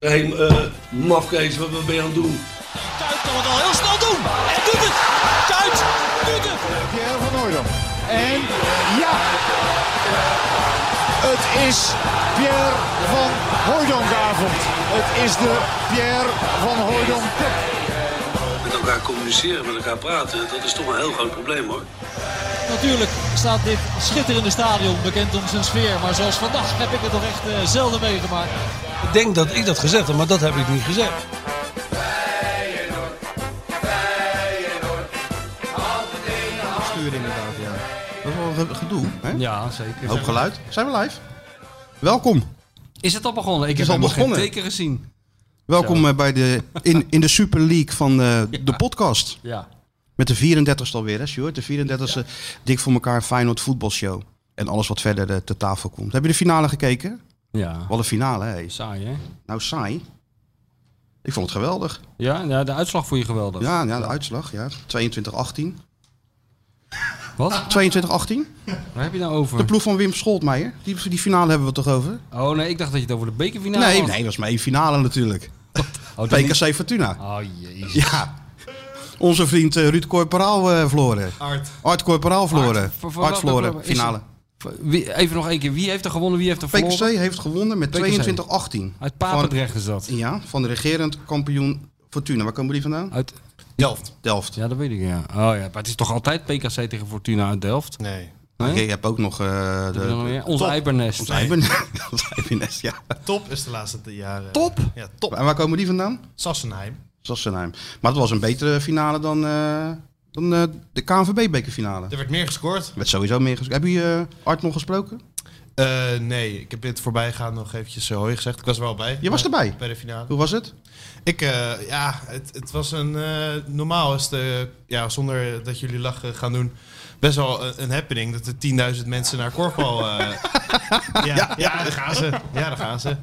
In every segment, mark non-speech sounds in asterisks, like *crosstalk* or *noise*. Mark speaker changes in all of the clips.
Speaker 1: Hé, hey, eh, mafkees, wat wat ben je aan het doen?
Speaker 2: Kuit kan het al heel snel doen. En doet het. Kuit doet het.
Speaker 3: Pierre van Hooydonk. En ja, het is Pierre van Hooijdonkavond. Het is de Pierre van Hooijdonk Cup.
Speaker 1: Met elkaar communiceren, met elkaar praten, dat is toch een heel groot probleem hoor.
Speaker 2: Natuurlijk staat dit schitterende stadion bekend om zijn sfeer. Maar zoals vandaag heb ik het nog echt eh, zelden meegemaakt.
Speaker 1: Ik denk dat ik dat gezegd heb, maar dat heb ik niet gezegd.
Speaker 4: Stuur inderdaad, ja. Dat is wel een gedoe, hè?
Speaker 5: Ja, zeker.
Speaker 4: Hoop geluid. Zijn we live? Welkom.
Speaker 5: Is het al begonnen? Ik
Speaker 4: is
Speaker 5: heb
Speaker 4: al
Speaker 5: helemaal geen
Speaker 4: begonnen.
Speaker 5: teken gezien.
Speaker 4: Welkom eh, bij de, in, in de Super League van eh, de podcast.
Speaker 5: Ja.
Speaker 4: Met de 34ste alweer, hè, Sjoerd? De 34ste Dik voor elkaar Feyenoord voetbalshow. En alles wat verder eh, te tafel komt. Heb je de finale gekeken?
Speaker 5: Ja.
Speaker 4: Wat een finale, hè?
Speaker 5: Saai, hè?
Speaker 4: Nou, saai. Ik vond het geweldig.
Speaker 5: Ja, ja, de uitslag vond je geweldig.
Speaker 4: Ja, ja de uitslag, ja. 22-18. 22-18?
Speaker 5: Wat? Waar heb je nou
Speaker 4: De
Speaker 5: over?
Speaker 4: ploeg van Wim Scholtmeijer. Die, die finale hebben we toch over?
Speaker 5: Oh nee, ik dacht dat je het over de bekerfinale
Speaker 4: nee,
Speaker 5: had.
Speaker 4: nee, dat was maar één finale natuurlijk.
Speaker 5: Oh,
Speaker 4: *laughs*
Speaker 5: dat niet.
Speaker 4: PKC Fortuna.
Speaker 5: Oh jezus.
Speaker 4: Ja. Onze vriend eh, Ruud Corporaal eh, verloren. Art. Art Corporaal verloren.
Speaker 5: Art, voor- voor
Speaker 4: Art
Speaker 5: welke
Speaker 4: verloren,
Speaker 5: club is
Speaker 4: finale.
Speaker 5: Wie, even nog één keer. Wie heeft er gewonnen? Wie heeft er verloren?
Speaker 4: PKC heeft gewonnen met
Speaker 5: PKC.
Speaker 4: 22-18.
Speaker 5: Uit Papendrecht is dat.
Speaker 4: Van, ja, van de regerend kampioen Fortuna. Waar komen die vandaan?
Speaker 5: Uit...
Speaker 4: Delft. Delft.
Speaker 5: Ja, dat weet ik, ja. Oh ja, maar het is toch altijd PKC tegen Fortuna uit Delft?
Speaker 6: Nee.
Speaker 5: Nee?
Speaker 4: Oké, je hebt ook nog... eh,
Speaker 5: Heb je dan
Speaker 4: de,
Speaker 5: weer? Onze Eibernest.
Speaker 4: ons eigen *laughs* ons eigen nest, ja.
Speaker 6: Top is de laatste jaren.
Speaker 5: Top?
Speaker 6: Ja, top.
Speaker 4: En waar komen die vandaan?
Speaker 6: Sassenheim.
Speaker 4: Sassenheim. Maar het was een betere finale dan, eh, dan eh, de KNVB-bekerfinale.
Speaker 6: Er werd meer gescoord.
Speaker 4: Er werd sowieso meer gesproken. Heb je eh, Art nog gesproken?
Speaker 6: Eh, nee, ik heb dit voorbijgaan nog eventjes eh, hoi gezegd. Ik was er wel bij.
Speaker 4: Je was
Speaker 6: bij-
Speaker 4: erbij?
Speaker 6: Bij de finale.
Speaker 4: Hoe was het?
Speaker 6: Ik, eh, ja, het, het was een... eh, normaal is de, ja, zonder dat jullie lachen gaan doen, best wel een, een happening. Dat er 10.000 mensen naar korfbal... eh, ja, ja, daar gaan ze. Ja, daar gaan ze.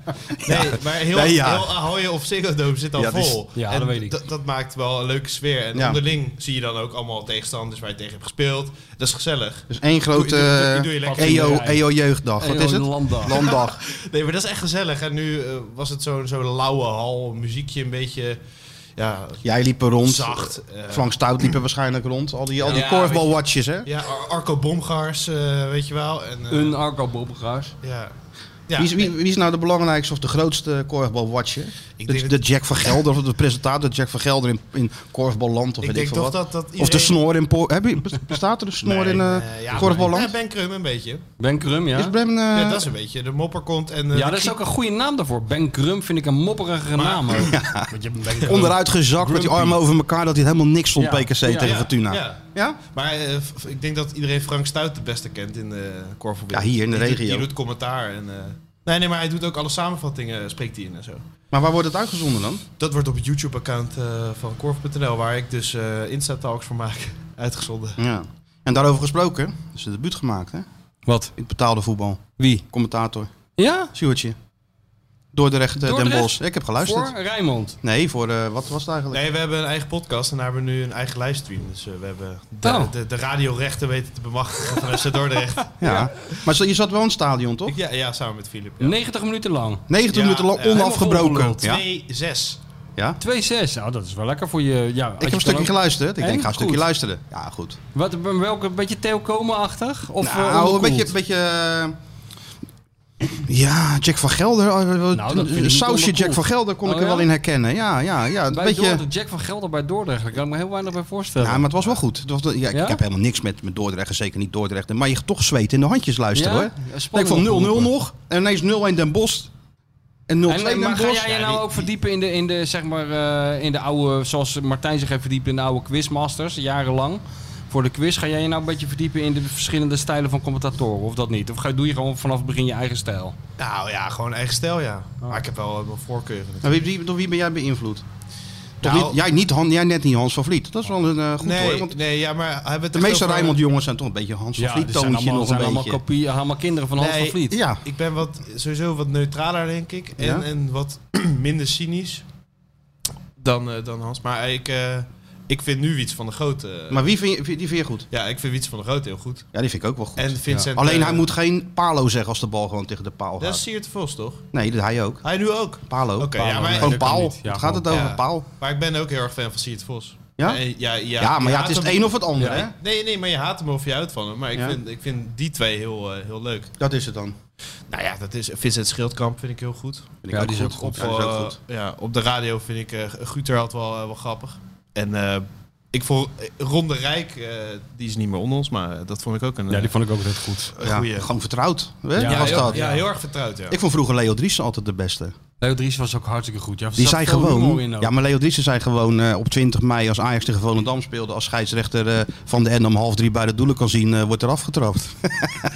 Speaker 6: Nee, maar heel,
Speaker 4: Nee, ja.
Speaker 6: heel Ahoy of Ziggo Dome zit al
Speaker 4: Ja, die is-
Speaker 6: vol.
Speaker 5: ja,
Speaker 6: en
Speaker 5: dat weet ik.
Speaker 6: dat- dat maakt wel een leuke sfeer. En
Speaker 4: Ja.
Speaker 6: onderling zie je dan ook allemaal tegenstanders waar je tegen hebt gespeeld. Dat is gezellig.
Speaker 4: Dus één grote
Speaker 6: Doe- doe- doe- doe je
Speaker 4: eh,
Speaker 6: lekker.
Speaker 4: EO, EO Jeugddag. Wat
Speaker 5: EO
Speaker 4: is het?
Speaker 5: Landdag.
Speaker 4: Landdag.
Speaker 6: Nee, maar dat is echt gezellig. En nu eh, was het zo'n zo lauwe hal, muziekje een beetje ja,
Speaker 4: Jij liep er rond.
Speaker 6: zacht. eh,
Speaker 4: Frank Stout liep er waarschijnlijk rond. Al die, al die
Speaker 6: Ja,
Speaker 4: korfbalwatches, hè?
Speaker 6: ja, Ar- Arco Bomgaars, eh, weet je wel. En, eh,
Speaker 5: Een Arco Bobbegaars.
Speaker 6: ja. Ja,
Speaker 4: Wie, is, wie,
Speaker 6: eh,
Speaker 4: wie is nou de belangrijkste of de grootste korfbalwatcher?
Speaker 6: Ik
Speaker 4: De,
Speaker 6: denk-
Speaker 4: de Jack van Gelder of de presentator Jack van Gelder in, in korfballand of weet
Speaker 6: Ik
Speaker 4: ik
Speaker 6: denk
Speaker 4: veel
Speaker 6: toch
Speaker 4: wat.
Speaker 6: dat, dat iedereen...
Speaker 4: Of de snor in... Po- Heb je, bestaat er een snor in eh,
Speaker 6: Eh, ja,
Speaker 4: korfballand?
Speaker 6: maar- Ja, Ben Krum een beetje.
Speaker 5: Ben Krum, ja.
Speaker 4: Is Brem... eh,
Speaker 6: ja, dat is een beetje. De mopper komt en... eh,
Speaker 5: Ja,
Speaker 6: de
Speaker 5: dat is
Speaker 6: knie-
Speaker 5: ook een goede naam daarvoor. Ben Grum vind ik een mopperige
Speaker 4: *laughs*
Speaker 5: naam. ook. Want je hebt een Ben Grum.
Speaker 4: Onderuit gezakt met die
Speaker 5: Grumpy.
Speaker 4: armen over elkaar, dat hij helemaal niks stond
Speaker 5: Ja.
Speaker 4: PKC
Speaker 5: Ja.
Speaker 4: tegen
Speaker 6: Ja,
Speaker 4: Fortuna. Ja.
Speaker 6: ja. Maar eh, f- ik denk dat iedereen Frank Stuit het beste kent in de korfbalwereld.
Speaker 4: Ja, hier in de
Speaker 6: Die doet-
Speaker 4: regio.
Speaker 6: Die doet commentaar en... eh, Nee, nee, maar hij doet ook alle samenvattingen, eh, spreekt hij in en zo.
Speaker 4: Maar waar wordt het uitgezonden dan?
Speaker 6: Dat wordt op het YouTube-account eh, van korf.nl, waar ik dus eh Insta-talks voor maak, *laughs* uitgezonden.
Speaker 4: Ja. En daarover gesproken, is de debuut gemaakt hè? In
Speaker 5: Wat?
Speaker 4: het betaalde voetbal.
Speaker 5: Wie?
Speaker 4: Commentator.
Speaker 5: Ja?
Speaker 4: Sjoerdje. Dordrecht, eh, Den
Speaker 5: Dordrecht?
Speaker 4: Bosch. Ik heb geluisterd.
Speaker 5: Voor Rijnmond.
Speaker 4: Nee, voor eh, wat was het eigenlijk?
Speaker 6: Nee, we hebben een eigen podcast en daar hebben we nu een eigen livestream. Dus eh, we hebben de,
Speaker 5: Oh.
Speaker 6: de, de radiorechten weten te bemachtigen van
Speaker 4: *laughs*
Speaker 6: FC Dordrecht.
Speaker 4: Ja. Maar zo- je zat wel in het stadion, toch?
Speaker 6: Ik- ja, ja, samen met Filip. Ja.
Speaker 5: 90 minuten lang.
Speaker 4: 90
Speaker 6: Ja,
Speaker 4: minuten lang
Speaker 6: ja.
Speaker 4: onafgebroken.
Speaker 5: Helemaal
Speaker 4: Ja.
Speaker 6: 2-6.
Speaker 4: ja.
Speaker 5: 2-6. Nou, dat is wel lekker voor je... Ja, als
Speaker 4: Ik heb
Speaker 5: je
Speaker 4: een stukje
Speaker 5: dan ook-
Speaker 4: geluisterd. Ik
Speaker 5: En?
Speaker 4: denk, ga een stukje
Speaker 5: Goed.
Speaker 4: luisteren. Ja, goed.
Speaker 5: Wat, welke, een beetje Theo Komen-achtig? Of eh,
Speaker 4: nou, een
Speaker 5: onderkoeld?
Speaker 4: beetje... Een beetje eh, ja, Jack van Gelder. eh, eh,
Speaker 5: Nou, dat vind ik niet
Speaker 4: een sausje
Speaker 5: onderkoeld.
Speaker 4: Jack van Gelder kon ik
Speaker 5: Oh,
Speaker 4: er
Speaker 5: ja?
Speaker 4: wel in herkennen. Ja, ja, ja. Een
Speaker 5: Bij
Speaker 4: beetje...
Speaker 5: Dordrecht, Jack van Gelder bij Dordrecht. Daar kan ik me heel weinig bij voorstellen.
Speaker 4: Ja, maar het was wel goed. Het was, ja, ik,
Speaker 5: Ja?
Speaker 4: ik heb helemaal niks met, met Dordrecht, en zeker niet Dordrecht. Maar je gaat toch zweet in de handjes luisteren
Speaker 5: Ja?
Speaker 4: hoor.
Speaker 5: Ja,
Speaker 4: Nee, ik
Speaker 5: spannend
Speaker 4: vond 0-0
Speaker 5: opgeroepen.
Speaker 4: nog. En ineens 0-1 Den Bosch. En 0-2
Speaker 5: En, eh,
Speaker 4: Den
Speaker 5: maar ga
Speaker 4: Bosch.
Speaker 5: jij je
Speaker 6: Ja,
Speaker 5: nou
Speaker 6: die-
Speaker 5: ook verdiepen in de, in de, zeg maar, eh, in de oude, zoals Martijn zich heeft verdiept in de oude quizmasters, jarenlang? Voor de quiz, ga jij je nou een beetje verdiepen in de verschillende stijlen van commentatoren, of dat niet? Of ga, doe je gewoon vanaf het begin je eigen stijl?
Speaker 6: Nou ja, gewoon eigen stijl, ja.
Speaker 4: Oh.
Speaker 6: Maar ik heb wel eh, mijn voorkeuren. natuurlijk.
Speaker 4: Nou, wie, wie- door wie ben jij beïnvloed? Toch
Speaker 6: Nou-
Speaker 4: niet, jij, niet Han, jij net niet Hans van Vliet. Dat is wel een eh, goed hoor.
Speaker 6: Nee,
Speaker 4: Want
Speaker 6: nee, ja, maar hebben we het
Speaker 4: de
Speaker 6: echt
Speaker 4: meeste
Speaker 6: over-
Speaker 4: Rijnmond jongens zijn toch een beetje Hans van Vliet
Speaker 5: die zijn
Speaker 4: toontje
Speaker 5: allemaal,
Speaker 4: nog een
Speaker 5: zijn
Speaker 4: beetje.
Speaker 5: allemaal, kopieën, allemaal kinderen van Hans
Speaker 6: Nee,
Speaker 5: van Vliet.
Speaker 4: Ja,
Speaker 6: Ik ben wat, sowieso wat neutraler, denk ik. En,
Speaker 4: Ja?
Speaker 6: *clears throat* en wat minder cynisch dan, eh, dan Hans. Maar ik, eh, ik vind nu iets van de Grote. eh,
Speaker 4: Maar wie vind je, wie- die vind je goed?
Speaker 6: ja, ik vind iets van de Grote heel goed.
Speaker 4: Ja, die vind ik ook wel goed.
Speaker 6: En Vincent.
Speaker 4: Ja. Alleen
Speaker 6: eh,
Speaker 4: hij moet geen palo zeggen als de bal gewoon tegen de paal
Speaker 6: Dat
Speaker 4: gaat.
Speaker 6: is Siert de Vos, toch?
Speaker 4: Nee, dat hij ook.
Speaker 6: Hij nu ook.
Speaker 4: Palo.
Speaker 6: Oké, ja, maar-
Speaker 4: gewoon
Speaker 5: dat kan
Speaker 4: paal.
Speaker 5: niet. Ja,
Speaker 4: Wat gaat het over?
Speaker 6: ja.
Speaker 4: Paal.
Speaker 6: Maar ik ben ook heel erg fan van Siert de Vos.
Speaker 4: Ja?
Speaker 6: En- ja, ja,
Speaker 4: Ja, maar
Speaker 6: je
Speaker 4: ja,
Speaker 6: haat
Speaker 4: het is het
Speaker 6: hem-
Speaker 4: een of het ander, hè?
Speaker 6: Ja, nee, nee, maar je haat hem of je houdt van hem. Maar ik,
Speaker 4: Ja.
Speaker 6: vind, ik vind die twee heel, eh, heel leuk.
Speaker 4: Dat is het dan.
Speaker 6: Nou ja, dat is Vincent Schildkamp vind ik heel goed.
Speaker 4: Vind ik
Speaker 5: Ja,
Speaker 4: ook
Speaker 5: die is
Speaker 4: goed.
Speaker 5: ook
Speaker 6: Op,
Speaker 4: Ja, die is ook
Speaker 6: eh,
Speaker 4: goed.
Speaker 6: ja, op de radio vind ik eh Guter altijd wel, eh, wel grappig. En eh, ik vond eh, Ron de Rijk, eh, die is niet meer onder ons, maar eh, dat vond ik ook een
Speaker 7: Ja, die
Speaker 6: eh,
Speaker 7: vond ik ook altijd goed.
Speaker 4: Ja,
Speaker 6: goeie.
Speaker 4: gewoon vertrouwd. Hè?
Speaker 7: Ja,
Speaker 4: Ja, was
Speaker 6: heel,
Speaker 4: dat.
Speaker 6: Ja, heel erg vertrouwd, ja.
Speaker 4: Ik vond vroeger Leo Driessen altijd de beste.
Speaker 5: Leo Dries was ook hartstikke goed. Ja, er
Speaker 4: Die
Speaker 5: zat
Speaker 4: zei
Speaker 5: veel humor
Speaker 4: gewoon.
Speaker 5: in ook.
Speaker 4: Ja, maar Leo Driessen zei gewoon eh, op 20 mei als Ajax tegen Volendam speelde. Als scheidsrechter eh, van de N om half drie bij de doelen kan zien, eh, wordt er afgetrapt. *laughs*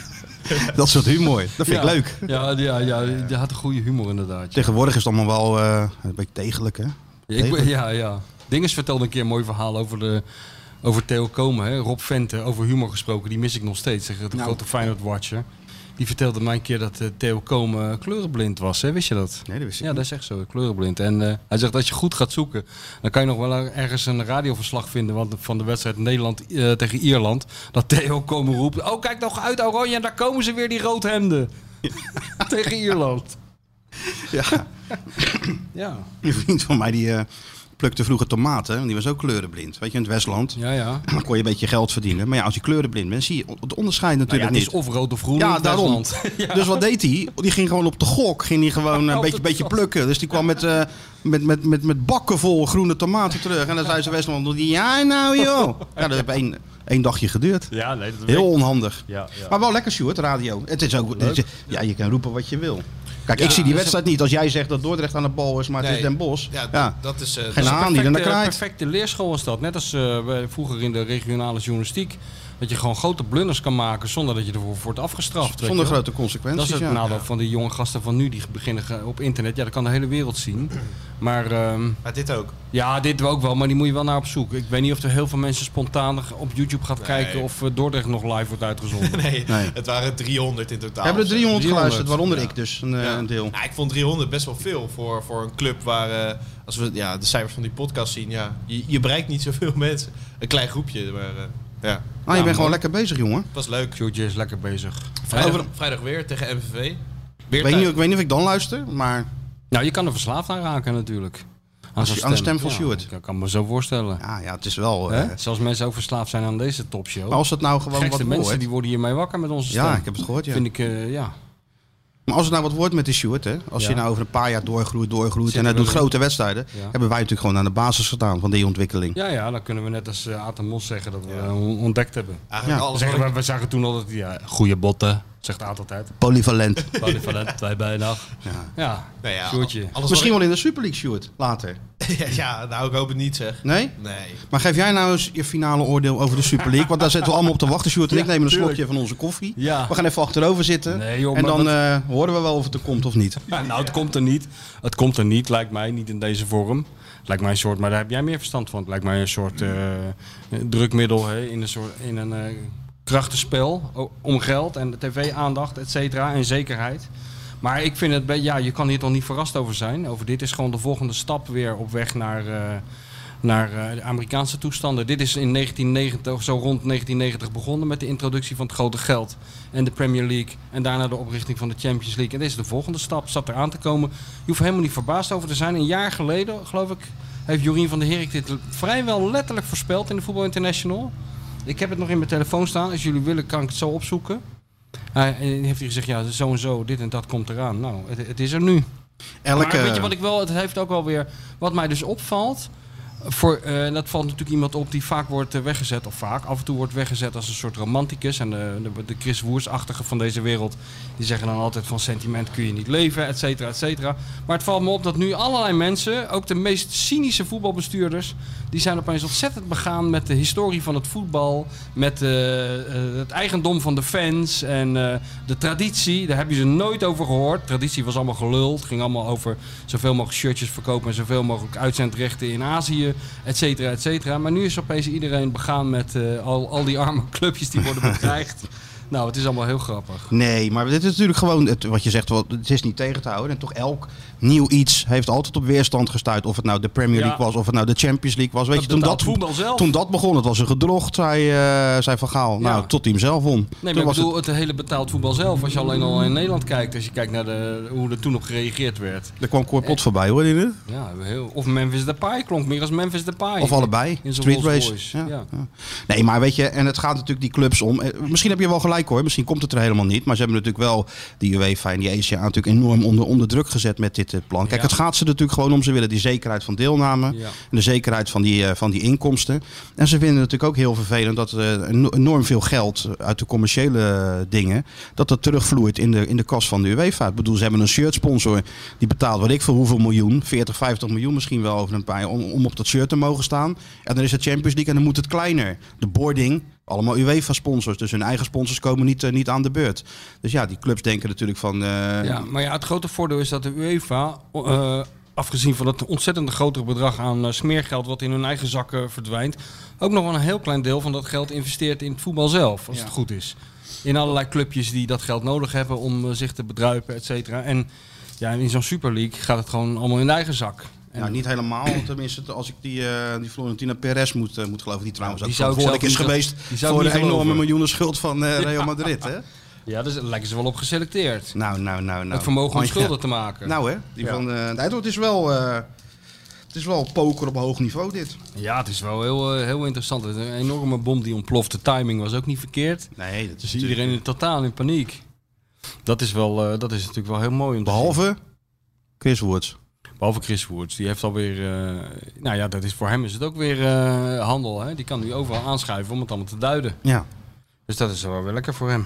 Speaker 4: dat soort humor. Dat vind ik
Speaker 5: Ja.
Speaker 4: leuk.
Speaker 5: Ja, ja, ja, die had een goede humor inderdaad. ja.
Speaker 4: Tegenwoordig is het allemaal wel eh, een beetje tegelijk, hè?
Speaker 5: Ik, ben- ja, ja. Dinges vertelde een keer een mooi verhaal over, de, over Theo Komen. Hè? Rob Vente, over humor gesproken, die mis ik nog steeds. Zeg, de
Speaker 4: Nou.
Speaker 5: grote Feyenoord-watcher. Die vertelde mij een keer dat eh, Theo Komen kleurenblind was. Hè? Wist je dat?
Speaker 4: Nee, dat wist ik
Speaker 5: Ja,
Speaker 4: niet.
Speaker 5: dat is echt zo, kleurenblind. En eh, hij zegt, als je goed gaat zoeken, dan kan je nog wel ergens een radioverslag vinden want van de wedstrijd Nederland eh, tegen Ierland. Dat Theo Komen roept, oh kijk nog uit Oranje, en daar komen ze weer die roodhemden.
Speaker 4: *laughs*
Speaker 5: *laughs* tegen Ierland.
Speaker 4: Ja.
Speaker 5: Ja,
Speaker 4: Een vriend van mij die eh, plukte vroeger tomaten. Want die was ook kleurenblind. Weet je, in het Westland.
Speaker 5: ja, ja.
Speaker 4: Dan kon je een beetje geld verdienen. Maar ja, als je kleurenblind bent, zie je het onderscheid
Speaker 5: Nou ja,
Speaker 4: natuurlijk
Speaker 5: het is
Speaker 4: niet.
Speaker 5: of rood of groen in
Speaker 4: Ja,
Speaker 5: het
Speaker 4: daarom.
Speaker 5: Westland. *laughs*
Speaker 4: Dus wat deed hij? Die ging gewoon op de gok. Ging hij gewoon eh, een
Speaker 5: Op
Speaker 4: beetje,
Speaker 5: de
Speaker 4: beetje
Speaker 5: gok.
Speaker 4: plukken. Dus die kwam met, eh, met, met, met, met bakken vol groene tomaten terug. En dan zei ze Westland, "Doe die- ja nou
Speaker 5: *laughs*
Speaker 4: joh. Ja, dat heeft één, één dagje geduurd.
Speaker 7: Ja, nee, dat
Speaker 4: Heel onhandig.
Speaker 7: Ja, ja.
Speaker 4: Maar wel lekker, Sjoerd, radio. Het is ook, het is- ja, je kan roepen wat je wil. Kijk, ik
Speaker 5: dus
Speaker 4: zie die wedstrijd niet. Als jij zegt dat Dordrecht aan de bal is, maar het is
Speaker 6: Nee.
Speaker 4: Den Bosch.
Speaker 6: Ja,
Speaker 4: Ja,
Speaker 6: dat- dat is... eh,
Speaker 4: Geen
Speaker 6: dat-
Speaker 4: haan die er naar
Speaker 5: perfecte,
Speaker 4: kraait.
Speaker 5: perfecte leerschool was dat. Net als eh, wij vroeger in de regionale journalistiek. Dat je gewoon grote blunders kan maken zonder dat je ervoor wordt afgestraft. weet
Speaker 4: Zonder
Speaker 5: je wel.
Speaker 4: grote
Speaker 5: Dat is
Speaker 4: consequenties.
Speaker 5: het
Speaker 4: ja.
Speaker 5: nadeel van die jonge gasten van nu die beginnen ge- op internet. Ja, dat kan de hele wereld zien. Maar ehm,
Speaker 6: maar dit ook. *laughs*
Speaker 5: ja, dit ook wel, maar die moet je wel naar op zoek. Ik weet niet of er heel veel mensen spontaan op YouTube gaat kijken of eh, Dordrecht nog live wordt
Speaker 6: *laughs*
Speaker 5: uitgezonden.
Speaker 6: Nee,
Speaker 4: Nee.
Speaker 6: het waren 300 in totaal.
Speaker 4: Hebben er 300 geluisterd,
Speaker 5: 300.
Speaker 4: waaronder ik dus een, eh, een deel.
Speaker 6: Ja, Nou, ik vond 300 best wel veel voor, voor een club waar, eh, als we ja, de cijfers van die podcast zien, ja, je, je bereikt niet zoveel *laughs* mensen. Een klein groepje, maar eh, ja,
Speaker 4: Ah, je bent
Speaker 5: man.
Speaker 4: gewoon lekker bezig, jongen.
Speaker 6: het was leuk.
Speaker 5: George is lekker bezig.
Speaker 6: Vrijdag, vrijdag weer tegen MVV. Weer
Speaker 4: Ik weet, niet,
Speaker 6: thuis.
Speaker 4: ik weet niet of ik dan luister, maar
Speaker 5: Nou, je kan er verslaafd aan raken natuurlijk. Aan zo'n
Speaker 4: aan de stem van
Speaker 5: Ja,
Speaker 4: Sjoerd.
Speaker 5: Ik kan me zo voorstellen.
Speaker 4: ja, ja, het is wel... eh,
Speaker 5: Hè? Zelfs mensen ook verslaafd zijn aan deze topshow.
Speaker 4: maar als het nou gewoon
Speaker 5: gekste
Speaker 4: wat
Speaker 5: mensen
Speaker 4: wordt...
Speaker 5: die worden hiermee wakker met onze stem.
Speaker 4: Ja, ik heb het gehoord, ja.
Speaker 5: Vind ik, eh, ja.
Speaker 4: Maar als het nou wat wordt met die Sjoerd, hè? Als
Speaker 5: Ja.
Speaker 4: je nou over een paar jaar doorgroeit, doorgroeit...
Speaker 5: Zit
Speaker 4: en hij
Speaker 5: er
Speaker 4: doet
Speaker 5: wel in.
Speaker 4: grote wedstrijden...
Speaker 5: Ja.
Speaker 4: hebben wij natuurlijk gewoon aan de basis gedaan van die ontwikkeling.
Speaker 5: ja, ja, dan kunnen we net als eh Aad en Mos zeggen dat we eh, on- ontdekt hebben.
Speaker 6: Eigenlijk
Speaker 4: Ja.
Speaker 5: We
Speaker 6: alles wat
Speaker 5: Zeggen,
Speaker 6: ik-
Speaker 5: we, we zagen toen altijd, ja, goede botten, zegt Aad altijd. *laughs*
Speaker 4: Polyvalent.
Speaker 5: Polyvalent, wij bijna. Ja, ja.
Speaker 6: nou ja,
Speaker 5: Sjoerdje.
Speaker 6: alles
Speaker 4: Misschien
Speaker 6: wat
Speaker 4: wel in de Super League, Sjoerd, later.
Speaker 6: ik- ja, ja, nou, ik hoop het niet zeg.
Speaker 4: Nee?
Speaker 6: Nee.
Speaker 4: Maar geef jij nou eens je finale oordeel over de Super League? Want daar zitten we allemaal op te wachten, Sjoerd en ik nemen een
Speaker 5: tuurlijk.
Speaker 4: slokje van onze koffie.
Speaker 5: Ja.
Speaker 4: We gaan even achterover zitten.
Speaker 5: Nee, joh,
Speaker 4: en
Speaker 5: maar
Speaker 4: dan
Speaker 5: wat-
Speaker 4: eh, horen we wel of het er komt of niet.
Speaker 5: Ja, nou, het komt er niet. Het komt er niet, lijkt mij. Niet in deze vorm. Lijkt mij een soort, maar daar heb jij meer verstand van. Het lijkt mij een soort eh, eh, drukmiddel hè, in een, soort, in een eh, krachtenspel o- om geld en tv-aandacht, et cetera, en zekerheid. Maar ik vind het, be- ja, je kan hier toch niet verrast over zijn. Over dit is gewoon de volgende stap weer op weg naar, eh, naar eh, de Amerikaanse toestanden. Dit is in 1990, zo rond 1990 begonnen met de introductie van het grote geld en de Premier League. En daarna de oprichting van de Champions League. En dit is de volgende stap, zat er aan te komen. Je hoeft er helemaal niet verbaasd over te zijn. Een jaar geleden, geloof ik, heeft Jorien van der Herik dit vrijwel letterlijk voorspeld in de Voetbal International. Ik heb het nog in mijn telefoon staan. Als jullie willen, kan ik het zo opzoeken. Hij hij heeft hier gezegd, ja, zo en zo, dit en dat komt eraan. Nou, het, het is er nu.
Speaker 4: Elke...
Speaker 5: Maar weet je wat ik wel, het heeft ook wel weer, wat mij dus opvalt. Voor, eh, en dat valt natuurlijk iemand op die vaak wordt eh, weggezet, of vaak af en toe wordt weggezet als een soort romanticus. En de, de, de Chris Woers-achtige van deze wereld, die zeggen dan altijd van sentiment kun je niet leven, et cetera, et cetera. Maar het valt me op dat nu allerlei mensen, ook de meest cynische voetbalbestuurders, die zijn opeens ontzettend begaan met de historie van het voetbal, met eh, eh, het eigendom van de fans en eh, de traditie. Daar heb je ze nooit over gehoord. Traditie was allemaal gelul. Het ging allemaal over zoveel mogelijk shirtjes verkopen en zoveel mogelijk uitzendrechten in Azië, et cetera,
Speaker 4: *laughs*
Speaker 5: et cetera. Maar nu is opeens iedereen begaan met eh, al, al die arme clubjes die worden bedreigd. Nou, het is allemaal heel grappig.
Speaker 4: Nee, maar dit is natuurlijk gewoon het, wat je zegt. wat- Het is niet tegen te houden. En toch elk nieuw iets heeft altijd op weerstand gestuurd. Of het nou de Premier League
Speaker 5: Ja.
Speaker 4: was, of het nou de Champions League was. Weet
Speaker 5: Het
Speaker 4: je, toen
Speaker 5: betaald
Speaker 4: dat,
Speaker 5: voetbal zelf.
Speaker 4: toen dat begon, het was een gedrocht, zei, eh, zei Van Gaal. Nou, tot hij hem zelf won.
Speaker 5: Nee,
Speaker 4: toen
Speaker 5: maar ik
Speaker 4: was
Speaker 5: bedoel, het... hele betaald voetbal zelf. Als je alleen al in Nederland kijkt, als je kijkt naar de, hoe er toen op gereageerd werd.
Speaker 4: het, er kwam Cor Pot
Speaker 5: Eh.
Speaker 4: voorbij, hoor je het?
Speaker 5: Ja, heel, of Memphis Depay klonk meer als Memphis Depay.
Speaker 4: Of allebei.
Speaker 5: In zo'n
Speaker 4: Street
Speaker 5: Rolls
Speaker 4: Race.
Speaker 5: Royce,
Speaker 4: Ja.
Speaker 5: ja.
Speaker 4: Ja. Nee, maar weet je, en het gaat natuurlijk die clubs om. Eh, Misschien heb je wel gelijk hoor, misschien komt het er helemaal niet. Maar ze hebben natuurlijk wel die UEFA en die ECA natuurlijk enorm onder, onder druk gezet met dit eh, plan. Kijk,
Speaker 5: Ja.
Speaker 4: het gaat ze natuurlijk gewoon om. Ze willen die zekerheid van deelname
Speaker 5: Ja.
Speaker 4: en de zekerheid van die, eh, van die inkomsten. En ze vinden het natuurlijk ook heel vervelend dat eh, eno- enorm veel geld uit de commerciële eh, dingen, dat dat terugvloeit in de, in de kas van de UEFA. Ik bedoel, ze hebben een shirt sponsor die betaalt weet ik voor hoeveel miljoen, 40, 50 miljoen misschien wel over een paar jaar, om, om op dat shirt te mogen staan. En dan is het Champions League en dan moet het kleiner. De boarding, allemaal UEFA-sponsors, dus hun eigen sponsors komen niet, eh, niet aan de beurt. Dus ja, die clubs denken natuurlijk van... eh,
Speaker 5: Ja, maar ja, het grote voordeel is dat de UEFA, eh, afgezien van het ontzettende grotere bedrag aan eh, smeergeld wat in hun eigen zakken verdwijnt, ook nog wel een heel klein deel van dat geld investeert in het voetbal zelf, als het goed is. In allerlei clubjes die dat geld nodig hebben om eh, zich te bedruipen, et cetera. En ja, in zo'n Super League gaat het gewoon allemaal in de eigen zak. En
Speaker 4: Ja, Nou, niet helemaal. Tenminste, als ik die, eh, die Florentina Perez moet, eh, moet geloven, die trouwens
Speaker 5: Ja,
Speaker 4: ook
Speaker 5: die zou ik
Speaker 4: verantwoordelijk is
Speaker 5: zelf niet-
Speaker 4: geweest
Speaker 5: die zou ik
Speaker 4: voor de
Speaker 5: niet geloven.
Speaker 4: enorme miljoenen schuld van eh,
Speaker 5: *laughs*
Speaker 4: Real Madrid. Hè?
Speaker 5: ja, dus daar lijken ze wel op geselecteerd.
Speaker 4: Nou, nou, nou, nou.
Speaker 5: Het vermogen om
Speaker 4: Handje-
Speaker 5: schulden te maken.
Speaker 4: Nou hè, die
Speaker 5: Ja.
Speaker 4: van, eh, nee, het is wel, eh, het is wel poker op hoog niveau dit.
Speaker 5: Ja, het is wel heel, eh, heel interessant. Het is Een enorme bom die ontploft. De timing was ook niet verkeerd.
Speaker 4: Nee, dat
Speaker 5: Dus iedereen in totaal in paniek. Dat is, wel, eh, dat is natuurlijk wel heel mooi om te
Speaker 4: Behalve Chris Woods.
Speaker 5: zien. Behalve Chris Woods. Die heeft alweer... eh, nou ja, dat is, voor hem is het ook weer eh, handel. Hè? Die kan nu overal aanschuiven om het allemaal te duiden.
Speaker 4: Ja.
Speaker 5: Dus dat is wel weer lekker voor hem.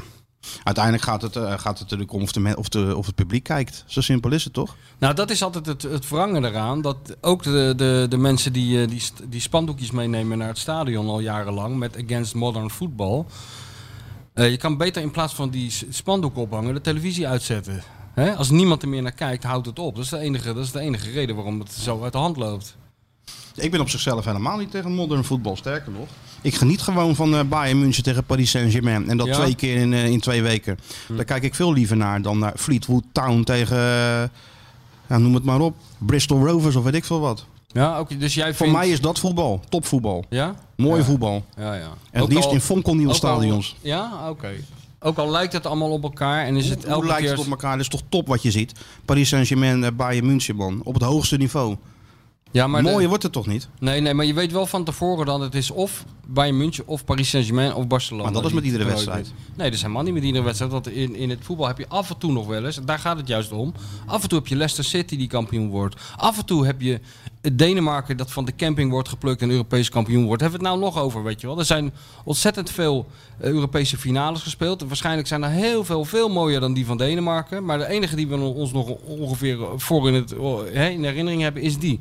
Speaker 4: Uiteindelijk gaat het, eh, gaat het natuurlijk om of, de men- of, de, of het publiek kijkt. Zo simpel is het toch?
Speaker 5: Nou, dat is altijd het, het verrangen eraan. Dat ook de, de, de mensen die, eh, die, st- die spandoekjes meenemen naar het stadion al jarenlang met Against Modern Football. eh, je kan beter in plaats van die s- spandoeken ophangen de televisie uitzetten. Hè? Als niemand er meer naar kijkt, houdt het op. Dat is, de enige, dat is de enige reden waarom het zo uit de hand loopt.
Speaker 4: Dus Ik ben op zichzelf helemaal niet tegen modern voetbal, sterker nog. Ik geniet gewoon van eh, Bayern München tegen Paris Saint-Germain. En dat
Speaker 5: Ja? Hm.
Speaker 4: twee keer in, eh, in twee weken. Daar kijk ik veel liever naar dan naar Fleetwood Town tegen, eh, ja, noem het maar op, Bristol Rovers of weet ik veel wat.
Speaker 5: Ja, ook, dus jij
Speaker 4: Voor
Speaker 5: vindt...
Speaker 4: mij is dat voetbal, topvoetbal.
Speaker 5: Ja?
Speaker 4: Mooi
Speaker 5: Ja.
Speaker 4: voetbal.
Speaker 5: Ja, ja.
Speaker 4: En
Speaker 5: Ook
Speaker 4: het liefst
Speaker 5: al-
Speaker 4: in fonkelnieuwe
Speaker 5: ook al-
Speaker 4: stadions.
Speaker 5: Ja, oké. Ook al lijkt het allemaal op elkaar en is het
Speaker 4: Hoe, hoe
Speaker 5: elke
Speaker 4: lijkt
Speaker 5: keer...
Speaker 4: het op elkaar? Dat is toch top wat je ziet. Paris Saint-Germain, eh, Bayern München, man. Op het hoogste niveau.
Speaker 5: ja, maar de-
Speaker 4: Mooier wordt het toch niet?
Speaker 5: Nee, nee, maar je weet wel van tevoren dat het is of Bayern München of Paris Saint-Germain of Barcelona.
Speaker 4: Maar dat is
Speaker 5: die
Speaker 4: met iedere
Speaker 5: het nooit
Speaker 4: wedstrijd.
Speaker 5: doet. Nee, dat is helemaal niet met iedere wedstrijd. Want in, in het voetbal heb je af en toe nog wel eens, daar gaat het juist om. Af en toe heb je Leicester City die kampioen wordt. Af en toe heb je Denemarken dat van de camping wordt geplukt en Europees kampioen wordt. Hebben we het nou nog over, weet je wel? Er zijn ontzettend veel eh, Europese finales gespeeld. Waarschijnlijk zijn er heel veel, veel mooier dan die van Denemarken. Maar de enige die we ons nog ongeveer voor in, het, oh, hè, in herinnering hebben, is die.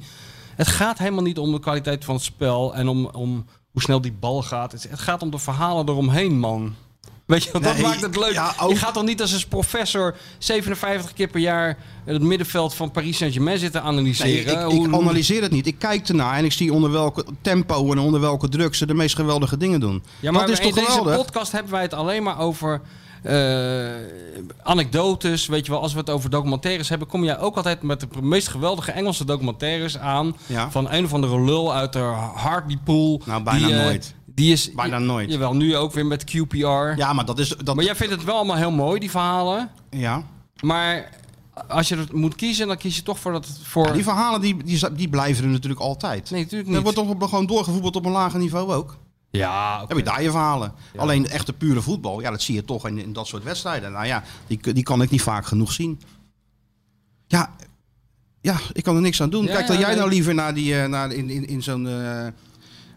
Speaker 5: Het gaat helemaal niet om de kwaliteit van het spel en om, om hoe snel die bal gaat. Het het gaat om de verhalen eromheen, man. Weet je, dat
Speaker 4: Nee,
Speaker 5: maakt het leuk.
Speaker 4: ja, ook-
Speaker 5: Je gaat dan niet als een professor 57 keer per jaar het middenveld van Paris Saint-Germain zitten
Speaker 4: Nee,
Speaker 5: analyseren.
Speaker 4: ik, ik
Speaker 5: Hoe-
Speaker 4: analyseer het niet. Ik kijk ernaar en ik zie onder welke tempo en onder welke druk ze de meest geweldige dingen doen.
Speaker 5: Ja, maar
Speaker 4: dat is
Speaker 5: in
Speaker 4: toch
Speaker 5: deze
Speaker 4: geweldig?
Speaker 5: podcast hebben wij het alleen maar over eh, anekdotes. Weet je wel, als we het over documentaires hebben, kom jij ook altijd met de meest geweldige Engelse documentaires aan.
Speaker 4: Ja.
Speaker 5: Van een of andere lul uit de Hartlepool.
Speaker 4: Nou, bijna
Speaker 5: eh,
Speaker 4: nooit.
Speaker 5: Die is,
Speaker 4: Bijna nooit.
Speaker 5: Jawel, nu ook weer met QPR.
Speaker 4: Ja, maar dat is... Dat,
Speaker 5: Maar jij vindt het wel allemaal heel mooi, die verhalen.
Speaker 4: ja.
Speaker 5: Maar als je het moet kiezen, dan kies je toch voor dat... Voor...
Speaker 4: Ja, die verhalen die, die, die blijven er natuurlijk altijd.
Speaker 5: Nee, natuurlijk
Speaker 4: Er
Speaker 5: niet.
Speaker 4: wordt toch gewoon doorgevoetbald op een lager niveau ook.
Speaker 5: Ja, oké.
Speaker 4: Dan Heb je daar je verhalen? Alleen de echte pure voetbal, ja, dat zie je toch in, in dat soort wedstrijden. Nou ja, die, die kan ik niet vaak genoeg zien. Ja, ja ik kan er niks aan doen.
Speaker 5: Ja,
Speaker 4: Kijk, dat
Speaker 5: ja,
Speaker 4: jij
Speaker 5: nee.
Speaker 4: nou liever naar die, eh, naar, in, in, in zo'n eh,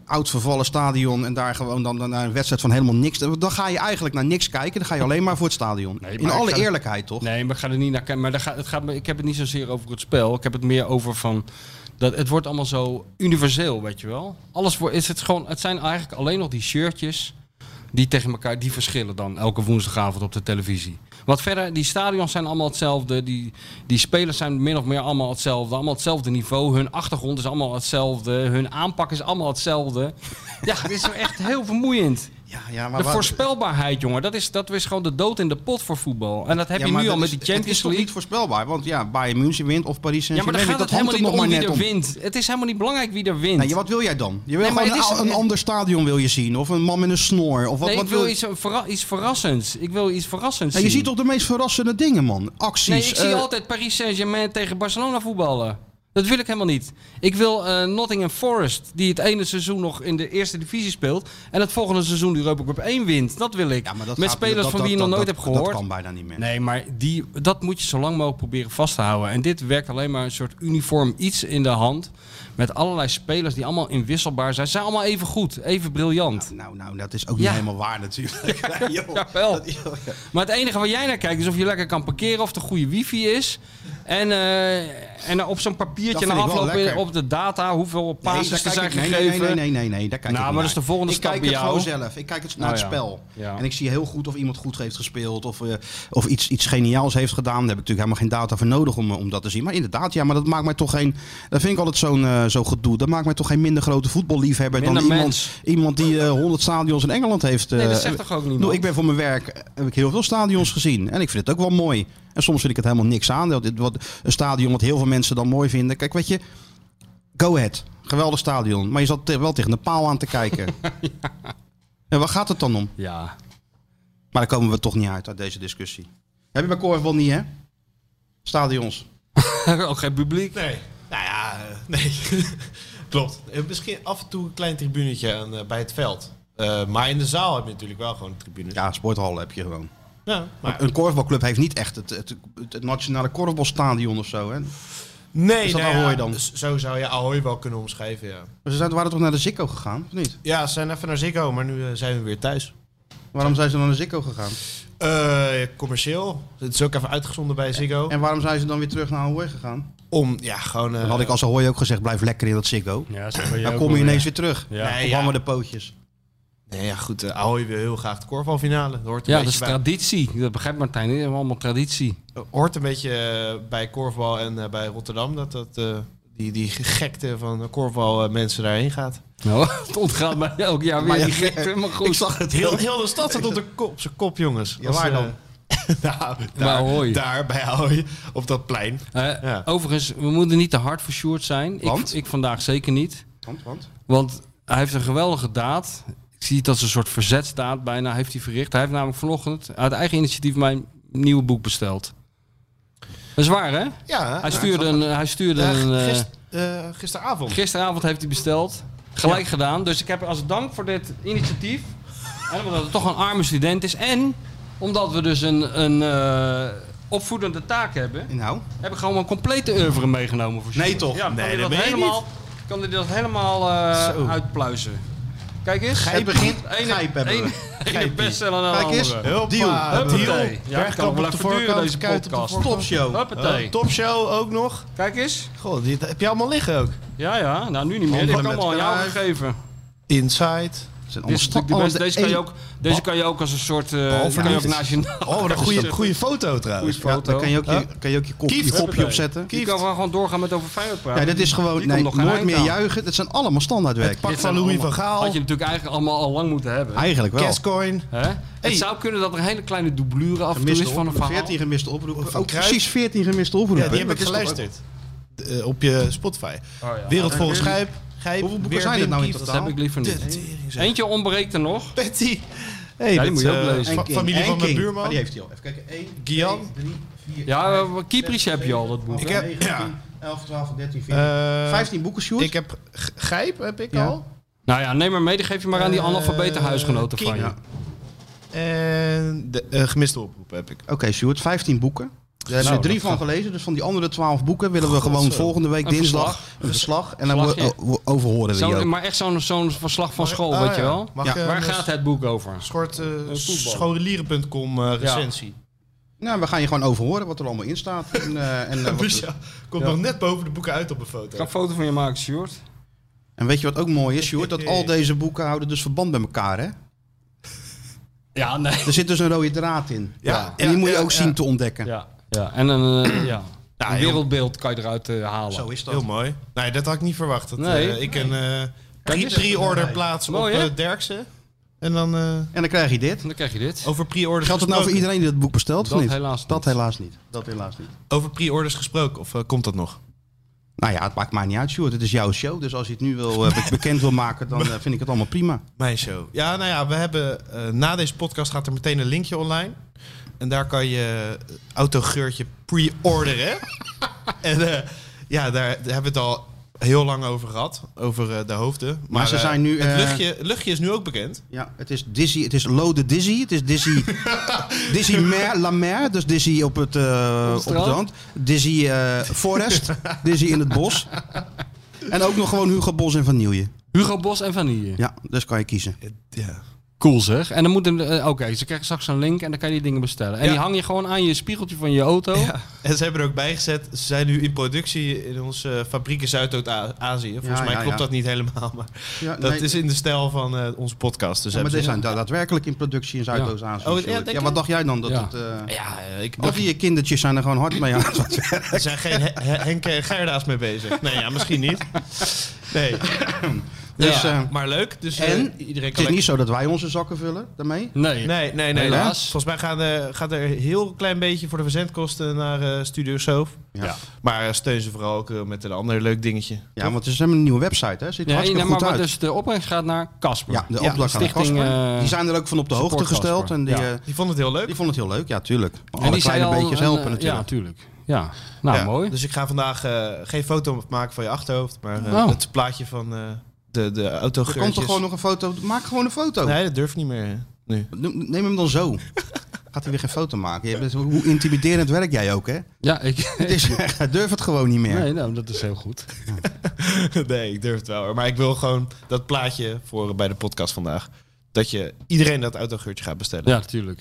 Speaker 4: oud vervallen stadion en daar gewoon dan, dan naar een wedstrijd van helemaal niks. Dan ga je eigenlijk naar niks kijken, dan ga je alleen maar voor het stadion.
Speaker 5: Nee, maar
Speaker 4: in
Speaker 5: ik
Speaker 4: alle
Speaker 5: ga-
Speaker 4: eerlijkheid, toch?
Speaker 5: Nee, maar ik ga er niet naar kijken. Maar daar gaat, het gaat, me- ik heb het niet zozeer over het spel. Ik heb het meer over van... Dat het wordt allemaal zo universeel, weet je wel. Alles wordt, is het, gewoon, het zijn eigenlijk alleen nog die shirtjes... die tegen elkaar die verschillen dan elke woensdagavond op de televisie. Wat verder, die stadions zijn allemaal hetzelfde. Die, die spelers zijn min of meer allemaal hetzelfde. Allemaal hetzelfde niveau. Hun achtergrond is allemaal hetzelfde. Hun aanpak is allemaal hetzelfde. Ja, het is zo echt heel vermoeiend.
Speaker 4: Ja, ja, maar
Speaker 5: De
Speaker 4: wat-
Speaker 5: voorspelbaarheid, jongen, dat is, dat is gewoon de dood in de pot voor voetbal. En dat heb
Speaker 4: Ja,
Speaker 5: je
Speaker 4: maar
Speaker 5: nu al
Speaker 4: dat
Speaker 5: met
Speaker 4: is-
Speaker 5: die
Speaker 4: Het is
Speaker 5: Champions
Speaker 4: toch
Speaker 5: League.
Speaker 4: niet voorspelbaar? Want ja, Bayern München wint of Paris
Speaker 5: Ja, maar
Speaker 4: Saint-Germain wint.
Speaker 5: dan gaat het
Speaker 4: Dat hangt
Speaker 5: helemaal
Speaker 4: er
Speaker 5: niet
Speaker 4: nog
Speaker 5: om
Speaker 4: maar
Speaker 5: wie
Speaker 4: net
Speaker 5: er
Speaker 4: om.
Speaker 5: wint. Het is helemaal niet belangrijk wie er wint.
Speaker 4: Nee, wat wil jij dan? Je wil
Speaker 5: Nee, maar
Speaker 4: gewoon
Speaker 5: het
Speaker 4: een,
Speaker 5: is-
Speaker 4: een ander stadion wil je zien. Of een man met een snor. Of wat,
Speaker 5: Nee,
Speaker 4: wat
Speaker 5: ik wil
Speaker 4: je?
Speaker 5: iets, verra- iets verrassends. Ik wil iets verrassends
Speaker 4: Ja, je
Speaker 5: zien.
Speaker 4: ziet toch de meest verrassende dingen, man. Acties.
Speaker 5: Nee, ik zie
Speaker 4: eh,
Speaker 5: altijd Paris Saint-Germain tegen Barcelona voetballen. Dat wil ik helemaal niet. Ik wil eh, Nottingham Forest, die het ene seizoen nog in de eerste divisie speelt. En het volgende seizoen de Europa Cup 1 wint. Dat wil ik.
Speaker 4: ja, maar dat
Speaker 5: Met
Speaker 4: gaat-
Speaker 5: spelers
Speaker 4: dat-
Speaker 5: van
Speaker 4: dat-
Speaker 5: wie je nog
Speaker 4: dat-
Speaker 5: nooit
Speaker 4: dat-
Speaker 5: hebt gehoord.
Speaker 4: Dat kan bijna niet meer.
Speaker 5: Nee, maar die, dat moet je zo lang mogelijk proberen vast te houden. En dit werkt alleen maar een soort uniform iets in de hand. Met allerlei spelers die allemaal inwisselbaar zijn. Ze zijn allemaal even goed, even briljant.
Speaker 4: Nou, nou, dat is ook
Speaker 5: Ja.
Speaker 4: niet helemaal waar
Speaker 5: *laughs*
Speaker 4: natuurlijk. Ja, joh.
Speaker 5: Jawel. Maar het enige waar jij naar kijkt is of je lekker kan parkeren, of de goede wifi is. En, eh, en op zo'n
Speaker 4: Dat
Speaker 5: papiertje
Speaker 4: vind
Speaker 5: na
Speaker 4: ik wel
Speaker 5: afloop weer
Speaker 4: lekker.
Speaker 5: op de data hoeveel passes
Speaker 4: daar
Speaker 5: er zijn
Speaker 4: kijk ik- nee,
Speaker 5: gegeven.
Speaker 4: Nee, nee, nee, nee, nee, daar kijk
Speaker 5: Nou,
Speaker 4: ik niet
Speaker 5: maar dat
Speaker 4: naar.
Speaker 5: is de volgende
Speaker 4: ik
Speaker 5: stap
Speaker 4: kijk
Speaker 5: bij
Speaker 4: het
Speaker 5: jou.
Speaker 4: gewoon zelf. Ik kijk het naar het
Speaker 5: Nou ja.
Speaker 4: spel.
Speaker 5: Ja.
Speaker 4: En ik zie heel goed of iemand goed heeft gespeeld of, eh, of iets, iets geniaals heeft gedaan. Daar heb ik natuurlijk helemaal geen data voor nodig om, eh, om dat te zien. Maar inderdaad, ja, maar dat maakt mij toch geen... Dat vind ik altijd zo'n eh, zo'n gedoe. Dat maakt mij toch geen minder grote voetballiefhebber dan
Speaker 5: Minder
Speaker 4: iemand,
Speaker 5: mens.
Speaker 4: iemand die eh, 100 stadions in Engeland heeft. eh,
Speaker 5: Nee, dat zegt toch ook niemand?
Speaker 4: nou, ik ben voor mijn werk eh, heb ik heel veel stadions gezien. En ik vind het ook wel mooi. En soms vind ik het helemaal niks aan. Dat dit- Wat, een stadion wat heel veel mensen dan mooi vinden. Kijk, weet je, go ahead. Geweldig stadion. Maar je zat te- wel tegen de paal aan te kijken.
Speaker 5: *laughs*
Speaker 4: En waar gaat het dan om?
Speaker 5: Ja. *laughs*
Speaker 4: Maar daar komen we toch niet uit uit deze discussie. Heb je bij korfbal niet, hè? Stadions.
Speaker 5: ook geen publiek.
Speaker 6: Nee. Nou ja, eh, *laughs* nee. Klopt. Eh, Misschien af en toe een klein tribunetje aan, eh, bij het veld. Eh, maar in de zaal heb je natuurlijk wel gewoon tribunes.
Speaker 4: Ja, sporthallen heb je gewoon.
Speaker 6: Ja, maar...
Speaker 4: Een korfbalclub heeft niet echt het, het, het- het nationale korfbalstadion of zo. Hè?
Speaker 6: Nee,
Speaker 4: Is dat
Speaker 6: nou ja,
Speaker 4: Ahoy dan?
Speaker 6: s- Zo zou je Ahoy wel kunnen omschrijven, ja.
Speaker 4: Ze zijn, waren toch naar de Zikko gegaan, of niet?
Speaker 6: Ja, ze zijn even naar Ziggo, maar nu eh, zijn we weer thuis.
Speaker 4: Waarom zijn ze dan naar de Zikko gegaan?
Speaker 6: Eh, commercieel. Het is ook even uitgezonden bij Ziggo.
Speaker 4: En waarom zijn ze dan weer terug naar Ahoy gegaan?
Speaker 6: Om, ja, gewoon... eh,
Speaker 4: Dan had ik als Ahoy ook gezegd, blijf lekker in dat Ziggo.
Speaker 5: Ja,
Speaker 4: Dan kom je ineens weer terug.
Speaker 5: Ja.
Speaker 4: Ja.
Speaker 6: Nee,
Speaker 4: Of
Speaker 6: ja.
Speaker 4: hangen de pootjes.
Speaker 6: Nee, ja, goed. eh, Ahoy wil heel graag de korfbalfinale. Dat hoort een
Speaker 5: Ja, dat is
Speaker 6: beetje bij...
Speaker 5: traditie. Dat begrijpt Martijn. Dat is allemaal traditie.
Speaker 6: hoort een beetje eh, bij korfbal en eh, bij Rotterdam. Dat, dat eh, die, die gekte van de korfbal eh, mensen daarheen gaat.
Speaker 5: Nou, *laughs* het ontgaat mij elk jaar weer.
Speaker 4: Maar ja,
Speaker 5: die
Speaker 4: *laughs*
Speaker 5: gekte, maar goed.
Speaker 4: Ik zag het heel...
Speaker 6: Heel, heel de stad zat op, de kop, op zijn kop, jongens.
Speaker 4: Ja,
Speaker 6: Als,
Speaker 4: waar
Speaker 6: eh, *laughs*
Speaker 4: dan?
Speaker 6: nou,
Speaker 5: Bij
Speaker 6: daar,
Speaker 5: Ahoy.
Speaker 6: daar bij Ahoy, op dat plein.
Speaker 5: Eh,
Speaker 6: Ja.
Speaker 5: Overigens, we moeten niet te hard voor Sjoerd zijn.
Speaker 4: Want?
Speaker 5: Ik, ik vandaag zeker niet.
Speaker 4: Want, want?
Speaker 5: Want hij heeft een geweldige daad. Ik zie het als een soort verzetstaat bijna heeft hij verricht. Hij heeft namelijk vanochtend uit eigen initiatief mijn nieuwe boek besteld. Dat is waar, hè?
Speaker 6: Ah, Ja,
Speaker 5: Hij stuurde een... Hij stuurde
Speaker 6: eh,
Speaker 5: een eh,
Speaker 6: gist- eh, gisteravond.
Speaker 5: gisteravond heeft hij besteld. Gelijk gedaan. Dus ik heb als dank voor dit initiatief... en omdat het toch een arme student is... en omdat we dus een, een eh, opvoedende taak hebben...
Speaker 4: Inhoud?
Speaker 5: heb ik gewoon een complete oeuvre meegenomen voor
Speaker 4: Nee,
Speaker 5: Sjoerd.
Speaker 4: toch?
Speaker 5: Ja, kan
Speaker 6: Nee,
Speaker 5: hij dat,
Speaker 6: dat meen je
Speaker 5: helemaal, kan hij dat helemaal eh, uitpluizen. Kijk eens.
Speaker 4: Hij begint...
Speaker 5: Ene-
Speaker 4: Gijp hebben
Speaker 5: ene- *laughs*
Speaker 4: we.
Speaker 5: ene bestseller naar de
Speaker 4: Kijk eens.
Speaker 5: andere.
Speaker 4: Deal.
Speaker 5: Huppatee. nou, eh, Ja, ik kan
Speaker 6: Bergkamp
Speaker 5: wel
Speaker 6: op de
Speaker 5: even duren
Speaker 6: voorkant,
Speaker 5: deze
Speaker 6: Kuit op de
Speaker 5: podcast.
Speaker 4: Topshow.
Speaker 5: Huppatee.
Speaker 3: Eh,
Speaker 6: Topshow ook nog.
Speaker 5: Kijk eens.
Speaker 6: Goh, dit heb je allemaal liggen ook.
Speaker 5: Ja, ja. Nou, nu niet meer. Dit heb
Speaker 4: Handelen
Speaker 5: ik allemaal aan
Speaker 4: met
Speaker 5: jou
Speaker 4: kruis.
Speaker 5: gegeven.
Speaker 6: Inside.
Speaker 4: Het zijn
Speaker 5: Dit
Speaker 4: allemaal
Speaker 5: is
Speaker 4: sta-
Speaker 5: natuurlijk de beste.
Speaker 4: allemaal
Speaker 5: Deze kan je
Speaker 4: oh, één-
Speaker 5: ook, deze kan je ook als een soort... eh
Speaker 6: Behalve
Speaker 5: kan je ook
Speaker 6: niet.
Speaker 5: nationaal...
Speaker 6: Oh, wat een goede, goede foto
Speaker 5: Goeie
Speaker 6: trouwens.
Speaker 4: Ja,
Speaker 5: foto.
Speaker 4: dan kan je ook je, kan je, ook je, kop, je kopje
Speaker 5: Huppatee.
Speaker 4: opzetten.
Speaker 5: Je kan wel gewoon doorgaan met over Feyenoord praten.
Speaker 4: Ja, dit is gewoon...
Speaker 5: Die komt
Speaker 4: Nee,
Speaker 5: nog geen
Speaker 4: nooit
Speaker 5: eind
Speaker 4: meer
Speaker 5: aan.
Speaker 4: juichen. Het zijn allemaal standaardwerk.
Speaker 6: Pak
Speaker 5: Dit
Speaker 6: van
Speaker 5: zijn
Speaker 6: Louis van
Speaker 5: allemaal-
Speaker 6: Gaal.
Speaker 5: Had je natuurlijk eigenlijk allemaal al lang moeten hebben.
Speaker 4: Eigenlijk wel.
Speaker 6: Cascoin.
Speaker 5: Hè?
Speaker 6: Hey.
Speaker 5: Het zou kunnen dat er een hele kleine doublure af en toe
Speaker 4: Gemiste
Speaker 5: is van een
Speaker 4: oproepen.
Speaker 5: verhaal.
Speaker 4: 14 gemiste oproepen.
Speaker 6: Van
Speaker 4: Ook
Speaker 6: Cruijff.
Speaker 4: precies 14 gemiste oproepen.
Speaker 6: Ja, die heb
Speaker 4: Dat
Speaker 6: ik
Speaker 4: is toch
Speaker 6: geluisterd. Eh, op je Spotify.
Speaker 4: Oh,
Speaker 5: ja.
Speaker 6: Wereld volgens Gijp. Gijp.
Speaker 4: Hoeveel boeken
Speaker 6: Weer
Speaker 4: zijn er
Speaker 6: Wim
Speaker 4: nou in
Speaker 6: Kieft.
Speaker 5: Dat heb ik liever
Speaker 6: De
Speaker 5: niet.
Speaker 6: tering, zeg.
Speaker 5: Eentje ontbreekt er nog.
Speaker 6: Patty. Hey,
Speaker 5: die
Speaker 6: dat,
Speaker 5: moet je ook
Speaker 6: eh,
Speaker 5: lezen.
Speaker 6: fa-
Speaker 4: ook-
Speaker 6: Familie
Speaker 4: En
Speaker 6: van
Speaker 4: King.
Speaker 6: mijn
Speaker 4: Maar die
Speaker 6: buurman.
Speaker 4: heeft hij al. Even kijken. 1,
Speaker 6: Gian.
Speaker 4: 3, 4,
Speaker 5: Ja, eh, Kiepries heb je al, dat boek.
Speaker 6: Ik heb-
Speaker 4: 11, 12, 13, 14.
Speaker 6: Eh
Speaker 4: 15 boeken, Sjoerd.
Speaker 6: ik heb G- Gijp heb ik
Speaker 4: Ja.
Speaker 6: al.
Speaker 5: Nou ja, neem maar mee. Die geef je maar aan die analfabete
Speaker 6: Eh,
Speaker 5: huisgenoten van
Speaker 6: King.
Speaker 5: je.
Speaker 4: Ja.
Speaker 6: En de eh, gemiste oproep heb ik.
Speaker 4: Oké, Sjoerd, 15 boeken. Daar hebben we
Speaker 5: Nou,
Speaker 4: drie
Speaker 5: dat
Speaker 4: van gelezen. Dus van die andere 12 boeken willen we gewoon volgende week
Speaker 5: Een
Speaker 4: dinsdag
Speaker 5: verslag.
Speaker 4: een verslag. En dan
Speaker 5: Verslagje.
Speaker 4: wo- wo- overhoren we je
Speaker 5: Zo'n-
Speaker 4: ook.
Speaker 5: maar echt zo'n zo'n verslag van school,
Speaker 6: Ah,
Speaker 5: weet je
Speaker 6: ja.
Speaker 5: wel.
Speaker 6: Mag
Speaker 4: Ja.
Speaker 6: ik, eh,
Speaker 5: Oh, Waar
Speaker 6: een
Speaker 5: gaat het boek over?
Speaker 6: soort eh,
Speaker 5: voetbal.
Speaker 6: scholieren.com eh, recensie?
Speaker 4: Nou, we gaan je gewoon overhoren wat er allemaal in staat. En, eh,
Speaker 5: *laughs*
Speaker 4: en, eh, wat-
Speaker 6: Micha komt nog net boven de boeken uit op een foto.
Speaker 5: Ik ga een foto van je maken, Sjoerd.
Speaker 4: en weet je wat ook mooi is, Sjoerd? Dat
Speaker 5: *laughs*
Speaker 4: al deze boeken houden dus verband met elkaar, hè?
Speaker 5: Ja, nee.
Speaker 4: Er zit dus een rode draad in.
Speaker 6: Ja.
Speaker 4: En die moet je
Speaker 6: Ja,
Speaker 4: ook
Speaker 6: ja.
Speaker 4: zien te ontdekken.
Speaker 5: Ja, ja. en een, eh, *clears throat* ja.
Speaker 6: Ja,
Speaker 5: een
Speaker 6: joh.
Speaker 5: wereldbeeld kan je eruit eh, halen.
Speaker 4: Zo is dat.
Speaker 6: Heel mooi. Nee, dat had ik niet verwacht. Dat,
Speaker 5: Nee.
Speaker 6: eh, ik een eh,
Speaker 5: Kijk eens.
Speaker 6: pre-order plaats op
Speaker 5: Mooi,
Speaker 6: eh,
Speaker 5: hè?
Speaker 6: Derksen. En dan eh,
Speaker 4: En dan krijg je dit.
Speaker 5: Dan krijg je dit.
Speaker 6: over pre-orders
Speaker 4: Geldt het nou voor
Speaker 6: gesproken.
Speaker 4: iedereen die het boek bestelt? of
Speaker 5: Dat
Speaker 4: niet?
Speaker 5: helaas niet.
Speaker 4: Dat helaas niet. Dat helaas niet.
Speaker 6: Over pre-orders gesproken, of eh, komt dat nog?
Speaker 4: Nou ja, het maakt mij niet uit, Sjoerd. Het is jouw show. Dus als je het nu wil, eh, be- bekend wil maken, dan eh, vind ik het allemaal prima.
Speaker 6: Mijn show. Ja, nou ja, we hebben eh, na deze podcast gaat er meteen een linkje online. En daar kan je eh, autogeurtje pre-orderen. *laughs* en eh, ja, daar hebben we het al heel lang over gehad, over eh, de hoofden. Maar,
Speaker 4: ze
Speaker 6: eh,
Speaker 4: zijn nu,
Speaker 6: Het
Speaker 4: eh,
Speaker 6: luchtje, het luchtje is nu ook bekend.
Speaker 4: Ja, het is Dizzy. Het is Lode Dizzy. Het is Dizzy. Dizzy Mer, La Mer. Dus Dizzy op het, eh op het
Speaker 5: strand.
Speaker 4: land. Dizzy eh, Forest. Dizzy in het bos. En ook nog gewoon Hugo Bos en Van Nieuwje.
Speaker 5: Hugo Bos en Vanille.
Speaker 4: Ja, dus kan je kiezen.
Speaker 6: Ja.
Speaker 5: Cool zeg. En dan moet een, eh, oké, ze krijgen straks een link en dan kan je die dingen bestellen. En
Speaker 6: Ja.
Speaker 5: die hang je gewoon aan je spiegeltje van je auto.
Speaker 6: En ze hebben er ook bij gezet, ze zijn nu in productie in onze eh, fabriek in Zuidoost-Azië. Volgens
Speaker 4: Ja,
Speaker 6: mij
Speaker 4: ja,
Speaker 6: klopt
Speaker 4: ja.
Speaker 6: dat niet helemaal, maar
Speaker 4: Ja,
Speaker 6: dat
Speaker 4: nee,
Speaker 6: is in de stijl van eh, onze podcast. Dus
Speaker 4: ja, maar
Speaker 6: hebben
Speaker 4: dit
Speaker 6: ze-
Speaker 4: zijn da- daadwerkelijk in productie in Zuidoost Azië.
Speaker 6: Oh, ja,
Speaker 4: Ja.
Speaker 6: denk je?
Speaker 4: wat dacht jij dan? Dat
Speaker 5: Ja.
Speaker 4: het, eh,
Speaker 6: Ja, eh, ik
Speaker 4: dat
Speaker 6: dacht,
Speaker 4: die kindertjes zijn er gewoon hard mee aan het
Speaker 6: er zijn
Speaker 4: *laughs*
Speaker 6: geen He- He- Henk en Gerda's mee bezig. Nee, ja, misschien niet. Nee.
Speaker 4: Dus,
Speaker 6: Ja,
Speaker 4: eh,
Speaker 6: maar leuk. Dus eh,
Speaker 4: en
Speaker 6: iedereen
Speaker 4: Het is
Speaker 6: kan
Speaker 4: niet zo dat wij onze zakken vullen daarmee.
Speaker 5: Nee.
Speaker 6: Nee, nee, nee.
Speaker 5: Helaas.
Speaker 6: nee. Volgens mij gaan, eh, gaat er een heel klein beetje voor de verzendkosten naar eh, Studio Soof.
Speaker 4: Ja.
Speaker 6: Maar eh, steun ze vooral ook eh, met een ander leuk dingetje.
Speaker 4: Ja, want het is helemaal een nieuwe website, hè? Ziet er
Speaker 5: Ja,
Speaker 4: hartstikke
Speaker 5: nee, maar
Speaker 4: goed
Speaker 5: wat
Speaker 4: uit.
Speaker 5: dus de opbrengst gaat naar Casper.
Speaker 4: Ja, de
Speaker 6: Ja,
Speaker 4: opdracht aan
Speaker 5: stichting,
Speaker 4: Casper.
Speaker 5: eh,
Speaker 4: die zijn er ook van op de hoogte
Speaker 5: support
Speaker 4: gesteld.
Speaker 5: Casper.
Speaker 4: En die,
Speaker 5: Ja.
Speaker 4: eh,
Speaker 6: Die vond het heel leuk.
Speaker 4: die vonden het heel leuk, ja, tuurlijk. Maar
Speaker 5: En
Speaker 4: alle
Speaker 5: die zijn
Speaker 4: kleine
Speaker 5: al
Speaker 4: beetjes
Speaker 5: een,
Speaker 4: helpen
Speaker 5: eh, Ja,
Speaker 4: natuurlijk.
Speaker 5: natuurlijk. Ja, nou
Speaker 6: Ja,
Speaker 5: mooi.
Speaker 6: Dus ik ga vandaag eh, geen foto maken van je achterhoofd, maar eh,
Speaker 5: Oh.
Speaker 6: het plaatje van eh, de, de
Speaker 4: er komt
Speaker 6: autogeurtjes.
Speaker 4: er gewoon nog een foto. Maak gewoon een foto.
Speaker 6: Nee, dat durft niet meer *laughs* eh, nu.
Speaker 4: Noem- Neem hem dan zo. Gaat hij weer geen foto maken? Je bent, hoe intimiderend werk jij ook, hè?
Speaker 5: Ja, *laughs* ik...
Speaker 4: *laughs* Het is, hij durft het gewoon niet meer.
Speaker 5: Nee, nou, dat is heel goed.
Speaker 6: nee, ik durf het wel. hoor. Maar ik wil gewoon dat plaatje voor eh, bij de podcast vandaag. Dat je iedereen dat autogeurtje gaat bestellen.
Speaker 5: Ja, Nou, natuurlijk.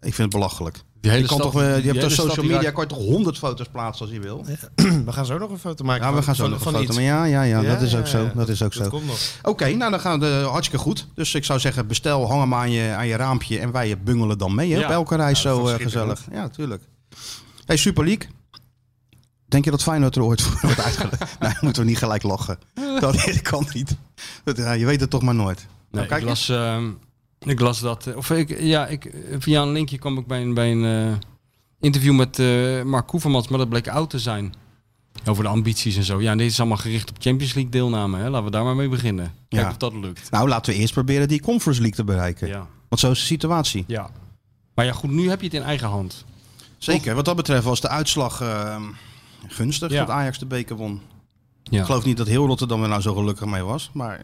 Speaker 4: Ik vind het belachelijk.
Speaker 5: Die hele
Speaker 4: Je, kan
Speaker 5: stad-
Speaker 4: toch, eh, je
Speaker 5: die
Speaker 4: hebt
Speaker 5: hele
Speaker 4: toch
Speaker 5: stad
Speaker 4: social
Speaker 5: die
Speaker 4: media, kan je toch honderd foto's plaatsen als je wil?
Speaker 6: We gaan zo nog een foto maken.
Speaker 4: Hmm. Ja, we gaan
Speaker 6: van-
Speaker 4: zo
Speaker 6: van-
Speaker 4: nog een
Speaker 6: van
Speaker 4: foto.
Speaker 6: iets.
Speaker 4: Maar ja, ja, ja,
Speaker 6: Ja,
Speaker 4: dat is ook
Speaker 6: ja,
Speaker 4: zo.
Speaker 6: ja.
Speaker 4: Dat is ook zo.
Speaker 6: Dat komt nog.
Speaker 4: Oké, nou dan gaan we hartstikke goed. Dus ik zou zeggen, bestel, hang hem aan je, aan je raampje en wij bungelen dan mee hè,
Speaker 5: Ja.
Speaker 4: op elke reis
Speaker 6: dat
Speaker 4: zo
Speaker 6: is
Speaker 4: eh,
Speaker 6: schitterend.
Speaker 4: gezellig. Ja, tuurlijk. Hey, Super League. Denk je dat Feyenoord er ooit voor wordt
Speaker 6: *laughs*
Speaker 4: uitgelegd? nou, moeten we niet gelijk lachen. Dat, dat kan niet. Dat, ja, je weet het toch maar nooit.
Speaker 5: Nee,
Speaker 4: Nou, kijk
Speaker 5: ik,
Speaker 4: eens.
Speaker 5: las, ehm, ik las dat. eh, Of ik, ja, ik, eh, via een linkje kwam ik bij een, bij een eh, interview met eh Mark Koevermans, maar dat bleek oud te zijn. Over de ambities en zo. Ja, en dit is allemaal gericht op Champions League deelname. Hè? Laten we daar maar mee beginnen. Kijken
Speaker 4: Ja.
Speaker 5: of dat lukt.
Speaker 4: Nou, laten we eerst proberen die Conference League te bereiken.
Speaker 5: Ja.
Speaker 4: Want zo is de situatie.
Speaker 5: ja. Maar ja, goed, nu heb je het in eigen hand.
Speaker 4: Zeker. Wat dat betreft was de uitslag ehm, gunstig
Speaker 5: Ja.
Speaker 4: dat Ajax de beker won.
Speaker 5: Ja.
Speaker 4: Ik geloof niet dat heel Rotterdam er nou zo gelukkig mee was. Maar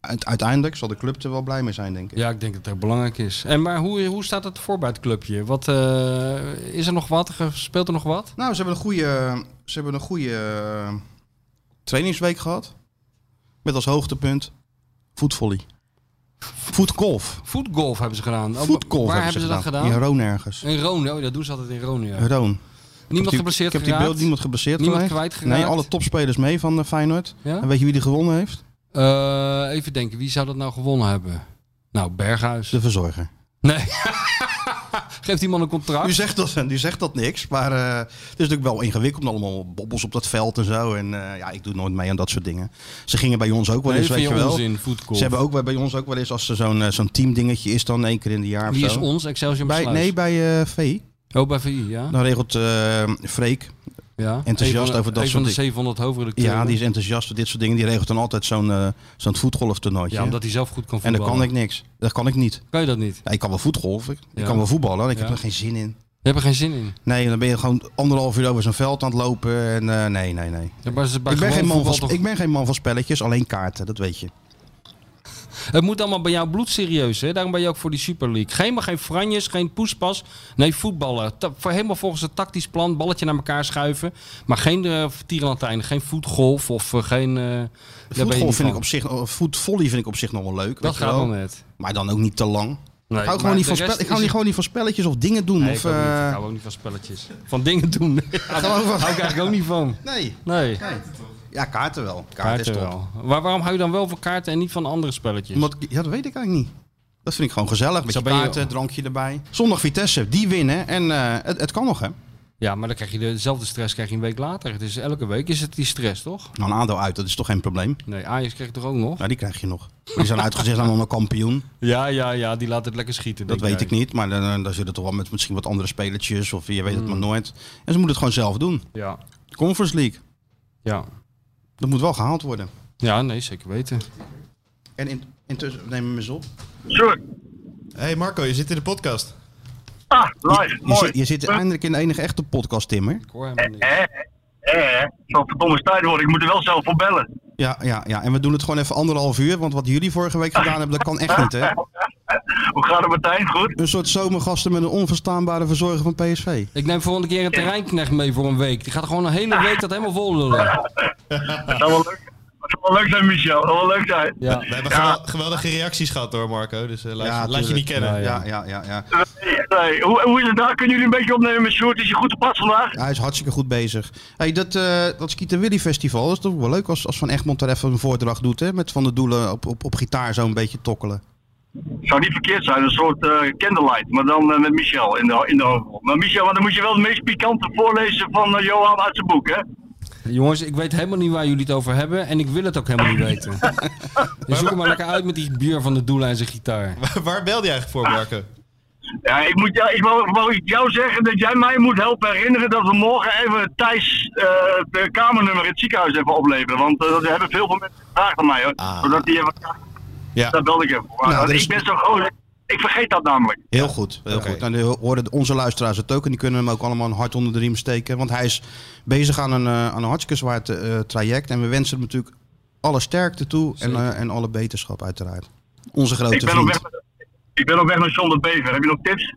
Speaker 4: uit- uiteindelijk zal de club er wel blij mee zijn, denk ik.
Speaker 5: Ja, ik denk dat dat belangrijk is. En maar hoe, hoe staat het voor bij het clubje? Wat, eh, is er nog wat? Ge- Speelt er nog wat?
Speaker 4: Nou, ze hebben een goede, ze hebben een goede eh, trainingsweek gehad. Met als hoogtepunt voetvolley. Voetgolf.
Speaker 5: Voetgolf hebben ze gedaan. Oh,
Speaker 4: Voetgolf
Speaker 5: Waar hebben ze, dat gedaan?
Speaker 4: In Roon ergens.
Speaker 5: In Rone. Oh, dat doen ze altijd in Rone. Ja.
Speaker 4: In Roon. Ik heb
Speaker 5: Niemand
Speaker 4: die-
Speaker 5: geblesseerd
Speaker 4: Ik heb die
Speaker 5: geraakt?
Speaker 4: beeld niemand geblesseerd
Speaker 5: Niemand
Speaker 4: geraakt.
Speaker 5: kwijtgeraakt?
Speaker 4: Nee, alle topspelers mee van eh, Feyenoord.
Speaker 5: Ja?
Speaker 4: En weet je wie die gewonnen heeft?
Speaker 5: Eh, even denken, wie zou dat nou gewonnen hebben? Nou, Berghuis.
Speaker 4: De verzorger.
Speaker 5: Nee. Geeft die man een contract?
Speaker 4: U zegt dat, u zegt dat niks, maar eh, het is natuurlijk wel ingewikkeld. Allemaal bobbels op dat veld en zo. En eh, ja, ik doe nooit mee aan dat soort dingen. Ze gingen bij ons ook wel
Speaker 5: Nee,
Speaker 4: eens,
Speaker 5: dat
Speaker 4: weet
Speaker 5: vind
Speaker 4: je
Speaker 5: je
Speaker 4: wel.
Speaker 5: onzin, voetgolf.
Speaker 4: Ze hebben ook bij- bij ons ook wel eens, als er zo'n eh, zo'n teamdingetje is, dan één keer in de jaar of
Speaker 5: Wie is
Speaker 4: zo.
Speaker 5: ons? Excelsior
Speaker 4: bij,
Speaker 5: Besluis.
Speaker 4: nee, bij eh VI.
Speaker 5: Oh, bij VI, ja?
Speaker 4: Dan regelt eh Freek,
Speaker 5: ja.
Speaker 4: enthousiast
Speaker 5: Een van de-
Speaker 4: over dat
Speaker 5: een
Speaker 4: soort
Speaker 5: van de
Speaker 4: dingen.
Speaker 5: 700 hoofdredacteuren.
Speaker 4: ja, die is enthousiast voor dit soort dingen. Die regelt dan altijd zo'n eh, zo'n voetgolftoernooitje.
Speaker 5: Ja, omdat hij zelf goed kan
Speaker 4: en dan
Speaker 5: voetballen.
Speaker 4: kan ik niks. Dat kan ik niet.
Speaker 5: Kan je dat niet?
Speaker 4: Ja, ik kan wel voetgolven, ik
Speaker 5: Ja.
Speaker 4: kan wel voetballen. Ik heb
Speaker 5: Ja.
Speaker 4: er geen zin in.
Speaker 5: Je hebt er geen zin in.
Speaker 4: Nee, dan ben je gewoon anderhalf uur over zo'n veld aan het lopen. En eh, nee, nee, nee.
Speaker 5: Ja, maar ze- bij
Speaker 4: Ik ben,
Speaker 5: gewoon
Speaker 4: geen man van,
Speaker 5: voetbal
Speaker 4: sp-
Speaker 5: toch-
Speaker 4: ik ben geen man van spelletjes, alleen kaarten, dat weet je.
Speaker 5: Het moet allemaal bij jou bloedserieus, hè? Daarom ben je ook voor die Super League. Geen, maar geen franjes, geen poespas. Nee, voetballen. Ta- voor helemaal volgens het tactisch plan. Balletje naar elkaar schuiven. Maar geen eh tierenlantijnen, geen voetgolf of eh, geen... eh, daar ben je
Speaker 4: Voetbal
Speaker 5: niet
Speaker 4: vind ik
Speaker 5: van.
Speaker 4: op zich, eh, voetvolley vind ik op zich nog wel leuk. weet
Speaker 5: Dat
Speaker 4: je
Speaker 5: gaat
Speaker 4: wel.
Speaker 5: wel net.
Speaker 4: Maar dan ook niet te lang.
Speaker 5: Nee,
Speaker 4: ik hou,
Speaker 5: maar
Speaker 4: gewoon niet,
Speaker 5: de
Speaker 4: van
Speaker 5: rest
Speaker 4: spel- ik
Speaker 5: is
Speaker 4: hou niet,
Speaker 5: het-
Speaker 4: gewoon niet van spelletjes of dingen doen.
Speaker 5: Nee,
Speaker 4: of,
Speaker 5: ik, ook niet.
Speaker 4: eh,
Speaker 5: ik hou ook niet van spelletjes. Van dingen
Speaker 4: *laughs*
Speaker 5: doen. Daar
Speaker 4: gewoon van-
Speaker 5: hou ik eigenlijk ook niet van.
Speaker 4: Nee.
Speaker 5: Nee.
Speaker 4: Ja, kaarten wel. Kaarten, is
Speaker 5: Kaarten
Speaker 4: top.
Speaker 5: wel. Waar, waarom hou je dan wel van kaarten en niet van andere spelletjes?
Speaker 4: Omdat, ja, dat weet ik eigenlijk niet. Dat vind ik gewoon gezellig. Met
Speaker 5: Zo
Speaker 4: je
Speaker 5: ben je-
Speaker 4: kaarten, drankje erbij. Zondag Vitesse, die winnen. En eh, het, het kan nog, hè?
Speaker 5: Ja, maar dan krijg je dezelfde stress krijg je een week later. Dus elke week is het die stress, toch?
Speaker 4: Nou, een ADO uit, dat is toch geen probleem?
Speaker 5: Nee, Ajax krijgt toch ook nog?
Speaker 4: Nou, die krijg je nog. Die zijn uitgezet aan een kampioen.
Speaker 5: Ja, ja, ja, die laat het lekker schieten.
Speaker 4: Dat weet ik niet. Maar dan, dan zit het toch wel met misschien wat andere spelertjes. Of je weet het maar nooit. En ze moeten het gewoon zelf doen.
Speaker 5: Ja,
Speaker 4: Conference League.
Speaker 5: ja.
Speaker 4: Dat moet wel gehaald worden.
Speaker 5: Ja, nee, zeker weten.
Speaker 4: En in, intussen nemen we eens op.
Speaker 7: Sure.
Speaker 6: hey Marco, je zit in de podcast.
Speaker 7: Ah, live.
Speaker 4: Je,
Speaker 7: Mooi.
Speaker 4: zit, je zit eindelijk in de enige echte podcast, Timmer.
Speaker 5: Ik hoor helemaal niks.
Speaker 7: Eh, eh, zo'n verdomme tijd worden. Ik moet er wel zelf voor bellen.
Speaker 4: Ja, ja, ja. En we doen het gewoon even anderhalf uur. Want wat jullie vorige week gedaan hebben, dat kan echt niet, hè?
Speaker 7: Hoe gaat het Martijn? Goed?
Speaker 4: Een soort zomergasten met een onverstaanbare verzorger van PSV.
Speaker 5: Ik neem volgende keer een terreinknecht mee voor een week. Die gaat gewoon een hele week dat helemaal vol lullen.
Speaker 7: Dat zou wel leuk, dat zou wel leuk zijn, Michel. Dat zou wel leuk zijn.
Speaker 5: Ja.
Speaker 6: We hebben
Speaker 7: Ja.
Speaker 6: gewel- geweldige reacties gehad hoor Marco, dus eh, laat,
Speaker 4: Ja,
Speaker 6: je- laat je
Speaker 4: tuurlijk.
Speaker 6: niet kennen.
Speaker 5: Ja,
Speaker 4: Ja, ja, ja. ja.
Speaker 7: Nee, nee. Hoe, hoe is het daar? Kunnen jullie een beetje opnemen met Sjoerd? Is je goed op pad vandaag?
Speaker 4: Hij is hartstikke goed bezig. Hey, dat, eh dat Skeeter Willy Festival, dat is toch wel leuk als, als Van Egmond er even een voordracht doet. Hè? Met Van de Doelen op, op, op gitaar zo een beetje tokkelen.
Speaker 7: Zou niet verkeerd zijn. Een soort eh, candlelight. Maar dan eh, met Michel in de, in de hoofdrol. Maar Michel, maar dan moet je wel de meest pikante voorlezen van eh, Johan uit zijn boek, hè?
Speaker 5: Jongens, ik weet helemaal niet waar jullie het over hebben. En ik wil het ook helemaal niet weten. Dus zoek hem maar lekker uit met die bier van de doelen en zijn gitaar.
Speaker 6: *laughs* Waar belde je eigenlijk voor Marco?
Speaker 7: Ja, ik moet jou, ik wou, wou ik jou zeggen dat jij mij moet helpen herinneren dat we morgen even Thijs eh, het kamernummer in het ziekenhuis even opleveren. Want eh, dat hebben veel van mensen gevraagd aan mij hoor. Zodat die even,
Speaker 6: Ja.
Speaker 7: daar belde ik even voor.
Speaker 4: Nou,
Speaker 7: Want
Speaker 4: er is-
Speaker 7: Ik ben zo groot, ik vergeet dat namelijk.
Speaker 4: Heel goed, heel goed. Nou, nu horen onze luisteraars het ook en die kunnen hem ook allemaal een hart onder de riem steken. Want hij is bezig aan een, eh, aan een hartstikke zwaar te- eh, traject. En we wensen hem natuurlijk alle sterkte toe en, eh, en alle beterschap uiteraard. Onze grote
Speaker 7: Ik ben, op
Speaker 4: vriend.
Speaker 7: weg, ik ben op weg naar John de Bever. Heb je nog tips?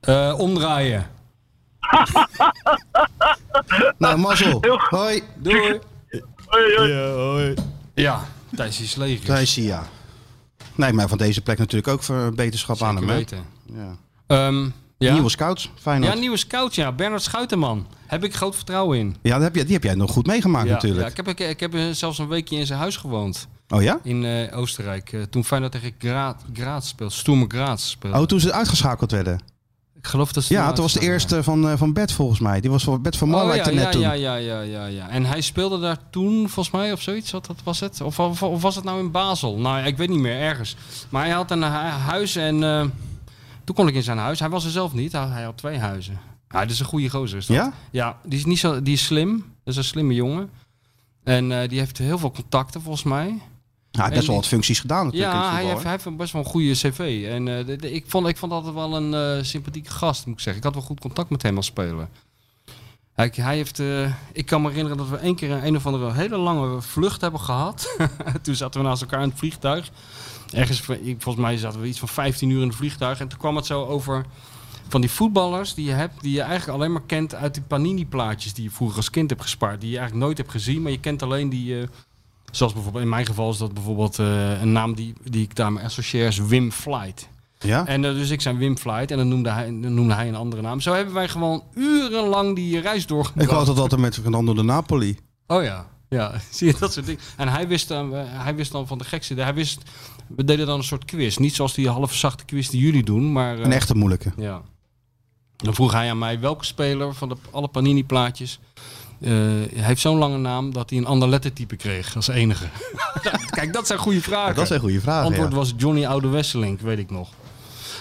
Speaker 5: Eh, omdraaien.
Speaker 4: Nou, mazzel.
Speaker 7: *laughs* Heel goed.
Speaker 4: Hoi.
Speaker 5: Doei.
Speaker 7: Hoi, hoi.
Speaker 6: Ja, hoi.
Speaker 5: Ja, Thijs is leeg.
Speaker 4: Daar is hij, ja. Nee, maar van deze plek natuurlijk ook voor beterschap aan hem.
Speaker 5: Zeker
Speaker 4: hè?
Speaker 5: weten.
Speaker 4: Ja.
Speaker 5: Ehm, ja.
Speaker 4: Nieuwe scouts, Feyenoord.
Speaker 5: ja,
Speaker 4: Ja,
Speaker 5: nieuwe scout, ja. Bernard Schuitenman. Heb ik groot vertrouwen in.
Speaker 4: die, heb je, die heb jij nog goed meegemaakt
Speaker 5: ja,
Speaker 4: natuurlijk.
Speaker 5: Ja, ik, heb, ik, ik heb eh, zelfs een weekje in zijn huis gewoond.
Speaker 4: Oh ja?
Speaker 5: In eh, Oostenrijk. Eh, toen Feyenoord tegen Gra Graz speelde. Stoem Graz speelde.
Speaker 4: Oh, toen ze uitgeschakeld werden.
Speaker 5: ik geloof dat ze
Speaker 4: Ja,
Speaker 5: toen
Speaker 4: toen was de
Speaker 5: uitgespeeld
Speaker 4: eerste van, eh, van Bert volgens mij. Die was van Bert van Marwijk
Speaker 5: ja,
Speaker 4: er net
Speaker 5: ja,
Speaker 4: toen.
Speaker 5: ja, ja, ja, ja, ja. En hij speelde daar toen volgens mij of zoiets. Wat, wat was het? Of, of, of was het nou in Basel? Nou, ja, ik weet niet meer, ergens. Maar hij had een hu- huis en eh, toen kon ik in zijn huis. Hij was er zelf niet, hij, hij had twee huizen. Ja, dat is een goede gozer. Is dat.
Speaker 4: Ja?
Speaker 5: Ja, die is, niet zo, die is slim. Dat is een slimme jongen. En eh, die heeft heel veel contacten volgens mij.
Speaker 4: Ja, hij heeft best wel
Speaker 5: die-
Speaker 4: wat functies gedaan natuurlijk in
Speaker 5: Ja,
Speaker 4: het
Speaker 5: hij
Speaker 4: voetbal.
Speaker 5: heeft, hij heeft een best wel een goede cv. En eh, de- de- ik, vond, ik vond altijd wel een eh, sympathieke gast, moet ik zeggen. Ik had wel goed contact met hem als speler. Hij, hij heeft, eh, ik kan me herinneren dat we één keer een, een of andere hele lange vlucht hebben gehad. *laughs* toen zaten we naast elkaar in het vliegtuig. Ergens, v- ik- volgens mij zaten we iets van 15 uur in het vliegtuig. En toen kwam het zo over van die voetballers die je hebt, die je eigenlijk alleen maar kent uit die panini-plaatjes die je vroeger als kind hebt gespaard. Die je eigenlijk nooit hebt gezien, maar je kent alleen die... eh, Zoals bijvoorbeeld in mijn geval is dat bijvoorbeeld eh, een naam die, die ik daarmee associeer is Wim Flight.
Speaker 4: Ja?
Speaker 5: En eh, dus ik zijn Wim Flight en dan noemde, hij, dan noemde hij een andere naam. Zo hebben wij gewoon urenlang die reis
Speaker 4: Ik
Speaker 5: doorgebracht.
Speaker 4: had het altijd met Fernando de Napoli.
Speaker 5: Oh ja, ja, *laughs* zie je dat soort dingen. En hij wist, dan, eh, hij wist dan van de gekste. Hij wist, we deden dan een soort quiz. Niet zoals die halfzachte quiz die jullie doen, maar... eh,
Speaker 4: Een echte moeilijke.
Speaker 5: ja. Dan vroeg hij aan mij welke speler van de, alle Panini-plaatjes eh, heeft zo'n lange naam dat hij een ander lettertype kreeg als enige. *laughs* Kijk, dat zijn goede vragen.
Speaker 4: Dat is een goede vraag.
Speaker 5: Antwoord
Speaker 4: ja.
Speaker 5: was Johnny Oude Wesseling, weet ik nog.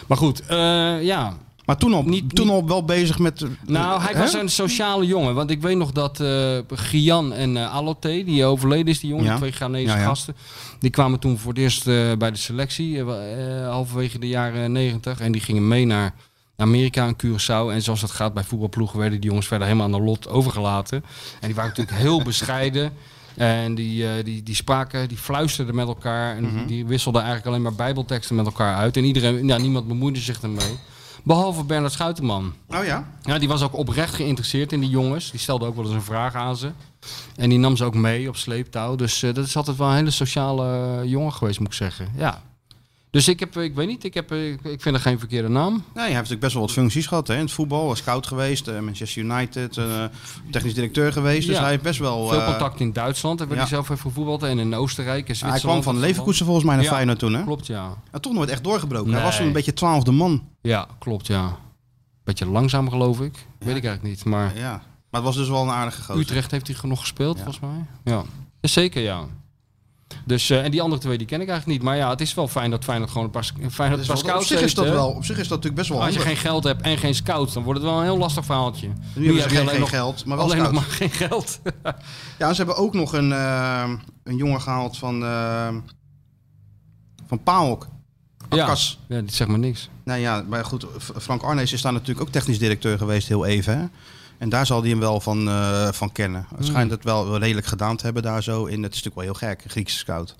Speaker 5: Maar goed, eh, ja.
Speaker 4: Maar toen al,
Speaker 5: Niet-
Speaker 4: toen
Speaker 5: niet-
Speaker 4: al wel bezig met... eh,
Speaker 5: Nou, hij
Speaker 4: hè?
Speaker 5: was een sociale jongen. Want ik weet nog dat eh Gian en eh, Alote, die overleden is, die jongen,
Speaker 4: Ja.
Speaker 5: die twee Ghanese
Speaker 4: Ja, ja.
Speaker 5: gasten. Die kwamen toen voor het eerst eh, bij de selectie, eh, wa- eh, halverwege de jaren negentig. En die gingen mee naar Amerika en Curaçao. En zoals dat gaat bij voetbalploegen, werden die jongens verder helemaal aan de lot overgelaten. En die waren
Speaker 4: *laughs*
Speaker 5: natuurlijk heel bescheiden. En die, eh, die, die spraken, die fluisterden met elkaar. En
Speaker 4: Mhm.
Speaker 5: die wisselden eigenlijk alleen maar bijbelteksten met elkaar uit. En iedereen, nou, niemand bemoeide zich ermee. Behalve Bernard Schuitenman.
Speaker 4: Oh ja?
Speaker 5: Ja, die was ook oprecht geïnteresseerd in die jongens. Die stelde ook wel eens een vraag aan ze. En die nam ze ook mee op sleeptouw. Dus eh, dat is altijd wel een hele sociale eh, jongen geweest, moet ik zeggen. Ja. Dus ik heb, eh, ik weet niet, ik, heb, eh, ik, ik vind er geen verkeerde naam.
Speaker 4: Nee, hij heeft natuurlijk best wel wat functies gehad hè? in het voetbal. Hij is scout geweest, eh, Manchester United, eh, technisch directeur geweest. Dus
Speaker 5: Ja.
Speaker 4: hij heeft best wel...
Speaker 5: Veel
Speaker 4: eh,
Speaker 5: contact in Duitsland, daar werd
Speaker 4: ja.
Speaker 5: hij zelf even gevoetbald. En in Oostenrijk en
Speaker 4: hij
Speaker 5: Zwitserland.
Speaker 4: kwam van Leverkusen volgens mij naar
Speaker 5: Ja.
Speaker 4: Feyenoord toen hè?
Speaker 5: Klopt, ja.
Speaker 4: En toch nooit echt doorgebroken. Hij
Speaker 5: Nee.
Speaker 4: was een beetje twaalfde man.
Speaker 5: Ja, klopt, ja. Beetje langzaam geloof ik. Weet ik eigenlijk niet. Maar
Speaker 4: Ja. Maar het was dus wel een aardige gozer.
Speaker 5: Utrecht heeft hij genoeg gespeeld, volgens mij. Ja, zeker ja. Dus, eh, en die andere twee die ken ik eigenlijk niet. Maar ja, het is wel fijn dat Feyenoord gewoon een paar, Feyenoord een paar
Speaker 4: op
Speaker 5: scouts
Speaker 4: zich is
Speaker 5: heeft,
Speaker 4: dat
Speaker 5: hè.
Speaker 4: wel. Op zich is dat natuurlijk best wel
Speaker 5: Als je
Speaker 4: handig.
Speaker 5: geen geld hebt en geen scouts, dan wordt het wel een heel lastig verhaaltje. Nu,
Speaker 4: hebben ze
Speaker 5: heb je
Speaker 4: geen-
Speaker 5: alleen
Speaker 4: geen
Speaker 5: nog-
Speaker 4: geld, maar wel
Speaker 5: alleen nog maar
Speaker 4: scouts. *laughs*
Speaker 5: geen geld.
Speaker 4: Ja, ze hebben ook nog een, eh, een jongen gehaald van, eh van Paok. Akkas.
Speaker 5: Ja, dit zegt maar niks.
Speaker 4: Nou ja, maar goed, F- Frank Arnees is daar natuurlijk ook technisch directeur geweest heel even. Hè? En daar zal hij hem wel van, eh, van kennen. Het
Speaker 5: Hmm.
Speaker 4: schijnt het wel wel redelijk gedaan te hebben daar zo. In. Het is natuurlijk wel heel gek, een Griekse scout.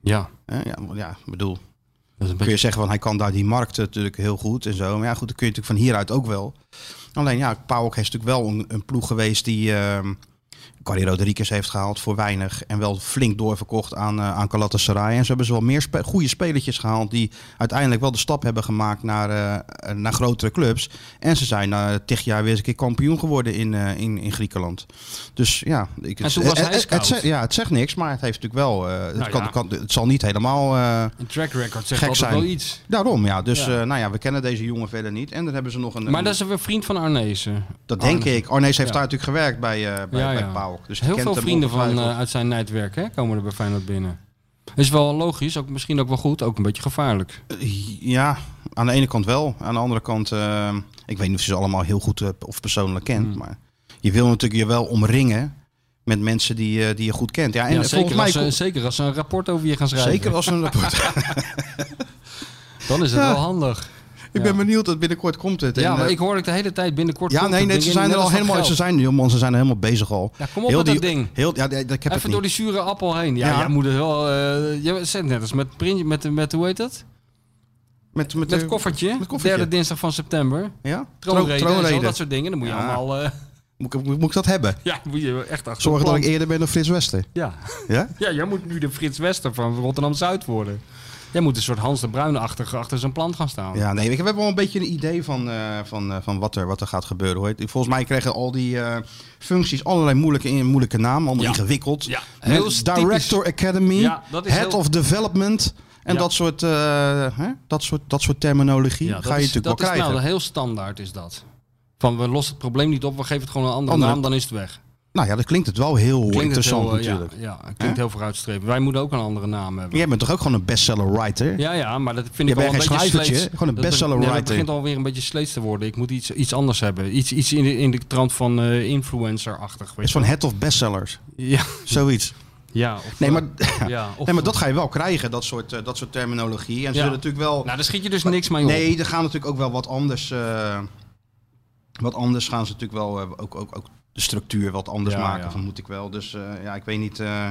Speaker 5: Ja,
Speaker 4: Hè? Ja, maar ja, ik bedoel,
Speaker 5: dat is een
Speaker 4: kun je
Speaker 5: beetje...
Speaker 4: zeggen van hij kan daar die markt natuurlijk heel goed en zo. Maar ja, goed, dat kun je natuurlijk van hieruit ook wel. Alleen ja, Pauk is natuurlijk wel een, een ploeg geweest die ehm Carrie Rodriguez heeft gehaald voor weinig. En wel flink doorverkocht aan, eh aan Galatasaray. En ze hebben ze wel meer spe- goede spelertjes gehaald die uiteindelijk wel de stap hebben gemaakt naar, eh, naar grotere clubs. En ze zijn na tig jaar weer eens een keer kampioen geworden in, eh, in, in Griekenland. Dus ja, ik,
Speaker 5: En toen was hij
Speaker 4: het,
Speaker 5: scout.
Speaker 4: zegt- ja, het zegt niks, maar het heeft natuurlijk wel. eh, het,
Speaker 5: Nou
Speaker 4: kan,
Speaker 5: ja.
Speaker 4: kan- het zal niet helemaal. eh,
Speaker 5: Een track record zegt
Speaker 4: Gek
Speaker 5: altijd
Speaker 4: zijn.
Speaker 5: wel iets.
Speaker 4: Daarom, ja. Dus eh, nou ja, we kennen deze jongen verder niet. En dan hebben ze nog een...
Speaker 5: Maar dat is een vriend van Arnezen.
Speaker 4: dat denk
Speaker 5: Arne.
Speaker 4: ik. Arnees heeft
Speaker 5: Ja.
Speaker 4: daar natuurlijk gewerkt bij, eh bij,
Speaker 5: Ja,
Speaker 4: bij
Speaker 5: ja.
Speaker 4: PAOK. Dus die
Speaker 5: Heel
Speaker 4: kent
Speaker 5: veel
Speaker 4: hem
Speaker 5: vrienden van,
Speaker 4: ongetwijfeld.
Speaker 5: eh, uit zijn netwerk hè, komen er bij Feyenoord binnen. Is wel logisch, ook, misschien ook wel goed, ook een beetje gevaarlijk.
Speaker 4: Ja, aan de ene kant wel. Aan de andere kant, eh, ik weet niet of je ze allemaal heel goed eh, of persoonlijk kent.
Speaker 5: Hmm.
Speaker 4: Maar je wil natuurlijk je wel omringen met mensen die, eh, die je goed kent. Ja, en
Speaker 5: ja,
Speaker 4: volgens
Speaker 5: zeker,
Speaker 4: mij...
Speaker 5: als, ze- zeker als ze een rapport over je gaan schrijven,
Speaker 4: Zeker als een rapport.
Speaker 5: *laughs* dan is het
Speaker 4: Ja.
Speaker 5: wel handig.
Speaker 4: *laughs* ik ben benieuwd, dat binnenkort komt het.
Speaker 5: Ja,
Speaker 4: En,
Speaker 5: maar
Speaker 4: eh,
Speaker 5: ik hoor ook de hele tijd binnenkort...
Speaker 4: Ja,
Speaker 5: komt
Speaker 4: nee,
Speaker 5: het
Speaker 4: nee,
Speaker 5: ding
Speaker 4: ze
Speaker 5: in,
Speaker 4: zijn er
Speaker 5: net
Speaker 4: al
Speaker 5: als dat
Speaker 4: helemaal,
Speaker 5: geld.
Speaker 4: ze zijn, joh, man, ze zijn er helemaal bezig al.
Speaker 5: Ja, kom op
Speaker 4: heel
Speaker 5: met
Speaker 4: die,
Speaker 5: dat ding.
Speaker 4: Heel, ja, nee, ik heb het
Speaker 5: Even
Speaker 4: niet.
Speaker 5: door die zure appel heen. Ja,
Speaker 4: Ja.
Speaker 5: jij moet het wel... eh jij zegt net als met, print, met, met, hoe heet dat?
Speaker 4: Met, met,
Speaker 5: Met
Speaker 4: eh,
Speaker 5: het koffertje.
Speaker 4: met koffertje.
Speaker 5: Derde dinsdag van september.
Speaker 4: Ja?
Speaker 5: Troonreden, en zo,
Speaker 4: Troonreden.
Speaker 5: dat soort dingen. Dan moet je
Speaker 4: Ja.
Speaker 5: allemaal... eh, *laughs*
Speaker 4: Moet ik, moet ik dat hebben?
Speaker 5: ja, moet je echt achter
Speaker 4: Zorg
Speaker 5: een
Speaker 4: dat
Speaker 5: plan.
Speaker 4: ik eerder ben dan Frits Wester.
Speaker 5: Ja. *laughs*
Speaker 4: Ja?
Speaker 5: ja, jij moet nu de Frits Wester van Rotterdam-Zuid worden. Jij moet een soort Hans de Bruin-achtig achter zijn plan gaan staan.
Speaker 4: Ja, nee, ik heb wel een beetje een idee van, eh, van, eh, van wat, er, wat er gaat gebeuren. Hoor. Volgens mij kregen al die eh, functies allerlei moeilijke, in- moeilijke namen, allemaal
Speaker 5: Ja.
Speaker 4: ingewikkeld.
Speaker 5: Ja,
Speaker 4: Hè,
Speaker 5: heel typisch.
Speaker 4: Director Academy,
Speaker 5: Ja, dat is
Speaker 4: Head
Speaker 5: heel-
Speaker 4: of Development en
Speaker 5: Ja.
Speaker 4: dat, soort, eh, hè? Dat, soort, dat soort terminologie
Speaker 5: dat
Speaker 4: ga je
Speaker 5: is-
Speaker 4: natuurlijk wel
Speaker 5: dat is
Speaker 4: krijgen.
Speaker 5: nou heel standaard is dat. Van we lossen het probleem niet op, we geven het gewoon een andere,
Speaker 4: Andere-
Speaker 5: naam, dan is het weg.
Speaker 4: Nou ja, dat klinkt het wel heel
Speaker 5: Klinkt het
Speaker 4: interessant
Speaker 5: heel, eh,
Speaker 4: natuurlijk.
Speaker 5: Ja, ja, het klinkt heel vooruitstrevend. Wij moeten ook een andere naam hebben.
Speaker 4: Jij bent toch ook gewoon een bestseller writer?
Speaker 5: Ja, ja, maar dat vind
Speaker 4: Je
Speaker 5: ik al
Speaker 4: bent
Speaker 5: een
Speaker 4: geen
Speaker 5: beetje
Speaker 4: schrijvertje,
Speaker 5: sleets.
Speaker 4: gewoon een
Speaker 5: Dat-
Speaker 4: bestseller
Speaker 5: nee, maar Het
Speaker 4: writer.
Speaker 5: begint alweer een beetje sleets te worden. Ik moet iets, iets anders hebben. Iets, iets in, de, in de trant van eh, influencer-achtig.
Speaker 4: Het
Speaker 5: weet
Speaker 4: is
Speaker 5: je
Speaker 4: van Head of Bestsellers,
Speaker 5: wel. Ja,
Speaker 4: zoiets.
Speaker 5: ja, of, eh,
Speaker 4: Nee, maar,
Speaker 5: ja, of-
Speaker 4: nee, maar dat ga je wel krijgen, dat soort, eh, dat soort terminologie. En ze
Speaker 5: Ja.
Speaker 4: zullen natuurlijk wel...
Speaker 5: Nou, daar schiet je dus niks mee op.
Speaker 4: Nee, er gaan natuurlijk ook wel wat anders. eh, wat anders gaan ze natuurlijk wel eh, ook, ook, ook de structuur wat anders
Speaker 5: Ja,
Speaker 4: maken.
Speaker 5: ja.
Speaker 4: Van moet ik wel. Dus eh, ja, ik weet niet eh,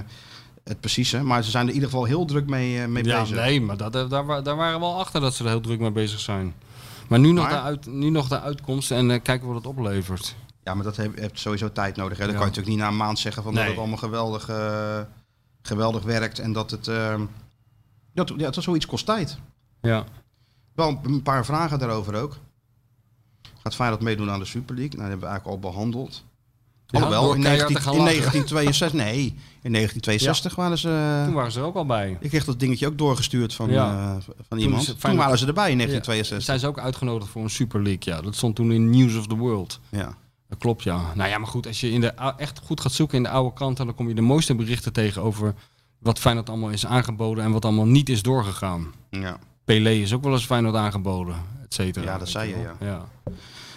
Speaker 4: het precieze. Maar ze zijn er in ieder geval heel druk mee, eh, mee
Speaker 5: ja,
Speaker 4: bezig.
Speaker 5: nee, maar dat, eh, daar, wa- daar waren we al achter dat ze er heel druk mee bezig zijn. Maar nu nog,
Speaker 4: Maar-
Speaker 5: De, uit, nu nog de uitkomst en eh, kijken wat het oplevert.
Speaker 4: Ja, maar dat heb- hebt sowieso tijd nodig. Hè. Dan
Speaker 5: Ja.
Speaker 4: kan je natuurlijk niet na een maand zeggen van dat
Speaker 5: Nee.
Speaker 4: het allemaal geweldig, eh, geweldig werkt. En dat het. eh, ja, dat, ja, dat zoiets kost tijd.
Speaker 5: Ja.
Speaker 4: Wel een paar vragen daarover ook. Gaat Feyenoord meedoen aan de Super League? Nou, dat hebben we eigenlijk al behandeld.
Speaker 5: Ja,
Speaker 4: Alhoewel,
Speaker 5: door
Speaker 4: in,
Speaker 5: keihard
Speaker 4: 19,
Speaker 5: te gaan
Speaker 4: in
Speaker 5: lachen.
Speaker 4: 1962, nee, in 1962 waren ze... eh,
Speaker 5: Toen waren ze er ook al bij.
Speaker 4: ik kreeg dat dingetje ook doorgestuurd van,
Speaker 5: Ja.
Speaker 4: eh, van iemand.
Speaker 5: ze-
Speaker 4: Toen,
Speaker 5: Feyenoord-
Speaker 4: waren ze erbij in
Speaker 5: Ja,
Speaker 4: 1962.
Speaker 5: zijn ze ook uitgenodigd voor een Super League? Ja, dat stond toen in News of the World.
Speaker 4: Ja.
Speaker 5: Dat klopt, ja. Nou ja, maar goed, als je in de, ou- echt goed gaat zoeken in de oude kranten, dan kom je de mooiste berichten tegen over wat Feyenoord allemaal is aangeboden en wat allemaal niet is doorgegaan.
Speaker 4: Ja.
Speaker 5: Pelé is ook wel eens Feyenoord aangeboden, et cetera.
Speaker 4: Ja, dat zei je,
Speaker 5: ja. ja.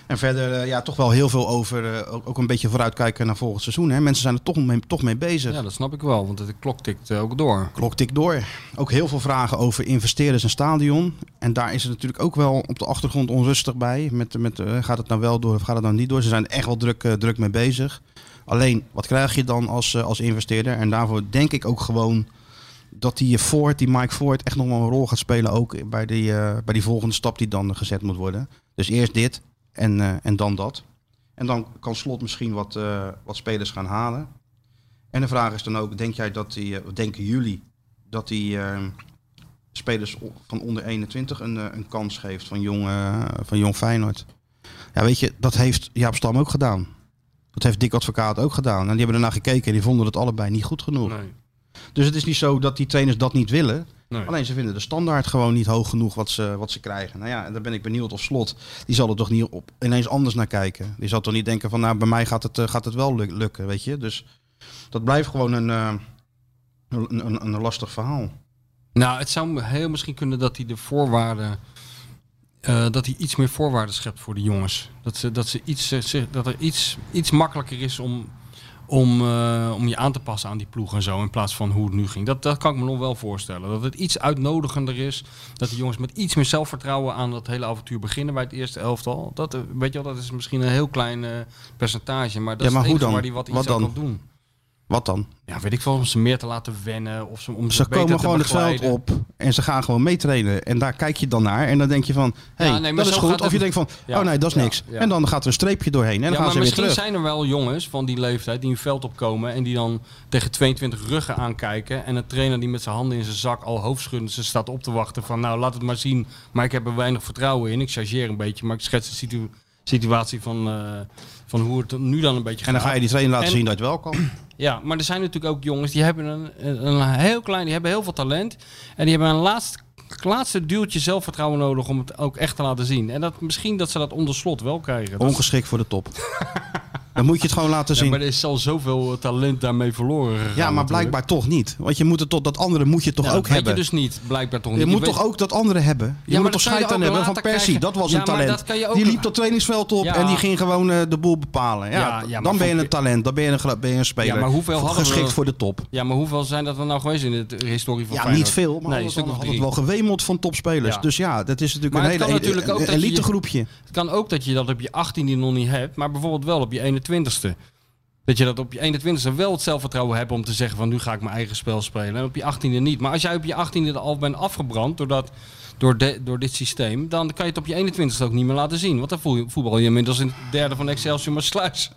Speaker 4: En verder eh, ja, toch wel heel veel over, eh, ook, ook een beetje vooruitkijken naar volgend seizoen. Hè. Mensen zijn er toch mee, toch mee bezig.
Speaker 5: Ja, dat snap ik wel, want de klok tikt eh, ook door.
Speaker 4: Klok tikt door. Ook heel veel vragen over investeerders en stadion. En daar is het natuurlijk ook wel op de achtergrond onrustig bij. Met, met, eh, gaat het nou wel door of gaat het nou niet door? Ze zijn er echt wel druk, eh, druk mee bezig. Alleen, wat krijg je dan als, eh, als investeerder? En daarvoor denk ik ook gewoon dat die eh, Ford, die Mike Ford, echt nog wel een rol gaat spelen. Ook bij die, eh, bij die volgende stap die dan gezet moet worden. Dus eerst dit en, eh, en dan dat. En dan kan Slot misschien wat, eh, wat spelers gaan halen. En de vraag is dan ook, denk jij dat die, eh, of denken jullie dat hij eh, spelers o- van onder 21 een, eh, een kans geeft van jong, eh, van jong Feyenoord. Ja, weet je, dat heeft Jaap Stam ook gedaan. Dat heeft Dick Advocaat ook gedaan. En die hebben ernaar gekeken en die vonden het allebei niet goed genoeg.
Speaker 5: Nee.
Speaker 4: Dus het is niet zo dat die trainers dat niet willen.
Speaker 5: Nee.
Speaker 4: Alleen ze vinden de standaard gewoon niet hoog genoeg wat ze, wat ze krijgen. Nou ja, en dan ben ik benieuwd of Slot, die zal er toch niet op, ineens anders naar kijken. Die zal toch niet denken van, nou, bij mij gaat het, eh, gaat het wel luk- lukken, weet je. Dus dat blijft gewoon een, eh, een, een, een lastig verhaal.
Speaker 5: Nou, het zou heel misschien kunnen dat hij de voorwaarden. eh, dat hij iets meer voorwaarden schept voor de jongens. Dat, ze, dat, ze iets, eh, zich- dat er iets, iets makkelijker is om, om, eh, om je aan te passen aan die ploeg en zo. In plaats van hoe het nu ging. Dat, dat kan ik me nog wel voorstellen. Dat het iets uitnodigender is. Dat de jongens met iets meer zelfvertrouwen aan dat hele avontuur beginnen bij het eerste elftal. Dat, eh, weet je wel, dat is misschien een heel klein eh, percentage. Maar dat
Speaker 4: Ja, maar
Speaker 5: is
Speaker 4: hoe
Speaker 5: het enige
Speaker 4: dan?
Speaker 5: waar hij wat, iets
Speaker 4: Wat
Speaker 5: aan
Speaker 4: dan?
Speaker 5: kan doen.
Speaker 4: Wat dan?
Speaker 5: Ja, weet ik veel. Om ze meer te laten wennen. Of ze, om ze,
Speaker 4: Ze
Speaker 5: beter
Speaker 4: komen
Speaker 5: te
Speaker 4: gewoon het veld
Speaker 5: begeleiden.
Speaker 4: op en ze gaan gewoon meetrainen. En daar kijk je dan naar en dan denk je van, hé,
Speaker 5: nee, maar
Speaker 4: dat is
Speaker 5: zo gaat
Speaker 4: goed.
Speaker 5: het
Speaker 4: Of je
Speaker 5: niet.
Speaker 4: denkt van,
Speaker 5: Ja,
Speaker 4: oh nee, dat is
Speaker 5: ja,
Speaker 4: niks.
Speaker 5: ja.
Speaker 4: En dan gaat er een streepje doorheen en dan
Speaker 5: ja,
Speaker 4: gaan
Speaker 5: maar
Speaker 4: ze weer
Speaker 5: misschien
Speaker 4: terug.
Speaker 5: zijn er wel jongens van die leeftijd die een veld opkomen en die dan tegen 22 ruggen aankijken. En een trainer die met zijn handen in zijn zak al hoofdschuddend ze staat op te wachten van nou laat het maar zien. Maar ik heb er weinig vertrouwen in. Ik chargeer een beetje, maar ik schets de situ- situatie van, eh, van hoe het nu dan een beetje gaat.
Speaker 4: En dan ga je die trainer laten
Speaker 5: En-
Speaker 4: zien dat het wel kan.
Speaker 5: Ja, maar er zijn natuurlijk ook jongens die hebben een, een een heel klein, die hebben heel veel talent. En die hebben een laatst, laatste duwtje zelfvertrouwen nodig om het ook echt te laten zien. En dat, misschien dat ze dat onder slot wel krijgen. Dat is-
Speaker 4: Ongeschikt voor de
Speaker 5: *laughs*
Speaker 4: top. dan moet je het gewoon laten
Speaker 5: Ja,
Speaker 4: zien.
Speaker 5: maar er is al zoveel eh, talent daarmee verloren gegaan.
Speaker 4: Ja, maar
Speaker 5: natuurlijk.
Speaker 4: blijkbaar toch niet. Want je moet het tot dat andere moet je toch
Speaker 5: Ja, dat
Speaker 4: ook
Speaker 5: weet
Speaker 4: hebben.
Speaker 5: je dus niet, blijkbaar toch
Speaker 4: je,
Speaker 5: niet.
Speaker 4: moet
Speaker 5: weet-
Speaker 4: toch ook dat andere hebben. Je
Speaker 5: maar
Speaker 4: moet
Speaker 5: dat
Speaker 4: toch
Speaker 5: kan je
Speaker 4: scheid aan
Speaker 5: ook
Speaker 4: hebben. Van
Speaker 5: later
Speaker 4: Persie,
Speaker 5: krijgen.
Speaker 4: dat was
Speaker 5: Ja,
Speaker 4: een
Speaker 5: maar
Speaker 4: talent.
Speaker 5: dat kan je ook-
Speaker 4: Die liep dat trainingsveld op
Speaker 5: Ja.
Speaker 4: en die ging gewoon eh, de boel bepalen. Ja,
Speaker 5: Ja, ja,
Speaker 4: dan
Speaker 5: maar
Speaker 4: ben je
Speaker 5: voor-
Speaker 4: een talent, dan ben je een, gla- ben je een speler.
Speaker 5: Ja, maar hoeveel hadden we-
Speaker 4: Geschikt voor de top.
Speaker 5: Ja, maar hoeveel zijn dat er nou geweest in de eh, historie van
Speaker 4: Ja,
Speaker 5: Feyenoord?
Speaker 4: niet veel, maar
Speaker 5: nee, een
Speaker 4: alles
Speaker 5: stuk
Speaker 4: dan
Speaker 5: of
Speaker 4: had het
Speaker 5: drie.
Speaker 4: wel gewemeld van topspelers.
Speaker 5: Ja.
Speaker 4: Dus ja, dat is natuurlijk
Speaker 5: Maar
Speaker 4: een
Speaker 5: het
Speaker 4: hele
Speaker 5: kan natuurlijk ook dat je-
Speaker 4: elite groepje.
Speaker 5: Het kan ook dat je dat op je 18e nog niet hebt, maar bijvoorbeeld wel op je 21ste. Dat je dat op je 21ste wel het zelfvertrouwen hebt om te zeggen van nu ga ik mijn eigen spel spelen. En op je 18e niet. Maar als jij op je 18e al bent afgebrand door, dat, door, de- door dit systeem, dan kan je het op je 21ste ook niet meer laten zien. Want dan voel je, voetbal je inmiddels in het derde van Excelsior maar sluis.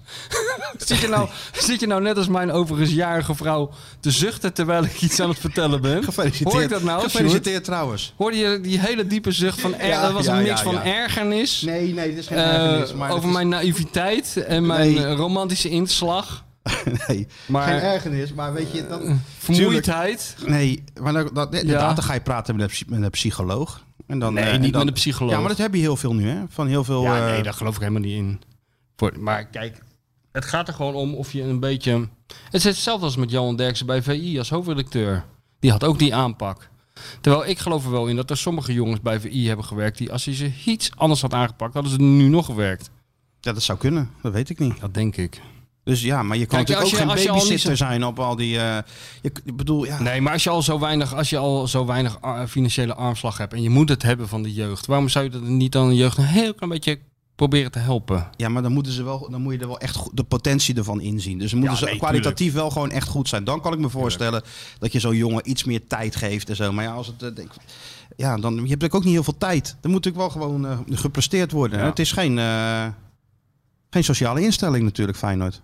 Speaker 5: *laughs* zit, je nou, zit je nou net als mijn overigens jarige vrouw te zuchten terwijl ik iets aan het vertellen ben?
Speaker 4: Gefeliciteerd.
Speaker 5: Hoor ik dat nou? Sjoerd?
Speaker 4: Gefeliciteerd trouwens.
Speaker 5: Hoorde je die hele diepe zucht van... er-
Speaker 4: Ja,
Speaker 5: dat was
Speaker 4: ja,
Speaker 5: een
Speaker 4: ja,
Speaker 5: mix van
Speaker 4: ja.
Speaker 5: ergernis...
Speaker 4: Nee, nee, dit is geen
Speaker 5: Eh,
Speaker 4: ergernis. maar het
Speaker 5: over
Speaker 4: is-
Speaker 5: mijn naïviteit en mijn
Speaker 4: Nee.
Speaker 5: eh, romantische inslag.
Speaker 4: *laughs* Nee,
Speaker 5: Maar-
Speaker 4: geen ergernis, maar weet je... Dat...
Speaker 5: Vermoeidheid.
Speaker 4: Nee, maar dan, dat, inderdaad, dan ga je praten met een, psy- met een psycholoog. En dan,
Speaker 5: Nee,
Speaker 4: eh, en
Speaker 5: niet
Speaker 4: dan-
Speaker 5: met een psycholoog.
Speaker 4: Ja, maar dat heb je heel veel nu, hè? Van heel veel...
Speaker 5: Ja,
Speaker 4: eh,
Speaker 5: nee, daar geloof ik helemaal niet in. Voor- Maar kijk, het gaat er gewoon om of je een beetje... Het is hetzelfde als met Johan Derksen bij VI als hoofdredacteur. Die had ook die aanpak. Terwijl ik geloof er wel in dat er sommige jongens bij VI hebben gewerkt... die als je ze iets anders had aangepakt, hadden ze nu nog gewerkt.
Speaker 4: ja, dat zou kunnen. Dat weet ik niet.
Speaker 5: Dat denk ik.
Speaker 4: Dus ja, maar je kan
Speaker 5: Kijk, als
Speaker 4: natuurlijk
Speaker 5: je-
Speaker 4: ook
Speaker 5: als
Speaker 4: geen
Speaker 5: je al niet
Speaker 4: babysitter zijn op al die... eh, je, ik bedoel, ja...
Speaker 5: Nee, maar als je al zo weinig, als je al zo weinig ar- financiële armslag hebt en je moet het hebben van de jeugd, waarom zou je dat niet dan de jeugd een heel klein beetje proberen te helpen?
Speaker 4: Ja, maar dan, moeten ze wel, dan moet je er wel echt goed- de potentie ervan inzien. Dus dan moeten
Speaker 5: Ja,
Speaker 4: ze
Speaker 5: nee,
Speaker 4: kwalitatief wel gewoon echt goed zijn. Dan kan ik me voorstellen dat je zo'n jongen iets meer tijd geeft en zo. Maar ja, als het, eh, denk, ja dan, je hebt natuurlijk ook niet heel veel tijd. Dan moet natuurlijk wel gewoon eh, gepresteerd worden. hè.
Speaker 5: Ja.
Speaker 4: Het is geen, eh, geen sociale instelling natuurlijk, Feyenoord.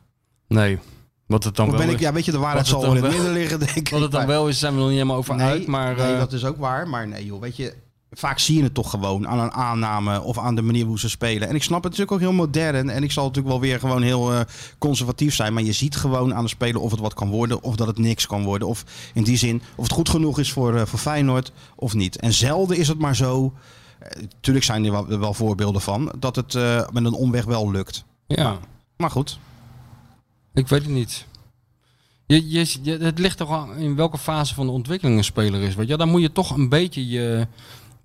Speaker 5: Nee, wat het dan
Speaker 4: Of
Speaker 5: wel
Speaker 4: ben ik,
Speaker 5: is.
Speaker 4: ja, weet je, de waarheid
Speaker 5: Wat het
Speaker 4: zal wel in
Speaker 5: dan
Speaker 4: het midden liggen, denk ik.
Speaker 5: Wat het dan
Speaker 4: Maar-
Speaker 5: wel is, zijn we nog niet helemaal over
Speaker 4: nee,
Speaker 5: uit, maar
Speaker 4: nee,
Speaker 5: eh,
Speaker 4: dat is ook waar. Maar nee, joh, weet je, vaak zie je het toch gewoon aan een aanname of aan de manier hoe ze spelen. En ik snap het natuurlijk ook heel modern. En ik zal natuurlijk wel weer gewoon heel eh, conservatief zijn. Maar je ziet gewoon aan de speler of het wat kan worden of dat het niks kan worden. Of in die zin, of het goed genoeg is voor, eh, voor Feyenoord of niet. En zelden is het maar zo. eh, Tuurlijk zijn er wel, wel voorbeelden van dat het eh, met een omweg wel lukt.
Speaker 5: ja,
Speaker 4: Maar goed,
Speaker 5: ik weet het niet. Je, je, je- het ligt toch aan in welke fase van de ontwikkeling een speler is. Weet je? Dan moet je toch een beetje je.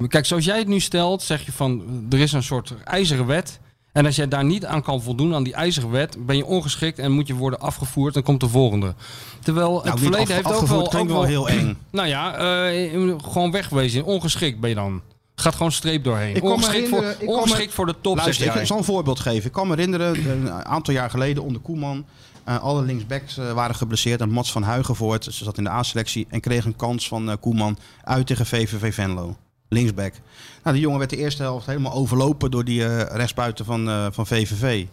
Speaker 5: Kijk, zoals jij het nu stelt, zeg je van er is een soort ijzeren wet. En als jij daar niet aan kan voldoen, aan die ijzeren wet, ben je ongeschikt en moet je worden afgevoerd en komt de volgende. Terwijl het
Speaker 4: nou, niet
Speaker 5: verleden
Speaker 4: af-
Speaker 5: heeft ook
Speaker 4: afgevoerd
Speaker 5: wel, ook
Speaker 4: klinkt wel heel
Speaker 5: *clears throat*
Speaker 4: eng.
Speaker 5: Nou ja, eh, gewoon wegwezen. Ongeschikt ben je dan. Gaat gewoon streep doorheen.
Speaker 4: Ik kan me
Speaker 5: ongeschikt voor,
Speaker 4: herinneren, ik kan me-
Speaker 5: ongeschikt voor de top,
Speaker 4: Luister,
Speaker 5: zeg
Speaker 4: ik
Speaker 5: jij.
Speaker 4: zal een voorbeeld geven. Ik kan me herinneren, een aantal jaar geleden onder Koeman. eh, alle linksbacks eh, waren geblesseerd. En Mats van Huigenvoort, ze zat in de A-selectie. En kreeg een kans van eh, Koeman uit tegen VVV Venlo. Linksback. Nou, die jongen werd de eerste helft helemaal overlopen door die eh, rechtsbuiten van, eh, van VVV.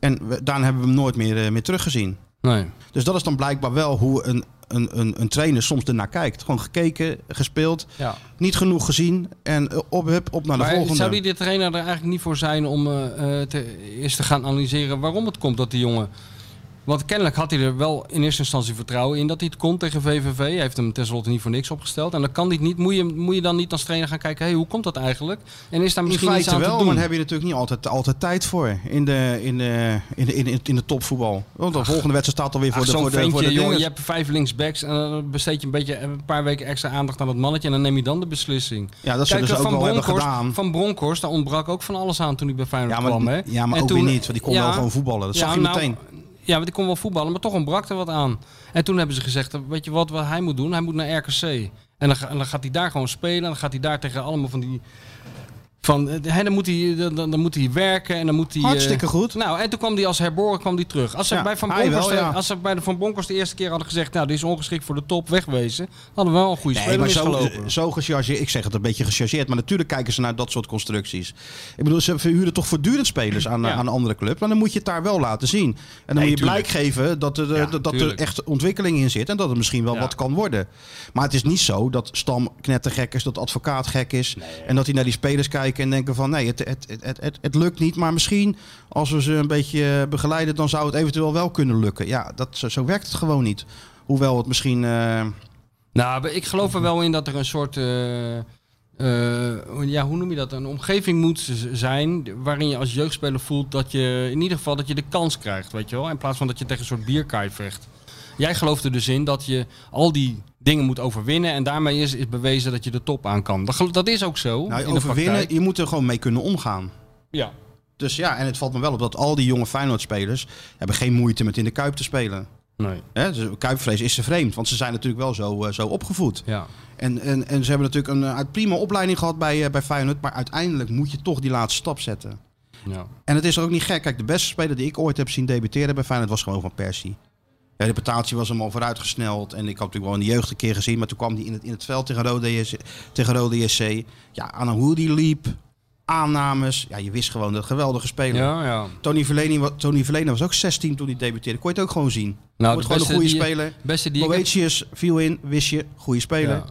Speaker 4: En we- daarna hebben we hem nooit meer, eh, meer teruggezien.
Speaker 5: Nee.
Speaker 4: Dus dat is dan blijkbaar wel hoe een, een, een, een trainer soms ernaar kijkt. Gewoon gekeken, gespeeld,
Speaker 5: Ja.
Speaker 4: niet genoeg gezien. En eh, op, hup, op naar de
Speaker 5: Maar
Speaker 4: volgende.
Speaker 5: zou die de trainer er eigenlijk niet voor zijn om eh, eh, te, eerst te gaan analyseren waarom het komt dat die jongen Want kennelijk had hij er wel in eerste instantie vertrouwen in dat hij het kon tegen VVV. Hij heeft hem tenslotte niet voor niks opgesteld. En dan kan hij het niet. Moet je, moet je dan niet als trainer gaan kijken, hey, hoe komt dat eigenlijk? En is daar
Speaker 4: In
Speaker 5: misschien iets
Speaker 4: feite
Speaker 5: aan
Speaker 4: wel,
Speaker 5: te
Speaker 4: maar
Speaker 5: doen?
Speaker 4: daar heb je natuurlijk niet altijd, altijd tijd voor in de, in de, in de, in de, in de topvoetbal. Want de volgende wedstrijd staat alweer voor
Speaker 5: Ach,
Speaker 4: de
Speaker 5: zo'n
Speaker 4: voor de, voor de
Speaker 5: ventje, jongen,
Speaker 4: dinges.
Speaker 5: je hebt vijf linksbacks en dan besteed je een, beetje, een paar weken extra aandacht aan dat mannetje en dan neem je dan de beslissing.
Speaker 4: Ja, dat zullen
Speaker 5: Kijk,
Speaker 4: ze
Speaker 5: eh,
Speaker 4: dus ook
Speaker 5: van
Speaker 4: wel hebben
Speaker 5: Bronkhorst-
Speaker 4: gedaan.
Speaker 5: Van Bronkhorst, daar ontbrak ook van alles aan toen hij bij Feyenoord
Speaker 4: Ja, maar-
Speaker 5: kwam. Hè?
Speaker 4: ja, maar
Speaker 5: En
Speaker 4: ook weer niet, want die kon wel gewoon voetballen. Dat zag je
Speaker 5: nou,
Speaker 4: meteen.
Speaker 5: Ja, want die kon wel voetballen, maar toch ontbrak er wat aan. En toen hebben ze gezegd, eh, weet je wat, wat hij moet doen? Hij moet naar RKC. En dan, ga- en dan gaat hij daar gewoon spelen. En dan gaat hij daar tegen allemaal van die... Van, eh, hè, dan, moet hij, dan, dan dan moet hij werken en dan moet hij... eh,
Speaker 4: Hartstikke goed.
Speaker 5: nou, en toen kwam die als herboren kwam die terug. Als ze,
Speaker 4: Ja,
Speaker 5: bij, van
Speaker 4: hij
Speaker 5: Bronckhorst,
Speaker 4: wel, ja.
Speaker 5: als ze bij de Van Bronckhorst de eerste keer hadden gezegd... nou, die is ongeschikt voor de top, wegwezen... hadden we wel een goede
Speaker 4: Nee,
Speaker 5: speler
Speaker 4: maar zo, eh,
Speaker 5: misgelopen.
Speaker 4: zo gechargeerd. Ik zeg het een beetje gechargeerd. Maar natuurlijk kijken ze naar dat soort constructies. Ik bedoel, ze verhuren toch voortdurend spelers aan,
Speaker 5: Ja.
Speaker 4: aan een andere club. Maar dan moet je het daar wel laten zien. En dan moet je blijk geven dat er, eh, dat- dat er
Speaker 5: tuurlijk.
Speaker 4: echt ontwikkeling in zit. En dat het misschien wel wat kan worden. Maar het is niet zo dat Stam knettergek is. Dat advocaat gek is. En dat hij naar die spelers kijkt en denken van... Nee, het, het, het, het, het, het lukt niet. Maar misschien als we ze een beetje eh, begeleiden... dan zou het eventueel wel kunnen lukken. Ja, dat, zo, zo werkt het gewoon niet. Hoewel het misschien... eh,
Speaker 5: Nou, maar ik geloof er wel in dat er een soort. eh, eh, ja, hoe noem je dat? Een omgeving moet z- zijn waarin je als jeugdspeler voelt dat je in ieder geval dat je de kans krijgt, weet je wel? In plaats van dat je tegen een soort bierkaai vecht. Jij gelooft er dus in dat je al die dingen moet overwinnen en daarmee is, is bewezen dat je de top aan kan. Dat, gel- dat is ook zo.
Speaker 4: Nou,
Speaker 5: in de
Speaker 4: overwinnen,
Speaker 5: praktijk.
Speaker 4: je moet er gewoon mee kunnen omgaan.
Speaker 5: Ja.
Speaker 4: Dus ja, en het valt me wel op dat al die jonge Feyenoord-spelers... hebben geen moeite met in de Kuip te spelen.
Speaker 5: Nee.
Speaker 4: Hè, dus Kuipvrees is ze vreemd, want ze zijn natuurlijk wel zo, eh, zo opgevoed.
Speaker 5: Ja.
Speaker 4: En, en, en ze hebben natuurlijk een eh, uit- prima opleiding gehad bij, eh, bij Feyenoord... maar uiteindelijk moet je toch die laatste stap zetten.
Speaker 5: ja.
Speaker 4: En het is ook niet gek. Kijk, de beste speler die ik ooit heb zien debuteren bij Feyenoord was gewoon Van Persie. De reputatie was hem al vooruitgesneld. En ik had natuurlijk wel in de jeugd een keer gezien. Maar toen kwam hij in het, in het veld tegen Rode, JC, tegen Rode JC. Ja, aan hoe die liep. Aannames. Ja, je wist gewoon dat geweldige speler.
Speaker 5: ja, ja.
Speaker 4: Tony, Verleni, wa- Tony Verlena was ook 16 toen hij debuteerde. Kon je het ook gewoon zien.
Speaker 5: Nou,
Speaker 4: Wordt gewoon een goede
Speaker 5: die,
Speaker 4: speler.
Speaker 5: Beste die ik heb-
Speaker 4: Boetius viel in, wist je. Goede speler.
Speaker 5: Ja.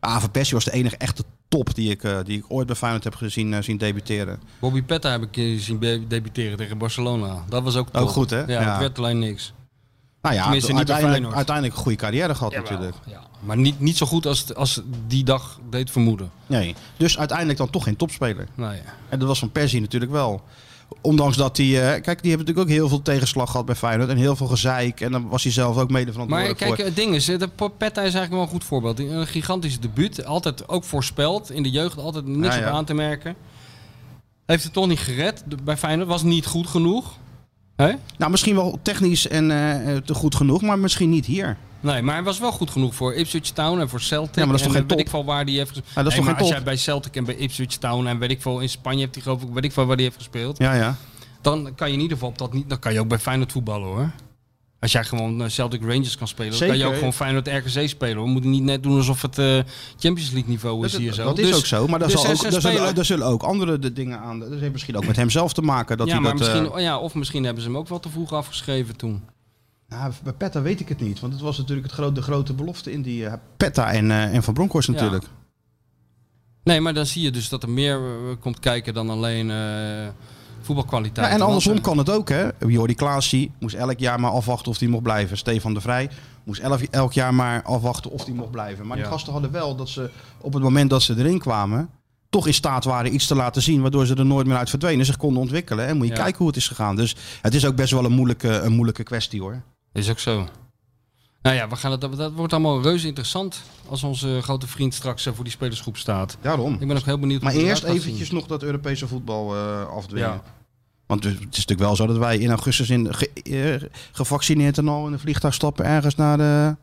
Speaker 4: Ah, Van Persie was de enige echte top die ik, eh, die ik ooit bij Feyenoord heb gezien, eh, zien debuteren.
Speaker 5: Bobby Petta heb ik eh, zien be- debuteren tegen Barcelona. Dat was ook top.
Speaker 4: goed, hè?
Speaker 5: Ja,
Speaker 4: Ja.
Speaker 5: het werd alleen niks.
Speaker 4: Nou ja,
Speaker 5: Tenminste, niet bij
Speaker 4: uiteindelijk,
Speaker 5: Feyenoord.
Speaker 4: uiteindelijk een goede carrière gehad
Speaker 5: Jawel,
Speaker 4: natuurlijk.
Speaker 5: Ja. Maar niet, niet zo goed als, het- als die dag deed vermoeden.
Speaker 4: Nee. Dus uiteindelijk dan toch geen topspeler.
Speaker 5: Nou ja.
Speaker 4: En dat was van Persie natuurlijk wel. Ondanks dat hij... eh, kijk, die hebben natuurlijk ook heel veel tegenslag gehad bij Feyenoord. En heel veel gezeik. En dan was hij zelf ook mede
Speaker 5: Maar
Speaker 4: verantwoordelijk
Speaker 5: kijk,
Speaker 4: voor.
Speaker 5: het ding is, eh, de Petta is eigenlijk wel een goed voorbeeld. Een gigantisch debuut, altijd ook voorspeld. In de jeugd altijd niks
Speaker 4: Ja, ja.
Speaker 5: op aan te merken. Heeft het toch niet gered de- bij Feyenoord. Was niet goed genoeg. Hè?
Speaker 4: Nou, misschien wel technisch en eh, eh, te goed genoeg. Maar misschien niet hier.
Speaker 5: Nee, maar hij was wel goed genoeg voor Ipswich Town en voor Celtic.
Speaker 4: Ja, maar dat is toch
Speaker 5: en
Speaker 4: geen
Speaker 5: weet
Speaker 4: top?
Speaker 5: ik veel waar die heeft gespeeld.
Speaker 4: dat is toch
Speaker 5: maar
Speaker 4: geen
Speaker 5: als
Speaker 4: top?
Speaker 5: jij bij Celtic en bij Ipswich Town en weet ik veel in Spanje hebt hij geloof ik, weet ik veel waar die heeft gespeeld.
Speaker 4: Ja, ja.
Speaker 5: Dan kan je in ieder geval op dat niet. Dan kan je ook bij Feyenoord voetballen hoor. Als jij gewoon eh, Celtic Rangers kan spelen, dan kan je
Speaker 4: Zeker.
Speaker 5: ook gewoon Feyenoord RKC spelen. We moeten niet net doen alsof het eh, Champions League niveau is
Speaker 4: Dat,
Speaker 5: hier zo.
Speaker 4: dat is
Speaker 5: Dus-
Speaker 4: ook zo. Maar daar,
Speaker 5: dus
Speaker 4: zal
Speaker 5: er
Speaker 4: ook,
Speaker 5: zijn
Speaker 4: daar, zullen,
Speaker 5: spelers-
Speaker 4: daar zullen ook andere de dingen aan... Dat heeft misschien ook met hem zelf te maken. Dat
Speaker 5: ja,
Speaker 4: hij
Speaker 5: maar
Speaker 4: dat, eh,
Speaker 5: misschien, oh ja, of misschien hebben ze hem ook wel te vroeg afgeschreven toen.
Speaker 4: Nou, bij Petta weet ik het niet. Want het was natuurlijk het groot, de grote belofte in die... eh, Petta en, eh, en Van Bronckhorst
Speaker 5: Ja.
Speaker 4: natuurlijk.
Speaker 5: Nee, maar dan zie je dus dat er meer eh, komt kijken dan alleen eh,
Speaker 4: Ja,
Speaker 5: voetbalkwaliteit.
Speaker 4: en
Speaker 5: Want,
Speaker 4: andersom
Speaker 5: eh,
Speaker 4: kan het ook, hè? Jordi Klaasie moest elk jaar maar afwachten of hij mocht blijven. Stefan de Vrij moest elf, elk jaar maar afwachten of hij mocht blijven. Maar die
Speaker 5: Ja.
Speaker 4: gasten hadden wel dat ze op het moment dat ze erin kwamen... toch in staat waren iets te laten zien... waardoor ze er nooit meer uit verdwenen. Zich konden ontwikkelen. En moet je
Speaker 5: Ja.
Speaker 4: kijken hoe het is gegaan. Dus het is ook best wel een moeilijke, een moeilijke kwestie, hoor.
Speaker 5: eh, Is ook zo. Nou ja, we gaan het, dat wordt allemaal reuze interessant als onze grote vriend straks eh, voor die spelersgroep staat.
Speaker 4: Daarom.
Speaker 5: Ik ben ook heel benieuwd.
Speaker 4: Maar
Speaker 5: hoe die
Speaker 4: eerst
Speaker 5: eruit gaat zien.
Speaker 4: eventjes nog dat Europese voetbal eh, afdwingen.
Speaker 5: Ja.
Speaker 4: Want het is natuurlijk wel zo dat wij in augustus in, ge- eh, gevaccineerd en al in een vliegtuig stappen ergens naar de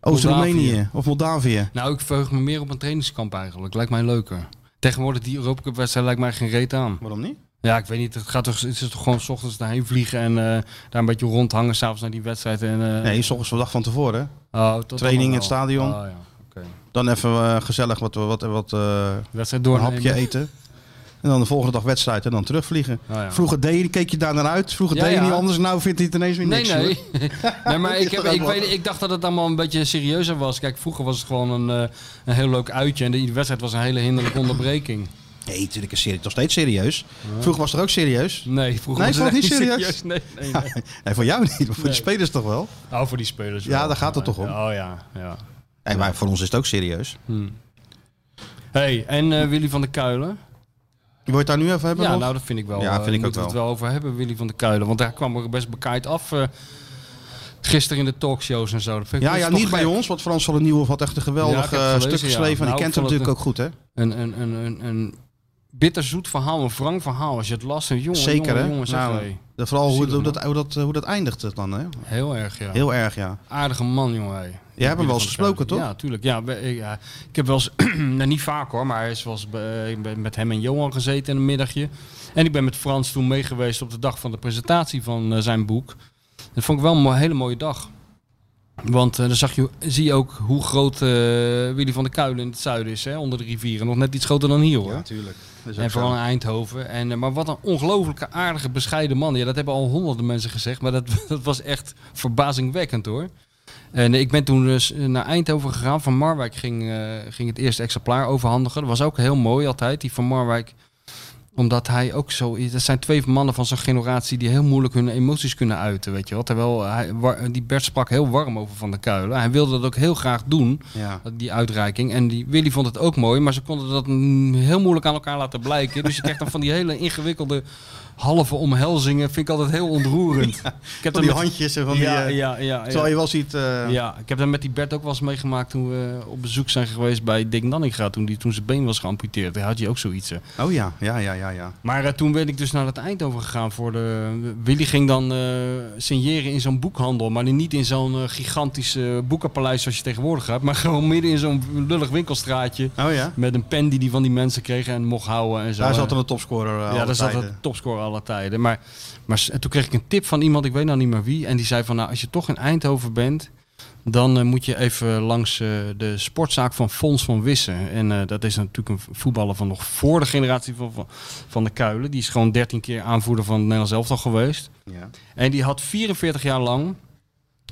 Speaker 4: Oost-Roemenië of Moldavië.
Speaker 5: Nou, ik verheug me meer op een trainingskamp eigenlijk. Lijkt mij leuker. Tegenwoordig die Europa Cup wedstrijd lijkt mij geen reet aan.
Speaker 4: Waarom niet?
Speaker 5: Ja, ik weet niet. Het, gaat toch, het is toch gewoon 's ochtends daarheen vliegen en eh, daar een beetje rondhangen s'avonds naar die wedstrijd. En, eh,
Speaker 4: Nee, s ochtends van de dag van tevoren.
Speaker 5: oh, dat dan
Speaker 4: training in
Speaker 5: wel.
Speaker 4: het stadion.
Speaker 5: Oh, ja. oké.
Speaker 4: Dan even eh, gezellig wat, wat, wat eh,
Speaker 5: Wedstrijd
Speaker 4: een
Speaker 5: door.
Speaker 4: hapje eten. En dan de volgende dag wedstrijd en dan terugvliegen.
Speaker 5: Oh, ja.
Speaker 4: Vroeger deed je, keek je daar naar uit. Vroeger
Speaker 5: Ja,
Speaker 4: deed je
Speaker 5: ja.
Speaker 4: niet anders. Nou vindt hij het ineens weer
Speaker 5: Nee,
Speaker 4: niks. hoor. *laughs*
Speaker 5: nee. *laughs* nee maar ik,
Speaker 4: is
Speaker 5: heb,
Speaker 4: toch
Speaker 5: ik,
Speaker 4: ook wel-
Speaker 5: weet, ik dacht dat het allemaal een beetje serieuzer was. Kijk, vroeger was het gewoon een, eh, een heel leuk uitje. En de, die wedstrijd was een hele hinderlijke onderbreking.
Speaker 4: Nee, natuurlijk is serieus. Nog steeds serieus. Vroeger was het er ook serieus.
Speaker 5: Nee, vroeger
Speaker 4: Nee, is
Speaker 5: was
Speaker 4: dat
Speaker 5: echt
Speaker 4: niet serieus?
Speaker 5: Nee, nee,
Speaker 4: *laughs*
Speaker 5: nee.
Speaker 4: Nee, voor jou niet, maar voor de spelers toch wel.
Speaker 5: Nou, voor die spelers
Speaker 4: Ja,
Speaker 5: wel.
Speaker 4: daar gaat het toch om.
Speaker 5: Oh ja, ja.
Speaker 4: Nee, maar voor ons is het ook serieus.
Speaker 5: hey, en eh, Willy van der Kuilen?
Speaker 4: Wil je het daar nu even hebben?
Speaker 5: Ja,
Speaker 4: nog?
Speaker 5: nou, dat vind ik wel.
Speaker 4: Ja,
Speaker 5: eh,
Speaker 4: vind ik
Speaker 5: moeten
Speaker 4: ook
Speaker 5: we het wel over hebben, Willy van der Kuilen. Want daar kwam er best bekaaid af eh, gisteren in de talkshows en zo. Dat vind ik
Speaker 4: ja,
Speaker 5: dat
Speaker 4: ja
Speaker 5: is toch
Speaker 4: niet bij
Speaker 5: gek.
Speaker 4: ons, want Frans van den Nieuwhof had echt een
Speaker 5: Ja,
Speaker 4: geweldig
Speaker 5: ik heb
Speaker 4: eh, stuk
Speaker 5: het gelezen, ja.
Speaker 4: geschreven. En
Speaker 5: Nou,
Speaker 4: die
Speaker 5: ik
Speaker 4: kent hem
Speaker 5: vond het
Speaker 4: natuurlijk ook goed, hè?
Speaker 5: Een, een, een, een, een bitterzoet verhaal, een wrang verhaal. Als je het las, en jongen,
Speaker 4: Zeker,
Speaker 5: jongen,
Speaker 4: hè?
Speaker 5: jongen, zeg,
Speaker 4: Nou,
Speaker 5: hey.
Speaker 4: de- vooral hoe,
Speaker 5: Zielig,
Speaker 4: hoe
Speaker 5: man.
Speaker 4: dat, hoe, dat, hoe dat eindigt het dan, hè?
Speaker 5: Heel erg, ja. Ah,
Speaker 4: Heel erg, ja.
Speaker 5: Aardige man, jongen. Hey.
Speaker 4: Jij hebt hem wel eens
Speaker 5: Van der
Speaker 4: gesproken, toch?
Speaker 5: Kuilen. Ja, tuurlijk. Ja, we- ik, ja, ik heb wel eens, *clears throat* nou, niet vaak hoor, maar is wel eens bij- ik ben met hem en Johan gezeten in een middagje. En ik ben met Frans toen meegeweest op de dag van de presentatie van eh, zijn boek. Dat vond ik wel een mo- hele mooie dag. Want eh, dan zag je, zie je ook hoe groot eh, Willy van der Kuilen in het zuiden is, hè, onder de rivieren. Nog net iets groter dan hier hoor.
Speaker 4: natuurlijk.
Speaker 5: En vooral in Eindhoven. En, eh, maar wat een ongelooflijke aardige, bescheiden man. Ja, dat hebben al honderden mensen gezegd. Maar dat, *laughs* dat was echt verbazingwekkend hoor. En ik ben toen dus naar Eindhoven gegaan. Van Marwijk ging, eh, ging het eerste exemplaar overhandigen. Dat was ook heel mooi altijd, die van Marwijk. Omdat hij ook zo is. Dat zijn twee mannen van zijn generatie die heel moeilijk hun emoties kunnen uiten. Weet je wel. Terwijl hij, war- die Bert sprak heel warm over Van der Kuilen. Hij wilde dat ook heel graag doen
Speaker 4: Ja.
Speaker 5: die uitreiking. En die, Willy vond het ook mooi, maar ze konden dat mm, heel moeilijk aan elkaar laten blijken. Dus je krijgt dan van die hele ingewikkelde halve omhelzingen. Vind ik altijd heel ontroerend. ik heb
Speaker 4: Van
Speaker 5: dat
Speaker 4: die
Speaker 5: met-
Speaker 4: handjes en van die...
Speaker 5: ja,
Speaker 4: eh,
Speaker 5: ja, ja, ja.
Speaker 4: Terwijl je wel ziet... eh,
Speaker 5: Ja, ik heb dat met die Bert ook wel eens meegemaakt toen we op bezoek zijn geweest bij Dick Nanninga. Toen, die, toen zijn been was geamputeerd, daar had je ook zoiets. hè.
Speaker 4: Oh ja, ja, ja, ja, ja.
Speaker 5: Maar eh, toen ben ik dus naar het Eindhoven gegaan voor de... Willy ging dan eh, signeren in zo'n boekhandel. Maar niet in zo'n eh, gigantische boekenpaleis zoals je tegenwoordig hebt. Maar *laughs* gewoon midden in zo'n lullig winkelstraatje.
Speaker 4: Oh ja?
Speaker 5: Met een pen die hij van die mensen kreeg en mocht houden en zo.
Speaker 4: Daar
Speaker 5: En-
Speaker 4: zat dan een topscorer eh,
Speaker 5: ja, daar
Speaker 4: alle
Speaker 5: zat
Speaker 4: tijden.
Speaker 5: een topscore alle tijden. Maar, maar s- en toen kreeg ik een tip van iemand, ik weet nou niet meer wie. En die zei van, nou, als je toch in Eindhoven bent... dan eh, moet je even langs eh, de sportzaak van Fons van Wissen. En eh, dat is natuurlijk een voetballer van nog voor de generatie van, van, van de Kuilen. Die is gewoon 13 keer aanvoerder van het Nederlands elftal geweest.
Speaker 4: Ja.
Speaker 5: En die had 44 jaar lang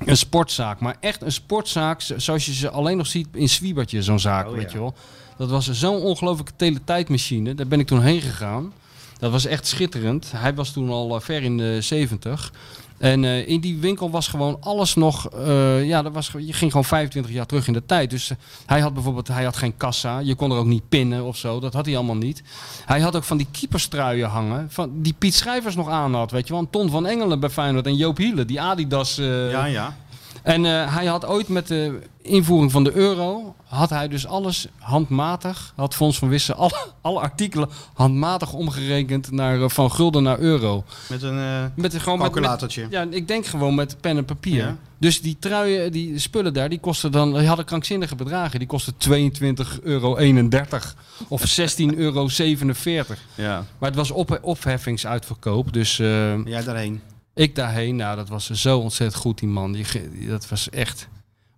Speaker 5: een sportzaak. Maar echt een sportzaak z- zoals je ze alleen nog ziet in Zwiebertje, zo'n zaak, weet je wel. Dat was zo'n ongelooflijke teletijdmachine. Daar ben ik toen heen gegaan. Dat was echt schitterend. Hij was toen al eh, ver in de 70. En eh, in die winkel was gewoon alles nog. eh, ja, dat was, ge- je ging gewoon 25 jaar terug in de tijd. Dus eh, hij had bijvoorbeeld hij had geen kassa. Je kon er ook niet pinnen of zo. Dat had hij allemaal niet. Hij had ook van die keeperstruien hangen. Van, die Piet Schrijvers nog aan had. Weet je wel, een ton van Engelen bij Feyenoord. En Joop Hielen, die Adidas. eh,
Speaker 4: Ja, ja.
Speaker 5: en eh, hij had ooit met de invoering van de euro, had hij dus alles handmatig, had Fons van Wissen alle, *laughs* alle artikelen handmatig omgerekend naar, eh, van gulden naar euro.
Speaker 4: Met een... eh,
Speaker 5: Met, een- gewoon met-
Speaker 4: Calculatortje.
Speaker 5: Met, ja, ik denk gewoon met pen en papier.
Speaker 4: Ja.
Speaker 5: Dus die truien, die spullen daar, die kosten dan, die hadden krankzinnige bedragen. Die kosten 22,31 euro of 16,47 euro.
Speaker 4: ja.
Speaker 5: Maar het was op, opheffingsuitverkoop, dus... eh,
Speaker 4: Jij daarheen.
Speaker 5: ik daarheen, nou, dat was zo ontzettend goed, die man. Die, ge- die- dat was echt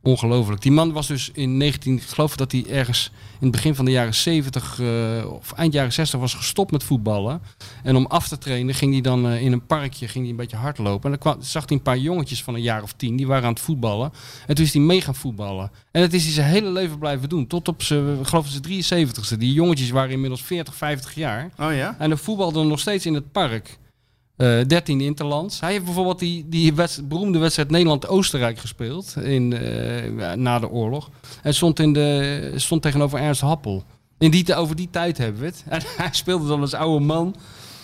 Speaker 5: ongelooflijk. Die man was dus in 19, ik geloof dat hij ergens in het begin van de jaren 70 eh, of eind jaren 60 was gestopt met voetballen. En om af te trainen ging hij dan eh, in een parkje ging hij een beetje hardlopen. En dan kwam, zag hij een paar jongetjes van een jaar of tien, die waren aan het voetballen. En toen is hij mee gaan voetballen. En dat is hij zijn hele leven blijven doen. Tot op zijn, ik geloof zijn 73ste. Die jongetjes waren inmiddels 40, 50 jaar.
Speaker 4: Oh ja?
Speaker 5: En de voetbalde nog steeds in het park. Eh 13 interlands. Hij heeft bijvoorbeeld die, die wedst- beroemde wedstrijd Nederland-Oostenrijk gespeeld. In, eh, na de oorlog. En stond, in de, stond tegenover Ernst Happel. In die, te- over die tijd hebben we het. En *laughs* hij speelde dan als oude man.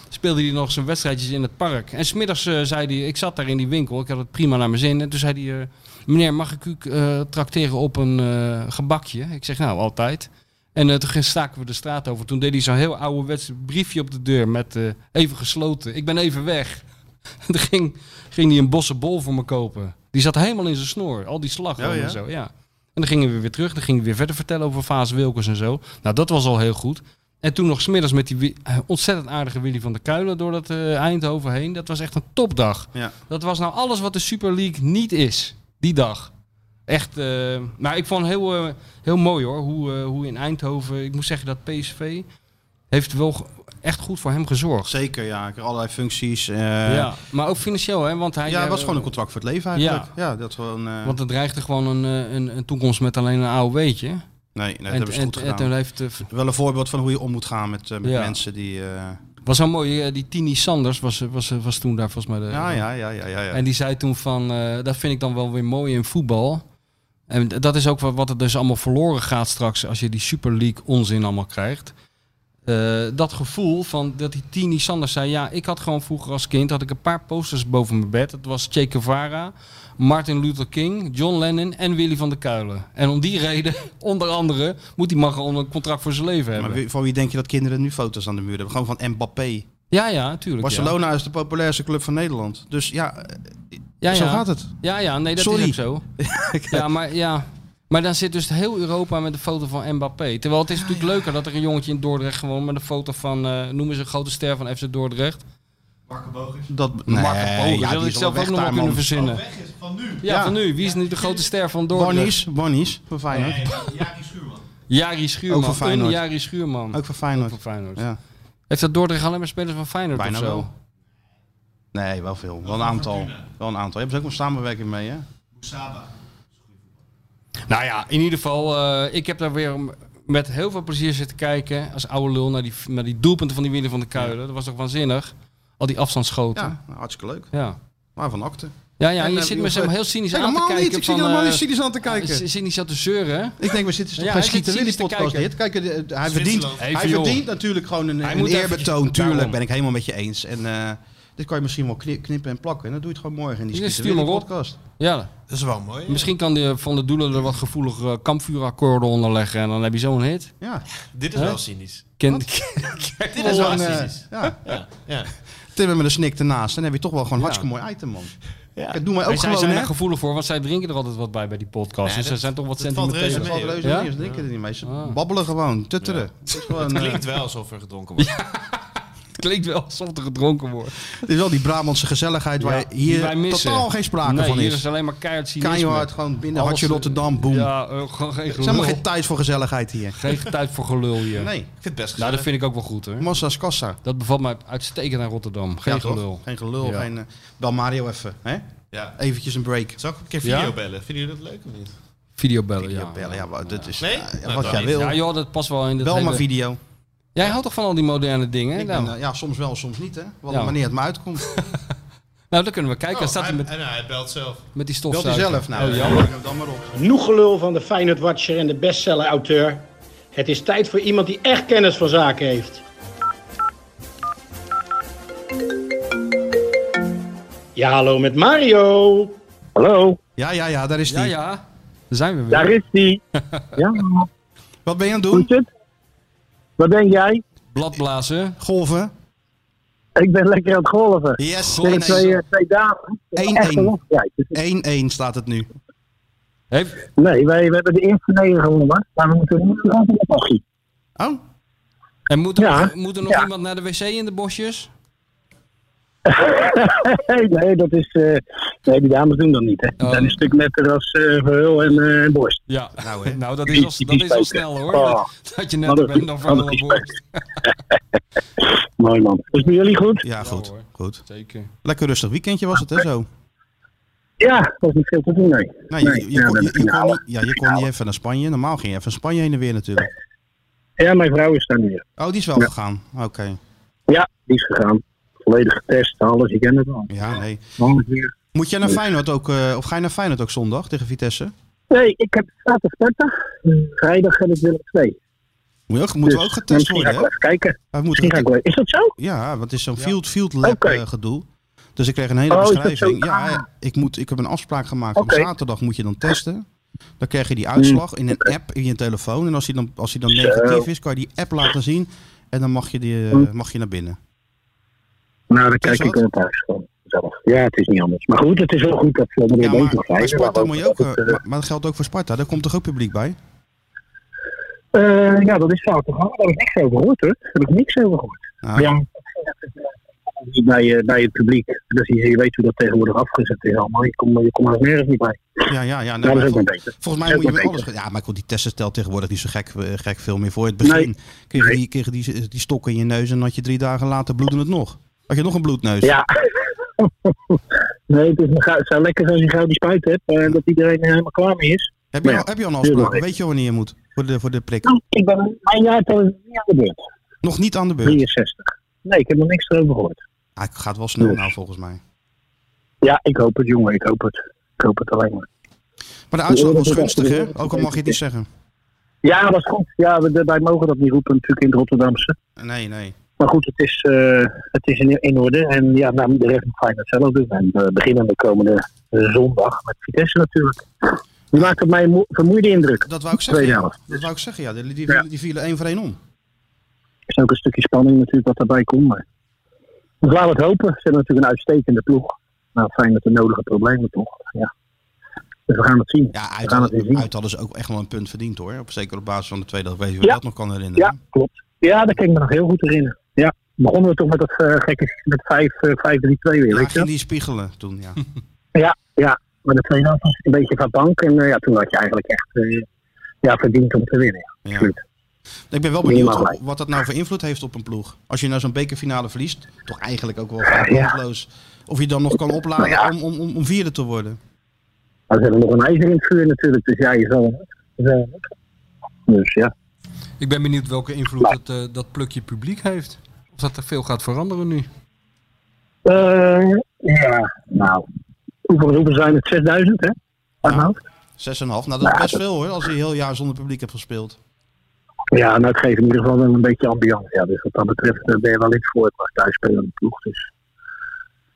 Speaker 5: Speelde hij nog zijn wedstrijdjes in het park. En smiddags eh, zei hij, ik zat daar in die winkel. Ik had het prima naar mijn zin. En toen zei hij, eh, meneer mag ik u eh trakteren op een eh, gebakje? Ik zeg, nou altijd. En eh, toen staken we de straat over. Toen deed hij zo'n heel ouderwets briefje op de deur met eh, even gesloten. Ik ben even weg. *laughs* En toen ging, ging hij een bosse bol voor me kopen. Die zat helemaal in zijn snor. Al die slag
Speaker 4: Oh, ja?
Speaker 5: en zo. Ja. En dan gingen we weer terug. Dan gingen we weer verder vertellen over Vaas Wilkens en zo. Nou, dat was al heel goed. En toen nog smiddags met die wi- eh, ontzettend aardige Willy van der Kuilen door dat eh, Eindhoven heen. Dat was echt een topdag.
Speaker 4: Ja.
Speaker 5: Dat was nou alles wat de Super League niet is. Die dag. Echt, eh, maar ik vond heel, eh, heel mooi hoor, hoe, eh, hoe in Eindhoven, ik moet zeggen dat PSV heeft wel ge- echt goed voor hem gezorgd.
Speaker 4: Zeker, ja. Ik had allerlei functies. eh,
Speaker 5: ja, maar ook financieel hè, want hij...
Speaker 4: Ja, het was
Speaker 5: eh,
Speaker 4: gewoon een contract voor het leven eigenlijk. Ja, dat gewoon... eh,
Speaker 5: Want er dreigde gewoon een, eh, een, een toekomst met alleen een AOW'tje.
Speaker 4: Nee, nee, dat
Speaker 5: en,
Speaker 4: hebben ze
Speaker 5: en,
Speaker 4: goed
Speaker 5: en
Speaker 4: gedaan.
Speaker 5: toen heeft... eh,
Speaker 4: Wel een voorbeeld van hoe je om moet gaan met, eh, met
Speaker 5: Ja.
Speaker 4: mensen die... eh,
Speaker 5: was zo mooi, eh, die Tini Sanders was, eh, was, was toen daar volgens mij de...
Speaker 4: ja, ja, ja, ja, ja. ja.
Speaker 5: En die zei toen van, eh, dat vind ik dan wel weer mooi in voetbal. En d- dat is ook wa- wat er dus allemaal verloren gaat straks als je die Super League onzin allemaal krijgt. Eh, dat gevoel van dat die Tini Sanders zei, ja, ik had gewoon vroeger als kind had ik een paar posters boven mijn bed. Dat was Che Guevara, Martin Luther King, John Lennon en Willy van der Kuilen. En om die *laughs* reden, onder andere, moet die man gewoon een contract voor zijn leven hebben.
Speaker 4: maar wie- van wie denk je dat kinderen nu foto's aan de muur hebben? Gewoon van Mbappé.
Speaker 5: Ja, ja, natuurlijk.
Speaker 4: Barcelona is de populairste club van Nederland. Dus ja, eh,
Speaker 5: ja. Ja,
Speaker 4: zo
Speaker 5: ja.
Speaker 4: gaat het.
Speaker 5: Ja, ja, nee, dat
Speaker 4: Sorry.
Speaker 5: is ook
Speaker 4: *laughs*
Speaker 5: zo. ja, maar, ja, maar dan zit dus heel Europa met een foto van Mbappé. Terwijl
Speaker 4: Ah,
Speaker 5: het is natuurlijk leuker dat er een jongetje in Dordrecht gewoon met een foto van, eh noemen ze een grote ster van FC Dordrecht.
Speaker 4: Dat,
Speaker 5: Marco Polo,
Speaker 4: Eh, ja,
Speaker 5: dat
Speaker 4: die
Speaker 5: had ik
Speaker 4: is al
Speaker 5: zelf ook
Speaker 4: weg
Speaker 5: nog wel
Speaker 4: daar,
Speaker 5: kunnen
Speaker 4: man.
Speaker 5: verzinnen. Ja,
Speaker 4: Ja.
Speaker 5: van nu. Wie is nu de grote ster van Dordrecht?
Speaker 4: Barnies, Barnies, van Feyenoord.
Speaker 5: Jari
Speaker 4: Ook
Speaker 5: Schuurman.
Speaker 4: van Feyenoord.
Speaker 5: Een Jari Schuurman.
Speaker 4: Ook van Feyenoord.
Speaker 5: van Feyenoord.
Speaker 4: Ja.
Speaker 5: Heeft dat Dordrecht alleen maar spelers van Feyenoord
Speaker 4: Bijna
Speaker 5: of zo?
Speaker 4: wel. Nee, wel veel. Wel een aantal. Wel een aantal. Hebben ze ook een samenwerking mee, hè?
Speaker 5: Nou ja, in ieder geval, eh, ik heb daar weer m- met heel veel plezier zitten kijken als oude lul naar die, naar die doelpunten van die Willy van de Kuilen. Dat was toch waanzinnig? Al die afstandsschoten.
Speaker 4: Ja, nou, hartstikke leuk.
Speaker 5: Ja,
Speaker 4: Maar van akte.
Speaker 5: ja, ja en je
Speaker 4: En, eh,
Speaker 5: zit me zo
Speaker 4: jongen,
Speaker 5: heel cynisch aan te
Speaker 4: Helemaal
Speaker 5: kijken.
Speaker 4: niet. Ik zit
Speaker 5: van,
Speaker 4: helemaal
Speaker 5: eh,
Speaker 4: niet cynisch aan te
Speaker 5: je zit-
Speaker 4: kijken.
Speaker 5: je zit niet zo te zeuren, hè?
Speaker 4: Ik denk, we zitten
Speaker 5: Ja,
Speaker 4: toch bij
Speaker 5: hij zit
Speaker 4: Schieten Willy
Speaker 5: cynisch te
Speaker 4: podcast dit.
Speaker 5: kijken.
Speaker 4: Kijk, eh, hij verdient,
Speaker 6: Zwitserland.
Speaker 4: hij
Speaker 5: Even, joh.
Speaker 4: verdient natuurlijk gewoon een, een
Speaker 5: moet even-
Speaker 4: eerbetoon. Tuurlijk,
Speaker 5: Daarom.
Speaker 4: ben ik helemaal met je eens. En eh, dit kan je misschien wel kni- knippen en plakken. En dan doe je het gewoon morgen in die
Speaker 5: Ja,
Speaker 4: Schieten
Speaker 5: stuur
Speaker 4: Willy
Speaker 5: maar op.
Speaker 4: podcast.
Speaker 5: Ja,
Speaker 6: Dat is wel mooi.
Speaker 5: misschien kan de Van de Doelen er wat gevoelig eh, kampvuurakkoorden onder leggen en dan heb je zo'n hit.
Speaker 4: Ja,
Speaker 6: Dit is
Speaker 5: Hè?
Speaker 6: wel cynisch.
Speaker 5: *laughs* Ken,
Speaker 6: Dit is wel
Speaker 4: Gewoon, eh,
Speaker 6: cynisch.
Speaker 4: ja.
Speaker 6: Ja.
Speaker 4: Timmer met een snik ernaast. Dan heb je toch wel gewoon een hartstikke mooi item, man. Ja. doe mij ook
Speaker 5: zij
Speaker 4: gewoon,
Speaker 5: zijn
Speaker 4: hè?
Speaker 5: er gevoelig voor, want zij drinken er altijd wat bij bij die podcast.
Speaker 6: Nee,
Speaker 5: dus er
Speaker 6: dat-
Speaker 5: zijn toch wat
Speaker 6: dat valt reuze
Speaker 5: centimeters.
Speaker 6: mee.
Speaker 4: Valt
Speaker 6: Nee,
Speaker 4: reuze
Speaker 5: ja?
Speaker 4: mee, ze drinken er niet mee. Ze
Speaker 5: Ah.
Speaker 4: babbelen gewoon, tutteren. Het, is gewoon,
Speaker 5: *laughs*
Speaker 4: eh,
Speaker 6: Klinkt wel alsof er gedronken wordt.
Speaker 5: Het *laughs* klinkt wel alsof er gedronken wordt.
Speaker 4: het is wel die Brabantse gezelligheid waar
Speaker 5: Ja, die wij
Speaker 4: hier
Speaker 5: missen.
Speaker 4: totaal geen sprake
Speaker 5: nee,
Speaker 4: van
Speaker 5: hier
Speaker 4: is.
Speaker 5: is alleen maar keihard cynisme.
Speaker 4: Keihard, gewoon binnen
Speaker 5: Alles,
Speaker 4: hartje
Speaker 5: eh,
Speaker 4: Rotterdam, boem.
Speaker 5: Ja, eh, gewoon geen
Speaker 4: Er is helemaal
Speaker 5: gelul.
Speaker 4: geen tijd voor gezelligheid hier.
Speaker 5: Geen tijd voor gelul hier.
Speaker 4: *laughs* Nee,
Speaker 6: Ik vind het best
Speaker 5: Nou,
Speaker 6: gezellig.
Speaker 5: dat vind ik ook wel goed hoor.
Speaker 4: massa's kassa.
Speaker 5: Dat bevalt mij uitstekend aan Rotterdam. Geen
Speaker 4: Ja, toch?
Speaker 5: gelul.
Speaker 4: Geen gelul,
Speaker 5: Ja.
Speaker 4: geen... eh, bel Mario even, hè?
Speaker 6: Ja.
Speaker 4: Eventjes een break.
Speaker 6: Zal ik een keer
Speaker 5: Ja?
Speaker 6: video bellen? Vinden jullie dat leuk of niet?
Speaker 5: Videobellen, ja.
Speaker 4: Ja, bellen, ja, maar dat is
Speaker 6: Nee?
Speaker 4: eh,
Speaker 6: Nou,
Speaker 4: wat
Speaker 6: dan
Speaker 4: jij
Speaker 6: niet.
Speaker 4: wil.
Speaker 5: Ja joh, dat past wel in de
Speaker 4: Bel maar video.
Speaker 5: Jij houdt toch van al die moderne dingen?
Speaker 4: Ik
Speaker 5: nou,
Speaker 4: ben, eh, ja, soms wel, soms niet, hè? Wel,
Speaker 5: Ja.
Speaker 4: Wanneer het me
Speaker 5: *laughs*
Speaker 4: uitkomt.
Speaker 5: nou, dan kunnen we kijken. Dan staat
Speaker 6: hij,
Speaker 5: hij met,
Speaker 6: en hij belt zelf.
Speaker 5: met die
Speaker 4: Belt Oh, hij
Speaker 5: stofzuiger.
Speaker 4: zelf nou.
Speaker 5: Oh, jammer.
Speaker 4: Dan maar op.
Speaker 8: Genoeg gelul van de Feyenoord Watcher en de bestseller-auteur. Het is tijd voor iemand die echt kennis van zaken heeft. Ja, hallo met Mario.
Speaker 7: Hallo,
Speaker 4: Ja, ja, ja, daar is die.
Speaker 5: Ja, ja. Daar zijn we weer.
Speaker 7: daar is die. Ja,
Speaker 4: Wat ben je aan het
Speaker 7: hoe
Speaker 4: doen?
Speaker 7: is het? Wat denk jij?
Speaker 5: Bladblazen.
Speaker 4: Golven?
Speaker 7: Ik ben lekker aan het golven.
Speaker 4: Yes,
Speaker 7: Tegen twee, eh, twee dagen. Echt een
Speaker 4: 1-1.
Speaker 7: wedstrijd. Dus
Speaker 4: 1-1 staat het nu.
Speaker 5: Heeft,
Speaker 7: Nee, wij, we hebben de eerste negen gewonnen, maar we moeten nu nog een tochtje.
Speaker 4: Oh,
Speaker 5: en moet er,
Speaker 7: Ja.
Speaker 5: nog- moet er nog
Speaker 7: Ja.
Speaker 5: iemand naar de wc in de bosjes?
Speaker 7: Nee, nee, dat is. eh, nee, die dames doen dat niet. Hè. Die
Speaker 5: Oh.
Speaker 7: zijn een stuk netter als eh Verheul en eh Borst.
Speaker 5: Ja.
Speaker 4: Nou, hè.
Speaker 5: dat is al, dat is al snel hoor. Dat, Oh. *laughs* dat je net bent dan van de borst.
Speaker 7: Mooi man. Is bij jullie goed?
Speaker 4: ja, goed.
Speaker 5: hoor.
Speaker 4: goed.
Speaker 5: Zeker.
Speaker 4: Lekker rustig weekendje was het, hè, zo?
Speaker 7: Ja, dat was niet veel te doen, nee.
Speaker 4: Nee, je, je,
Speaker 7: ja,
Speaker 4: kon,
Speaker 7: dat
Speaker 4: je,
Speaker 7: is
Speaker 4: je kon
Speaker 7: finale.
Speaker 4: niet, ja, je kon niet even naar Spanje. Normaal ging je even Spanje heen en weer natuurlijk.
Speaker 7: Ja, mijn vrouw is daar nu. ja.
Speaker 4: Oh, die is wel gegaan. Oké.
Speaker 7: Ja, die is gegaan. Volledig getest, alles, je kent het al.
Speaker 4: Ja, nee.
Speaker 7: Alles weer.
Speaker 4: Moet jij naar Feyenoord ook, eh, of ga je naar Feyenoord ook zondag tegen Vitesse?
Speaker 7: Nee, ik heb zaterdag starten. Vrijdag heb ik Willem twee.
Speaker 4: Moet je ook, moeten we ook getest
Speaker 7: misschien Dus, ga
Speaker 4: worden,
Speaker 7: ik
Speaker 4: hè?
Speaker 7: wel even kijken.
Speaker 4: We
Speaker 7: Misschien ga
Speaker 4: moeten,
Speaker 7: ik wel. Is dat zo?
Speaker 4: ja, want het is zo'n field, field lab
Speaker 7: Oké.
Speaker 4: eh, gedoe. Dus ik kreeg een hele
Speaker 7: Oh, is dat
Speaker 4: beschrijving.
Speaker 7: zo? Ah.
Speaker 4: Ja, ik, moet, ik heb een afspraak gemaakt.
Speaker 7: Oké. Hmm.
Speaker 4: Op zaterdag moet je dan testen. Dan krijg je die uitslag in een app in je telefoon. En als die dan, als die dan
Speaker 7: Zo.
Speaker 4: negatief is, kan je die app laten zien. En dan mag je, die,
Speaker 7: Hmm.
Speaker 4: eh, mag je naar binnen.
Speaker 7: Nou, dan kijk
Speaker 4: Is dat?
Speaker 7: ik wel thuis gewoon zelf. Ja, het is niet anders. Maar goed, het is wel goed dat ze ermee
Speaker 4: Ja, maar
Speaker 7: bezig zijn.
Speaker 4: bij Sparta
Speaker 7: Maar
Speaker 4: moet je ook...
Speaker 7: dat
Speaker 4: eh,
Speaker 7: het,
Speaker 4: maar- maar dat geldt ook voor Sparta. Daar komt toch ook publiek bij?
Speaker 7: eh, eh, ja, dat is zaterdag. Daar heb ik niks over gehoord, hoor. Daar heb ik niks over gehoord.
Speaker 4: Nou,
Speaker 7: Maar ja, bij, eh, bij het publiek. Dus je, je weet hoe dat tegenwoordig afgezet is allemaal. Je komt je komt er nergens niet bij.
Speaker 4: Ja, ja, ja.
Speaker 7: Ja,
Speaker 4: nee,
Speaker 7: dat
Speaker 4: maar
Speaker 7: is ook wel
Speaker 4: goed.
Speaker 7: beter.
Speaker 4: Volgens mij
Speaker 7: Dat
Speaker 4: moet je
Speaker 7: is
Speaker 4: met
Speaker 7: wel
Speaker 4: alles... Ja, maar goed, die testen stelt tegenwoordig niet zo gek, eh, gek veel meer voor. In het begin kreeg je, die, kreeg je die, die stok in je neus en had je drie dagen later bloedde het nog. Had je nog een bloedneus?
Speaker 7: Ja. eh, nee, het, is een gau- het zou lekker zijn als je gauw die spuit hebt. En dat iedereen er helemaal klaar mee is.
Speaker 4: Heb je,
Speaker 9: Ja,
Speaker 4: al, heb je al een
Speaker 9: tuurlijk.
Speaker 4: afspraak? Weet je al wanneer je moet? Voor de, voor de prik.
Speaker 9: Ik ben mijn jaar tot niet aan de beurt.
Speaker 4: Nog niet aan de beurt.
Speaker 9: 63. Nee, ik heb nog niks erover gehoord.
Speaker 4: Hij gaat wel snel
Speaker 9: Nee.
Speaker 4: nou volgens mij.
Speaker 9: Ja, ik hoop het, jongen. Ik hoop het. Ik hoop het alleen maar.
Speaker 4: Maar de uitslag
Speaker 9: Ja, dat
Speaker 4: was
Speaker 9: is
Speaker 4: gunstig,
Speaker 9: echt-
Speaker 4: hè? Ook al mag je het niet zeggen.
Speaker 9: Ja, dat is goed. Ja, we, wij mogen dat niet roepen natuurlijk in het Rotterdamse.
Speaker 4: Nee, nee.
Speaker 9: Maar goed, het is, eh, het is in, in orde. En ja, nou, de rest moet Feyenoord zelf doen. En we beginnen de komende eh, zondag met Vitesse natuurlijk. Die maakt op mij een mo- vermoeide indruk.
Speaker 4: Dat wou ik
Speaker 9: Tweede
Speaker 4: zeggen.
Speaker 9: helft.
Speaker 4: Dat wou ik zeggen, ja. Die, die,
Speaker 9: Ja.
Speaker 4: die vielen één voor één om.
Speaker 9: is ook een stukje spanning natuurlijk wat daarbij komt. Maar dus laten we het hopen. Ze hebben natuurlijk een uitstekende ploeg. Nou, fijn met de nodige problemen toch. Ja. Dus we gaan het zien.
Speaker 4: Ja,
Speaker 9: we
Speaker 4: uit,
Speaker 9: gaan het weer
Speaker 4: hadden,
Speaker 9: zien.
Speaker 4: uit hadden ze ook echt wel een punt verdiend, hoor. Op, zeker op basis van de tweede helft. Weet je wat
Speaker 9: Ja.
Speaker 4: dat nog kan herinneren?
Speaker 9: Ja, klopt. Ja, dat kan ik me nog heel goed herinneren. Ja, begonnen we toch met dat eh, gekke met eh, 5 5-3-2 weer,
Speaker 4: Ja,
Speaker 9: weet je
Speaker 4: ging
Speaker 9: wel?
Speaker 4: die spiegelen toen, ja.
Speaker 9: Ja, ja. Maar de tweede helft was een beetje van bank. En eh, ja, toen had je eigenlijk echt eh, ja, verdiend om te winnen. Ja.
Speaker 4: Ja.
Speaker 9: Absoluut.
Speaker 4: Ik ben wel
Speaker 9: Niet
Speaker 4: benieuwd
Speaker 9: mogelijk.
Speaker 4: op- wat dat nou voor invloed heeft op een ploeg. Als je nou zo'n bekerfinale verliest, toch eigenlijk ook wel
Speaker 9: Ja.
Speaker 4: kansloos. Of je dan nog kan opladen
Speaker 9: Nou ja.
Speaker 4: om, om, om, om vierde te worden.
Speaker 9: Maar ze hebben nog een ijzer in het vuur natuurlijk. Dus ja, je zal het. je zal het. Dus ja.
Speaker 5: Ik ben benieuwd welke
Speaker 4: Nou.
Speaker 5: invloed dat, eh, dat plukje publiek heeft. Of dat er veel gaat veranderen nu.
Speaker 9: Eh, ja, nou. Hoeveel, hoeveel zijn het? 6000, hè? Uit mijn hoofd?
Speaker 4: 6,5. Nou, dat is
Speaker 9: Ja,
Speaker 4: best
Speaker 9: dat-
Speaker 4: veel hoor, als je heel jaar zonder publiek hebt gespeeld.
Speaker 9: Ja, nou, het geeft in ieder geval wel een beetje ambiance. Ja, dus wat dat betreft eh, ben je wel iets voor. Het was thuis spelen de ploeg. Dus.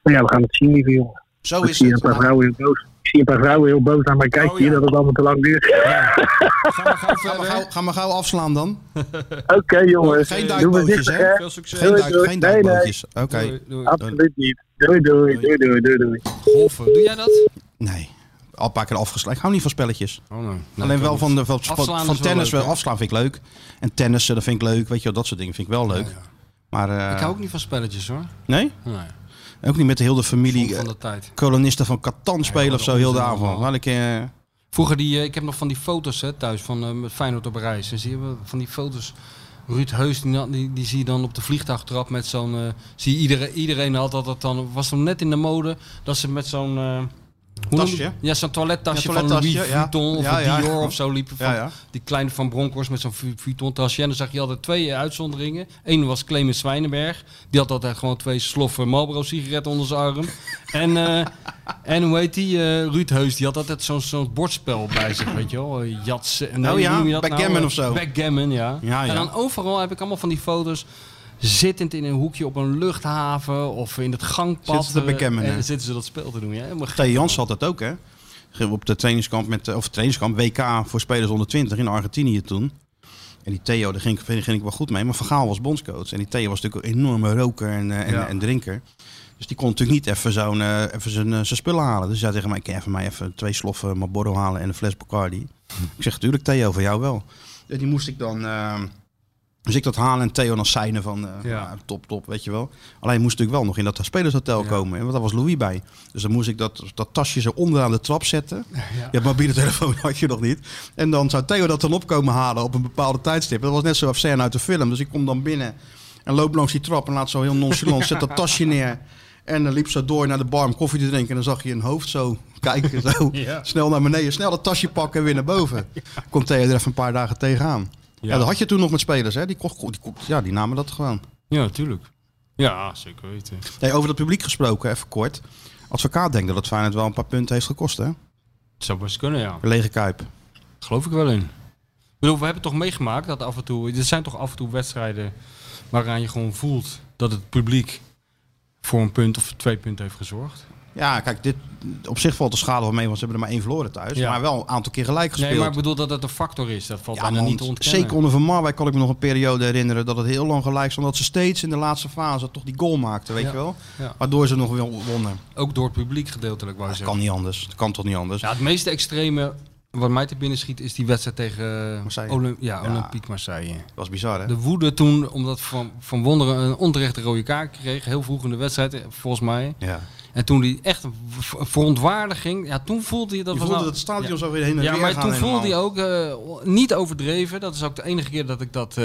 Speaker 9: Maar ja, we gaan het zien, lieve jongen.
Speaker 4: Zo
Speaker 9: Ik
Speaker 4: is
Speaker 9: zie een
Speaker 4: het.
Speaker 9: paar
Speaker 4: Nou,
Speaker 9: vrouwen heel boos. Ik zie een paar vrouwen heel boos naar mij kijken
Speaker 5: Oh, ja.
Speaker 9: hier dat het allemaal te lang duurt.
Speaker 5: Ga maar gauw
Speaker 4: Ga maar
Speaker 5: verder.
Speaker 4: gauw, ga maar gauw afslaan dan.
Speaker 9: *laughs* Oké, jongens.
Speaker 4: Geen
Speaker 9: Doen we
Speaker 4: duikbootjes,
Speaker 9: dit,
Speaker 4: hè?
Speaker 9: hè?
Speaker 5: Veel succes.
Speaker 4: Geen,
Speaker 9: Doei,
Speaker 4: duik,
Speaker 9: doei.
Speaker 4: geen
Speaker 9: Nee, nee.
Speaker 4: duikbootjes. Oké.
Speaker 5: Doei, doei.
Speaker 9: Absoluut niet. Doei, doei, doei, doei, doei, doei.
Speaker 5: Golfen. Doe jij dat?
Speaker 4: Nee. Al een paar keer afgeslagen. Ik hou niet van spelletjes.
Speaker 5: Oh, nee.
Speaker 4: Alleen wel van, de, van, van-
Speaker 5: Afslaan
Speaker 4: van
Speaker 5: is wel
Speaker 4: tennis.
Speaker 5: leuk,
Speaker 4: wel
Speaker 5: hè?
Speaker 4: afslaan vind ik leuk. En tennissen, dat vind ik leuk. Weet je wel, dat soort dingen vind ik wel leuk. Maar, eh,
Speaker 5: Ik hou ook niet van spelletjes hoor.
Speaker 4: Nee?
Speaker 5: Nee.
Speaker 4: Ook niet met heel de familie.
Speaker 5: Kom van
Speaker 4: eh,
Speaker 5: de tijd.
Speaker 4: kolonisten van Catan spelen
Speaker 5: dat
Speaker 4: of zo, heel de
Speaker 5: onzin
Speaker 4: avond.
Speaker 5: allemaal.
Speaker 4: Wel een keer...
Speaker 5: Vroeger die, eh, ik heb nog van die foto's hè, thuis van eh, met Feyenoord op reis. En zie je van die foto's. Ruud Heus, die, na- die, die zie je dan op de vliegtuigtrap met zo'n. eh, zie je iedereen, iedereen had dat, dat dan. Was dan net in de mode dat ze met zo'n. eh, hoe noem je-
Speaker 4: Tasje?
Speaker 5: Ja, zo'n toilettasje,
Speaker 4: Ja, toilettasje,
Speaker 5: van Louis
Speaker 4: ja.
Speaker 5: Vuitton of
Speaker 4: Ja,
Speaker 5: een
Speaker 4: ja.
Speaker 5: Dior of zo liepen. Van,
Speaker 4: Ja, ja.
Speaker 5: Die kleine van Bronkhorst met zo'n Vu- Vuitton tasje. En dan zag je altijd twee eh, uitzonderingen. Eén was Clemens Zwijnenberg. Die had altijd gewoon twee sloffen Marlboro sigaretten onder zijn
Speaker 4: *laughs*
Speaker 5: arm. en, eh, en hoe heet die? eh, Ruud Heus. Die had altijd zo'n zo'n bordspel bij zich, weet je wel. Eh, Jatsen.
Speaker 4: Oh ja,
Speaker 5: hoe noem je dat
Speaker 4: backgammon
Speaker 5: nou?
Speaker 4: of zo.
Speaker 5: Backgammon, ja.
Speaker 4: Ja, ja.
Speaker 5: En dan overal heb ik allemaal van die foto's... Zittend in een hoekje op een luchthaven of in het gangpad.
Speaker 4: Zitten ze te
Speaker 5: eh,
Speaker 4: backgammonen.
Speaker 5: en zitten ze dat spel te doen. Ja? Helemaal gek.
Speaker 4: Theo Jans had dat ook, hè? Op de trainingskamp, met, eh, of trainingskamp, WK voor spelers onder 20 in Argentinië toen. En die Theo, daar ging, ik- ging ik wel goed mee. Maar Van Gaal was bondscoach. En die Theo was natuurlijk een enorme roker en, eh, en,
Speaker 6: Ja.
Speaker 4: en drinker. Dus die kon natuurlijk niet even, zo'n, eh, even zijn, eh, zijn spullen halen. Dus hij zei tegen mij, kan je even mij even twee sloffen Marlboro halen en een fles Bacardi? ik zeg, tuurlijk Theo, voor jou wel. En die moest ik dan... eh, dus ik dat halen en Theo dan seinen van eh,
Speaker 5: Ja.
Speaker 4: ah, top, top, weet je wel. Alleen moest natuurlijk wel nog in dat spelershotel komen. hè, Want daar was Louis bij. Dus dan moest ik dat, dat tasje zo onderaan de trap zetten. Ja, mobiele telefoon *laughs* had je nog niet. En dan zou Theo dat dan opkomen halen op een bepaalde tijdstip. Dat was net zo'n scène uit de film. Dus ik kom dan binnen en loop langs die trap en laat zo heel nonchalant. Zet dat tasje neer. En dan liep ze door naar de bar om koffie te drinken. En dan zag je een hoofd zo kijken. Zo. Snel naar beneden, snel dat tasje pakken en weer naar boven. Komt Theo er even een paar dagen tegenaan. Ja. dat had je toen nog met spelers, hè? Die, kocht, die, kocht- ja, die namen dat gewoon.
Speaker 5: Ja, tuurlijk. Ja, zeker weten.
Speaker 4: Nee, over dat publiek gesproken, even kort. Advocaat denkt dat het Feyenoord wel een paar punten heeft gekost, hè?
Speaker 5: Het zou best kunnen, ja.
Speaker 4: Lege Kuip.
Speaker 5: Geloof ik wel in. Ik bedoel, we hebben toch meegemaakt dat af en toe... Er zijn toch af en toe wedstrijden waaraan je gewoon voelt dat het publiek voor een punt of twee punten heeft gezorgd.
Speaker 4: Ja, kijk, dit, op zich valt de schade wel mee, want ze hebben er maar één verloren thuis.
Speaker 5: Ja.
Speaker 4: Maar wel een aantal keer gelijk gespeeld.
Speaker 5: Nee, maar ik bedoel dat dat een factor is. Dat valt
Speaker 4: ja,
Speaker 5: bijna
Speaker 4: man,
Speaker 5: niet te ontkennen.
Speaker 4: zeker onder Van Marwijk kan ik me nog een periode herinneren dat het heel lang gelijk stond. Dat ze steeds in de laatste fase toch die goal maakten, weet
Speaker 5: Ja.
Speaker 4: je wel?
Speaker 5: Ja.
Speaker 4: Waardoor ze nog wel wonnen.
Speaker 5: Ook door het publiek gedeeltelijk, wou je
Speaker 4: Dat
Speaker 5: zeggen.
Speaker 4: kan niet anders. Dat kan toch niet anders?
Speaker 5: Ja, het meeste extreme wat mij te binnen schiet is die wedstrijd tegen eh,
Speaker 4: Marseille.
Speaker 5: Olymp- ja,
Speaker 4: Ja.
Speaker 5: Olympique Marseille.
Speaker 4: Dat was bizar, hè?
Speaker 5: De woede toen, omdat Van, van Wonderen een onterechte rode kaart kreeg, heel vroeg in de wedstrijd, eh, volgens mij.
Speaker 4: Ja.
Speaker 5: En En toen die echt v- verontwaardiging, ja, toen voelde je dat...
Speaker 4: Je
Speaker 5: was
Speaker 4: voelde dat
Speaker 5: nou-
Speaker 4: het stadion
Speaker 5: ja.
Speaker 4: zo weer heen en
Speaker 5: Ja,
Speaker 4: weer
Speaker 5: maar
Speaker 4: gaan
Speaker 5: toen voelde
Speaker 4: helemaal.
Speaker 5: hij ook eh, niet overdreven. Dat is ook de enige keer dat ik dat... eh,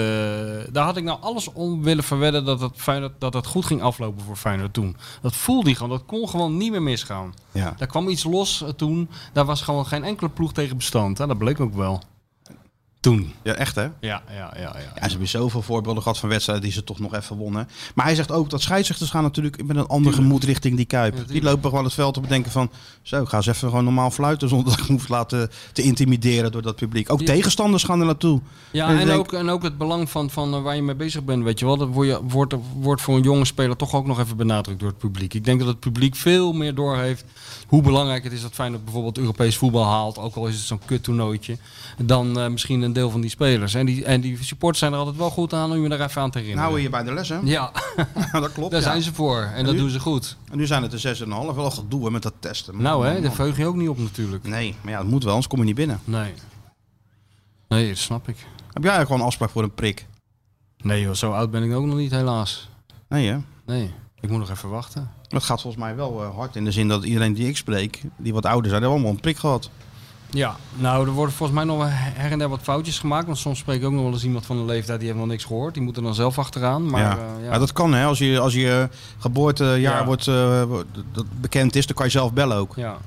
Speaker 5: daar had ik nou alles om willen verwedden dat het, Feyenoord, dat het goed ging aflopen voor Feyenoord toen. Dat voelde hij gewoon. Dat kon gewoon niet meer misgaan.
Speaker 4: Ja.
Speaker 5: Daar kwam iets los eh, toen. Daar was gewoon geen enkele ploeg tegen bestand. Hè? Dat bleek ook wel. Toen.
Speaker 4: ja, echt hè?
Speaker 5: Ja, ja, ja. ja.
Speaker 4: Ja, ze hebben zoveel voorbeelden gehad van wedstrijden die ze toch nog even wonnen. Maar hij zegt ook dat scheidsrechters gaan natuurlijk met een ander gemoed richting die Kuip. die
Speaker 5: tuurlijk.
Speaker 4: lopen gewoon het veld op en denken van... Zo, ik ga eens even gewoon normaal fluiten zonder dat ik me hoef te laten te intimideren door dat publiek. Ook
Speaker 5: Ja.
Speaker 4: tegenstanders gaan er naartoe.
Speaker 5: Ja,
Speaker 4: En ik
Speaker 5: en,
Speaker 4: denk-
Speaker 5: ook, en ook het belang van, van eh, waar je mee bezig bent, weet je wel. Dat word je- wordt, wordt voor een jonge speler toch ook nog even benadrukt door het publiek. Ik denk dat het publiek veel meer doorheeft hoe belangrijk het is dat Feyenoord bijvoorbeeld Europees voetbal haalt. Ook al is het zo'n kut toernooitje. Dan eh, misschien een deel van die spelers. En die, en die supporters zijn er altijd wel goed aan om je daar even aan te
Speaker 4: Nou
Speaker 5: herinneren.
Speaker 4: houden we je bij de les hè?
Speaker 5: ja,
Speaker 4: Ja, *laughs* dat klopt.
Speaker 5: daar
Speaker 4: ja.
Speaker 5: zijn ze voor. En, dat
Speaker 4: nu?
Speaker 5: doen ze goed.
Speaker 4: En nu zijn het er 6,5. Wel gedoe hè, met dat testen. Man,
Speaker 5: Nou hè,
Speaker 4: man, man.
Speaker 5: daar veug je ook niet op natuurlijk.
Speaker 4: Nee, maar ja, het moet wel, anders kom je niet binnen.
Speaker 5: Nee. Nee, dat snap ik.
Speaker 4: Heb jij eigenlijk gewoon een afspraak voor een prik?
Speaker 5: Nee joh, zo oud ben ik ook nog niet helaas.
Speaker 4: Nee hè?
Speaker 5: Nee, ik moet nog even wachten.
Speaker 4: Dat gaat volgens mij wel eh, hard in de zin dat iedereen die ik spreek, die wat ouder zijn, hebben allemaal een prik gehad.
Speaker 5: Ja, nou, er worden volgens mij nog wel her en der wat foutjes gemaakt. Want soms spreek ik ook nog wel eens iemand van een leeftijd die heeft nog niks gehoord. Die moet er dan zelf achteraan. Maar
Speaker 4: ja.
Speaker 5: eh, ja.
Speaker 4: Maar dat kan hè, als je, als je eh, geboortejaar
Speaker 5: Ja.
Speaker 4: wordt, eh, wordt- dat bekend is, dan kan je zelf bellen ook.
Speaker 5: ja.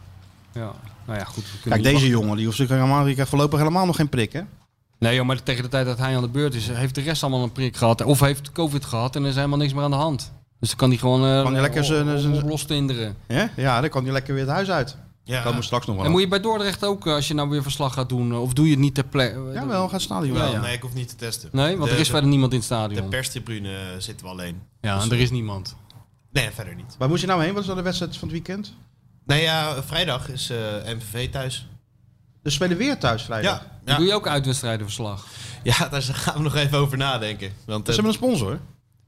Speaker 5: Ja. Nou ja, goed. we kunnen
Speaker 4: Kijk,
Speaker 5: niet
Speaker 4: deze
Speaker 5: wachten.
Speaker 4: jongen die hoeft zich helemaal, die krijgt voorlopig helemaal nog geen prik hè.
Speaker 5: Nee, joh, maar tegen de tijd dat hij aan de beurt is, heeft de rest allemaal een prik gehad. Of heeft COVID gehad en er is helemaal niks meer aan de hand. Dus dan kan hij gewoon eh
Speaker 4: Kan hij lekker zijn-
Speaker 5: op-
Speaker 4: zijn-
Speaker 5: op- lostinderen.
Speaker 4: Ja? ja, dan kan hij lekker weer het huis uit.
Speaker 6: Ja,
Speaker 4: Komen we straks nog wel.
Speaker 5: En
Speaker 4: op.
Speaker 5: moet je bij Dordrecht ook, eh, als je nou weer verslag gaat doen, eh, of doe je het niet ter plekke?
Speaker 4: Jawel, gaat het stadion.
Speaker 6: Wel,
Speaker 4: Ja, ja.
Speaker 6: Nee, ik hoef niet te testen.
Speaker 5: Nee, want
Speaker 6: De-
Speaker 5: er is verder niemand in het
Speaker 6: de,
Speaker 5: stadion.
Speaker 6: de perstribune eh, zitten we alleen.
Speaker 5: ja, en er is niemand.
Speaker 6: Nee, verder niet.
Speaker 4: Waar moet je nou heen? Wat is dan de wedstrijd van het weekend?
Speaker 6: Nou ja, vrijdag is eh, MVV thuis.
Speaker 4: Dus spelen weer thuis vrijdag. Ze
Speaker 6: Ja, ja.
Speaker 5: Doe je ook uitwedstrijdenverslag?
Speaker 6: ja, daar gaan we nog even over nadenken. Want, eh,
Speaker 4: hebben een sponsor.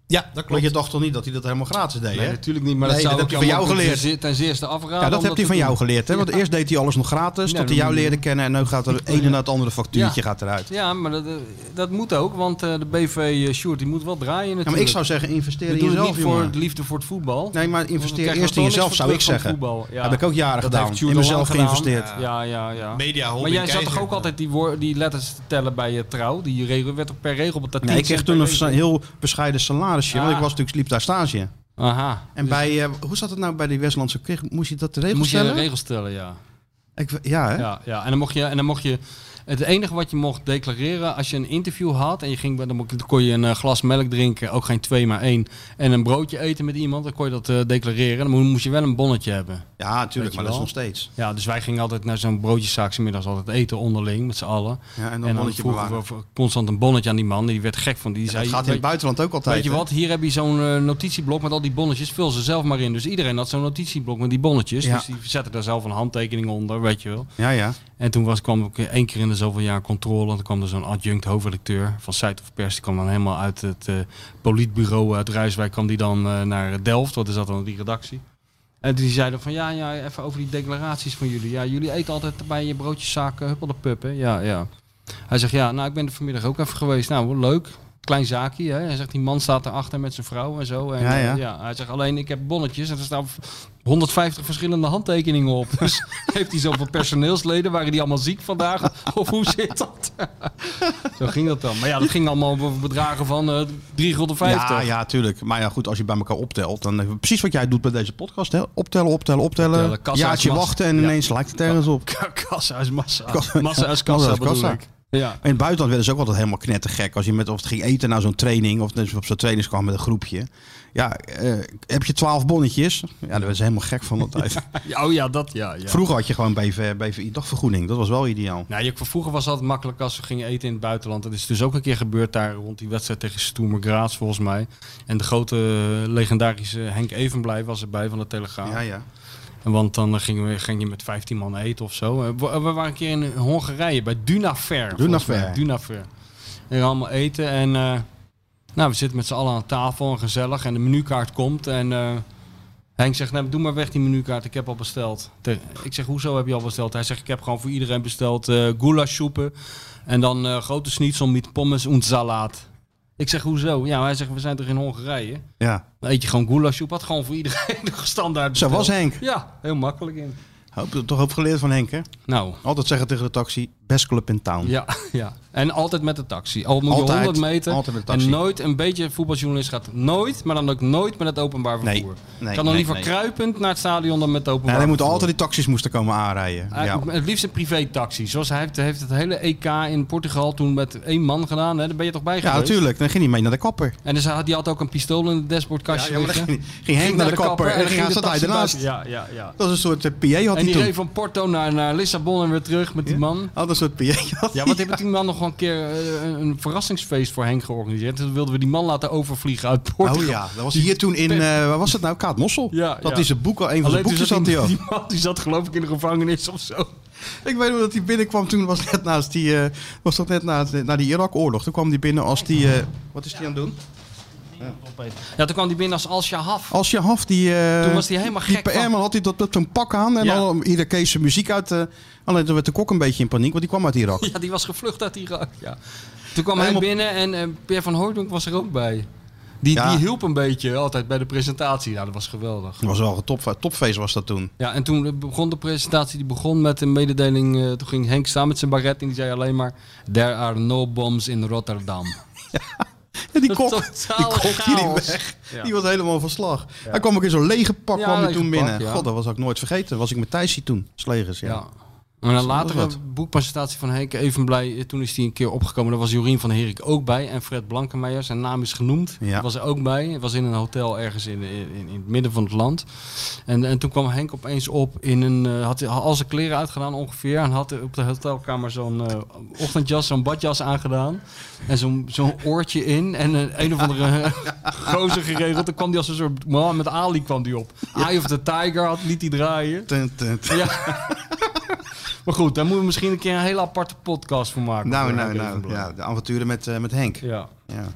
Speaker 6: ja, dat
Speaker 4: Want
Speaker 6: klopt.
Speaker 4: je dacht toch niet dat hij dat helemaal gratis deed,
Speaker 5: Nee,
Speaker 4: hè?
Speaker 5: natuurlijk niet, maar
Speaker 4: Nee,
Speaker 5: dat zou
Speaker 4: dat
Speaker 5: ik
Speaker 4: heb je van jou
Speaker 5: allemaal
Speaker 4: geleerd.
Speaker 5: Ten, ten zeerste afraden.
Speaker 4: Ja,
Speaker 5: om
Speaker 4: dat heb hij van
Speaker 5: te
Speaker 4: jou
Speaker 5: doen.
Speaker 4: geleerd, hè? Want eerst deed hij alles nog gratis, tot
Speaker 5: Ja,
Speaker 4: hij
Speaker 5: dat
Speaker 4: jou
Speaker 5: moet je
Speaker 4: leerde kennen en nu gaat er het ene na het andere factuurtje
Speaker 5: Ja.
Speaker 4: gaat eruit.
Speaker 5: Ja, maar dat, eh, dat moet ook, want eh, de BV Short die moet wel draaien natuurlijk.
Speaker 4: Ja, maar ik zou zeggen, investeer
Speaker 5: We
Speaker 4: in
Speaker 5: doen het
Speaker 4: jezelf,
Speaker 5: niet voor
Speaker 4: jongen.
Speaker 5: het liefde voor het voetbal.
Speaker 4: Nee, maar
Speaker 5: Want dan
Speaker 4: investeer
Speaker 5: krijgen we
Speaker 4: eerst in
Speaker 5: toch niks
Speaker 4: jezelf,
Speaker 5: voor
Speaker 4: zou ik
Speaker 5: terug van
Speaker 4: zeggen.
Speaker 5: voetbal. Ja.
Speaker 4: Heb ik ook jaren
Speaker 5: Dat
Speaker 4: gedaan.
Speaker 5: heeft Sjoerd
Speaker 4: In
Speaker 5: al
Speaker 4: mezelf
Speaker 5: lang gedaan.
Speaker 4: geïnvesteerd.
Speaker 5: Ja, ja, ja.
Speaker 6: Media Holding
Speaker 5: Maar jij zat
Speaker 6: Keizer.
Speaker 5: toch ook altijd die, woor- die letters te tellen bij je trouw? Die regel werd toch per regel op dat
Speaker 4: Nee, ik kreeg toen een versa- heel bescheiden salarisje, want
Speaker 5: Ah.
Speaker 4: ik was natuurlijk liep daar stage.
Speaker 5: Aha.
Speaker 4: En bij, eh, hoe zat het nou bij die Westlandse kreeg? Moest je dat de regels
Speaker 5: Moest je
Speaker 4: stellen?
Speaker 5: de regels stellen, ja.
Speaker 4: Ik, ja, hè?
Speaker 5: Ja, ja. En, dan mocht je, en dan mocht je. Het enige wat je mocht declareren als je een interview had. en je ging, bij- dan mocht- dan kon je een eh, glas melk drinken. ook geen twee, maar één. en een broodje eten met iemand. dan kon je dat eh, declareren. Dan mo- moest je wel een bonnetje hebben.
Speaker 4: Ja, natuurlijk,
Speaker 5: Weet je
Speaker 4: maar dat is
Speaker 5: wel.
Speaker 4: nog steeds.
Speaker 5: Ja, dus wij gingen altijd naar zo'n broodjeszaak. 's middags altijd eten onderling met z'n allen.
Speaker 4: Ja, en dan
Speaker 5: en dan
Speaker 4: bonnetje
Speaker 5: vroegen
Speaker 4: bewaren.
Speaker 5: we voor- constant een bonnetje aan die man. Die werd gek van. Die
Speaker 4: Dat
Speaker 5: zei.
Speaker 4: gaat in
Speaker 5: weet-
Speaker 4: het buitenland ook altijd.
Speaker 5: Weet je
Speaker 4: hè?
Speaker 5: wat, hier heb je zo'n eh, notitieblok met al die bonnetjes. Vul ze zelf maar in. Dus iedereen had zo'n notitieblok met die bonnetjes.
Speaker 4: Ja.
Speaker 5: Dus die zetten daar zelf een handtekening onder, weet je wel.
Speaker 4: Ja, ja.
Speaker 5: En toen was, kwam ik één keer in de zoveel jaar controle. En toen kwam er zo'n adjunct hoofdredacteur van Site of Pers. Die kwam dan helemaal uit het eh, politbureau uit Rijswijk. kwam die dan eh, naar Delft. Wat is dat dan, die redactie? En die zeiden van, ja, ja, even over die declaraties van jullie. Ja, jullie eten altijd bij je broodjeszaken, huppel de pup, hè? Ja, ja. Hij zegt, ja, nou, ik ben er vanmiddag ook even geweest. Nou, wat leuk. Klein zaakje, hè. Hij zegt, die man staat erachter met zijn vrouw en zo. En,
Speaker 4: Ja,
Speaker 5: eh,
Speaker 4: ja.
Speaker 5: Hij zegt, alleen ik heb bonnetjes en er staan 150 verschillende handtekeningen op. *laughs* Dus heeft hij zoveel personeelsleden? Waren die allemaal ziek vandaag? *laughs* Of hoe zit dat? *laughs* zo ging dat dan. Maar ja, dat ging allemaal over bedragen van eh 3,50
Speaker 4: Ja, ja, tuurlijk. Maar ja, goed, als je bij elkaar optelt, dan eh, precies wat jij doet bij deze podcast. Hè? Optellen, optellen, optellen.
Speaker 5: Optellen, kassa is
Speaker 4: jaartje
Speaker 5: massa.
Speaker 4: wachten en
Speaker 5: Ja.
Speaker 4: ineens lijkt het ergens op.
Speaker 5: Kassa is massa.
Speaker 4: Ka-
Speaker 5: Massa is
Speaker 4: Massa
Speaker 5: kassa,
Speaker 4: is
Speaker 5: bedoel
Speaker 4: kassa.
Speaker 5: ik. Ja.
Speaker 4: In het buitenland werden ze ook altijd helemaal knettergek. Als je met of het ging eten na zo'n training, of dus op zo'n trainings kwam met een groepje. Ja, eh, heb je twaalf bonnetjes? Ja, daar werden ze helemaal gek van
Speaker 5: *laughs*
Speaker 4: altijd.
Speaker 5: Ja, Oh ja, dat ja. ja.
Speaker 4: *laughs* Vroeger had je gewoon BV, BVI dagvergoeding. Dat was wel ideaal.
Speaker 5: Nou, je- vroeger was het altijd makkelijk als we gingen eten in het buitenland. Dat is dus ook een keer gebeurd daar rond die wedstrijd tegen Stoemer Graz volgens mij. En de grote eh, legendarische Henk Evenblij was erbij van de Telegraaf.
Speaker 4: Ja, ja.
Speaker 5: En Want dan eh, gingen we, ging je met 15 man eten of zo. Eh, We, we waren een keer in Hongarije bij Dunafer. volgens mij.
Speaker 4: Dunafer.
Speaker 5: Dunafer. En allemaal eten en... eh, nou, we zitten met z'n allen aan tafel en gezellig. En de menukaart komt en... eh, Henk zegt, nou, doe maar weg die menukaart, ik heb al besteld. Te- Ik zeg, hoezo heb je al besteld? Hij zegt, ik heb gewoon voor iedereen besteld eh soepen en dan eh, grote schnitzel met pommes en salaat. Ik zeg, hoezo? Ja, hij zegt, we zijn toch in Hongarije?
Speaker 4: Ja.
Speaker 5: Dan eet je gewoon goulashsoep. Had gewoon voor iedereen *laughs* de standaard
Speaker 4: Zo
Speaker 5: besteld.
Speaker 4: was Henk.
Speaker 5: Ja, heel makkelijk in.
Speaker 4: Hoop, toch hoop geleerd van Henk, hè?
Speaker 5: Nou,
Speaker 4: Altijd zeggen tegen de taxi, best club in town.
Speaker 5: ja, *laughs* ja. En altijd met de taxi. Al moet
Speaker 4: Altijd,
Speaker 5: je 100 meter.
Speaker 4: altijd met de taxi.
Speaker 5: En nooit, een beetje voetbaljournalist gaat nooit, maar dan ook nooit met het openbaar
Speaker 4: Nee,
Speaker 5: vervoer.
Speaker 4: nee,
Speaker 5: kan dan
Speaker 4: nee,
Speaker 5: liever
Speaker 4: nee.
Speaker 5: kruipend naar het stadion dan met het openbaar
Speaker 4: Ja, hij moet
Speaker 5: vervoer.
Speaker 4: altijd die taxis moesten komen aanrijden.
Speaker 5: Hij-
Speaker 4: Ja.
Speaker 5: Het liefst een privé-taxi. Zoals hij heeft, heeft het hele EK in Portugal toen met één man gedaan. Hè? Daar ben je toch bij
Speaker 4: ja,
Speaker 5: geweest?
Speaker 4: natuurlijk. Dan ging hij mee naar de kapper.
Speaker 5: En dus hij had, die had ook een pistool in het dashboardkastje
Speaker 4: Ja, ja, maar dan
Speaker 5: liggen.
Speaker 4: ging- ging Henk naar de kapper en ging hij- zat
Speaker 5: de
Speaker 4: hij
Speaker 5: taxi
Speaker 4: ernaast.
Speaker 5: bij- Ja, ja, ja.
Speaker 4: Dat is een soort eh, PA had
Speaker 5: En
Speaker 4: hij
Speaker 5: die reed
Speaker 4: toen.
Speaker 5: van Porto naar, naar Lissabon en weer terug met die man.
Speaker 4: Had een soort PA. had
Speaker 5: Ja,
Speaker 4: hij. *laughs*
Speaker 5: want hebben die man nog wel een keer eh, een, een verrassingsfeest voor Henk georganiseerd. Toen wilden we die man laten overvliegen uit Portugal.
Speaker 4: Oh ja, dat was hier toen in, eh, waar was het nou? Kaat Mossel.
Speaker 5: Ja,
Speaker 4: dat
Speaker 5: ja.
Speaker 4: is een boek, al, een van
Speaker 5: Alleen
Speaker 4: zijn
Speaker 5: toen
Speaker 4: boekjes
Speaker 5: zat
Speaker 4: had hij
Speaker 5: die,
Speaker 4: ook.
Speaker 5: die man die zat geloof ik in de gevangenis of zo.
Speaker 4: Ik weet nog dat hij binnenkwam toen, was net naast die, eh, was dat net na, na die Irak-oorlog. Toen kwam hij binnen als die, eh, wat is die aan het doen?
Speaker 5: Ja, toen kwam die binnen als Al-Shahaf.
Speaker 4: Als je haf die... eh,
Speaker 5: Toen was hij helemaal
Speaker 4: Die
Speaker 5: gek
Speaker 4: PR
Speaker 5: van-
Speaker 4: man had hij dat met zo'n pak aan en
Speaker 5: Ja.
Speaker 4: dan iedere kees zijn muziek uit. eh, alleen toen werd de kok een beetje in paniek, want die kwam uit Irak.
Speaker 5: Ja, die was gevlucht uit Irak. Ja. Toen kwam
Speaker 4: Helemaal-
Speaker 5: hij binnen en eh, Pierre van Hooydonk was er ook bij. Die,
Speaker 4: Ja.
Speaker 5: die hielp een beetje altijd bij de presentatie. Nou, dat was geweldig.
Speaker 4: Dat was wel een top, topfeest was dat toen.
Speaker 5: Ja, en toen begon de presentatie, die begon met een mededeling. eh, toen ging Henk staan met zijn baguette en die zei alleen maar... There are no bombs in Rotterdam.
Speaker 4: Ja, die
Speaker 5: Een
Speaker 4: kok, die
Speaker 5: totale
Speaker 4: kok die liep
Speaker 5: chaos.
Speaker 4: weg.
Speaker 5: Ja.
Speaker 4: Die was helemaal van slag. Hij kwam ook in zo'n lege pak
Speaker 5: Ja,
Speaker 4: kwam hij
Speaker 5: lege
Speaker 4: toen
Speaker 5: pak,
Speaker 4: binnen.
Speaker 5: ja.
Speaker 4: God, dat was ik nooit vergeten. Was ik met Thijsie toen, Slegers. Ja.
Speaker 5: Ja. Maar een
Speaker 4: was
Speaker 5: latere
Speaker 4: wat.
Speaker 5: boekpresentatie van Henk Evenblij, eh, toen is hij een keer opgekomen. Daar was Jorien van Herik ook bij en Fred Blankenmeijer, zijn naam is genoemd.
Speaker 4: Ja.
Speaker 5: Die was er ook bij. Hij was in een hotel ergens in, in, in het midden van het land. En, en toen kwam Henk opeens op in een... eh, had hij al zijn kleren uitgedaan ongeveer. En had op de hotelkamer zo'n eh, ochtendjas, zo'n badjas aangedaan. En zo'n zo'n oortje in. En een, een of andere *laughs* gozer geregeld. Toen kwam hij als een soort Mohammed Ali kwam die op. Eye of the Tiger had, liet hij draaien.
Speaker 4: Tun, tun, tun.
Speaker 5: Ja. *laughs* maar goed, daar moeten we misschien een keer een hele aparte podcast voor maken.
Speaker 4: Nou,
Speaker 5: Voor
Speaker 4: nou,
Speaker 5: Henk
Speaker 4: nou.
Speaker 5: Evenblij.
Speaker 4: Ja, de avonturen met, eh, met Henk.
Speaker 5: ja.
Speaker 4: Ja.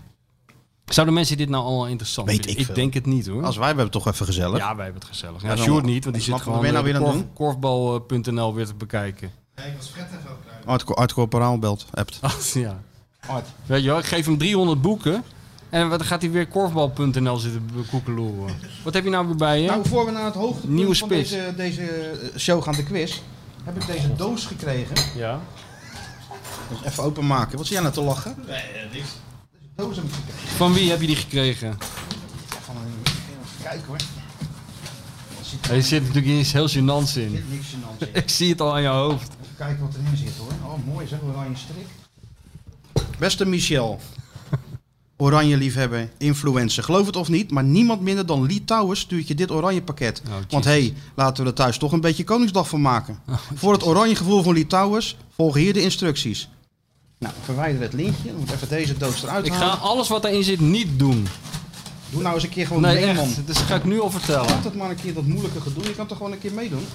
Speaker 5: Zouden mensen dit nou allemaal interessant
Speaker 4: Weet
Speaker 5: vinden?
Speaker 4: ik
Speaker 5: ik
Speaker 4: veel.
Speaker 5: denk het niet hoor.
Speaker 4: Als wij hebben het toch even gezellig.
Speaker 5: Ja, wij hebben het gezellig. Ja,
Speaker 4: Ja, dan-
Speaker 5: Sjoerd niet, want die
Speaker 4: Wat
Speaker 5: zit
Speaker 4: ben je
Speaker 5: gewoon
Speaker 4: nou
Speaker 5: eh,
Speaker 4: weer aan het
Speaker 5: korf- eh,
Speaker 4: doen?
Speaker 5: korfbal.nl weer te bekijken. *laughs*
Speaker 4: Art, Art Corporaal belt, appt.
Speaker 5: Ah, ja. Weet je wel, ik geef hem 300 boeken. En wat gaat hij weer korfbal.nl zitten be- koekeloeren. Wat heb je nou weer bij je?
Speaker 4: Nou, voor we naar het hoogtepunt
Speaker 5: Nieuwe
Speaker 4: van
Speaker 5: spits.
Speaker 4: deze, deze show gaan, de quiz, heb ik deze doos gekregen.
Speaker 5: ja.
Speaker 4: Dus even openmaken. Wat zie jij nou te lachen? Nee, niks. Deze doos heb ik gekregen.
Speaker 5: Van wie heb je die gekregen?
Speaker 4: Van een- Even kijken hoor. Er zit
Speaker 5: Er zit natuurlijk iets heel gênants in.
Speaker 4: zit niks gênants in.
Speaker 5: *laughs* Ik zie het al aan je hoofd.
Speaker 4: Even kijken wat erin zit hoor. Oh, mooi zeg, oranje strik. Beste Michel. Oranje liefhebber, influencer. Geloof het of niet, maar niemand minder dan Lee Towers stuurt je dit oranje pakket.
Speaker 5: Oh, jezus. Oh,
Speaker 4: Want hé, hey, laten we er thuis toch een beetje Koningsdag van maken. Voor het oranje gevoel van Lee Towers volgen hier de instructies. Nou, verwijder het linkje. Dan moet ik even deze doos eruit
Speaker 5: Ik ga
Speaker 4: halen.
Speaker 5: alles wat daarin zit niet doen.
Speaker 4: Doe nou eens een keer gewoon
Speaker 5: Nee,
Speaker 4: mee, man.
Speaker 5: echt. Dus dat ga ik nu al vertellen.
Speaker 4: Laat het maar een keer dat moeilijke gedoe. Je kan toch gewoon een keer meedoen?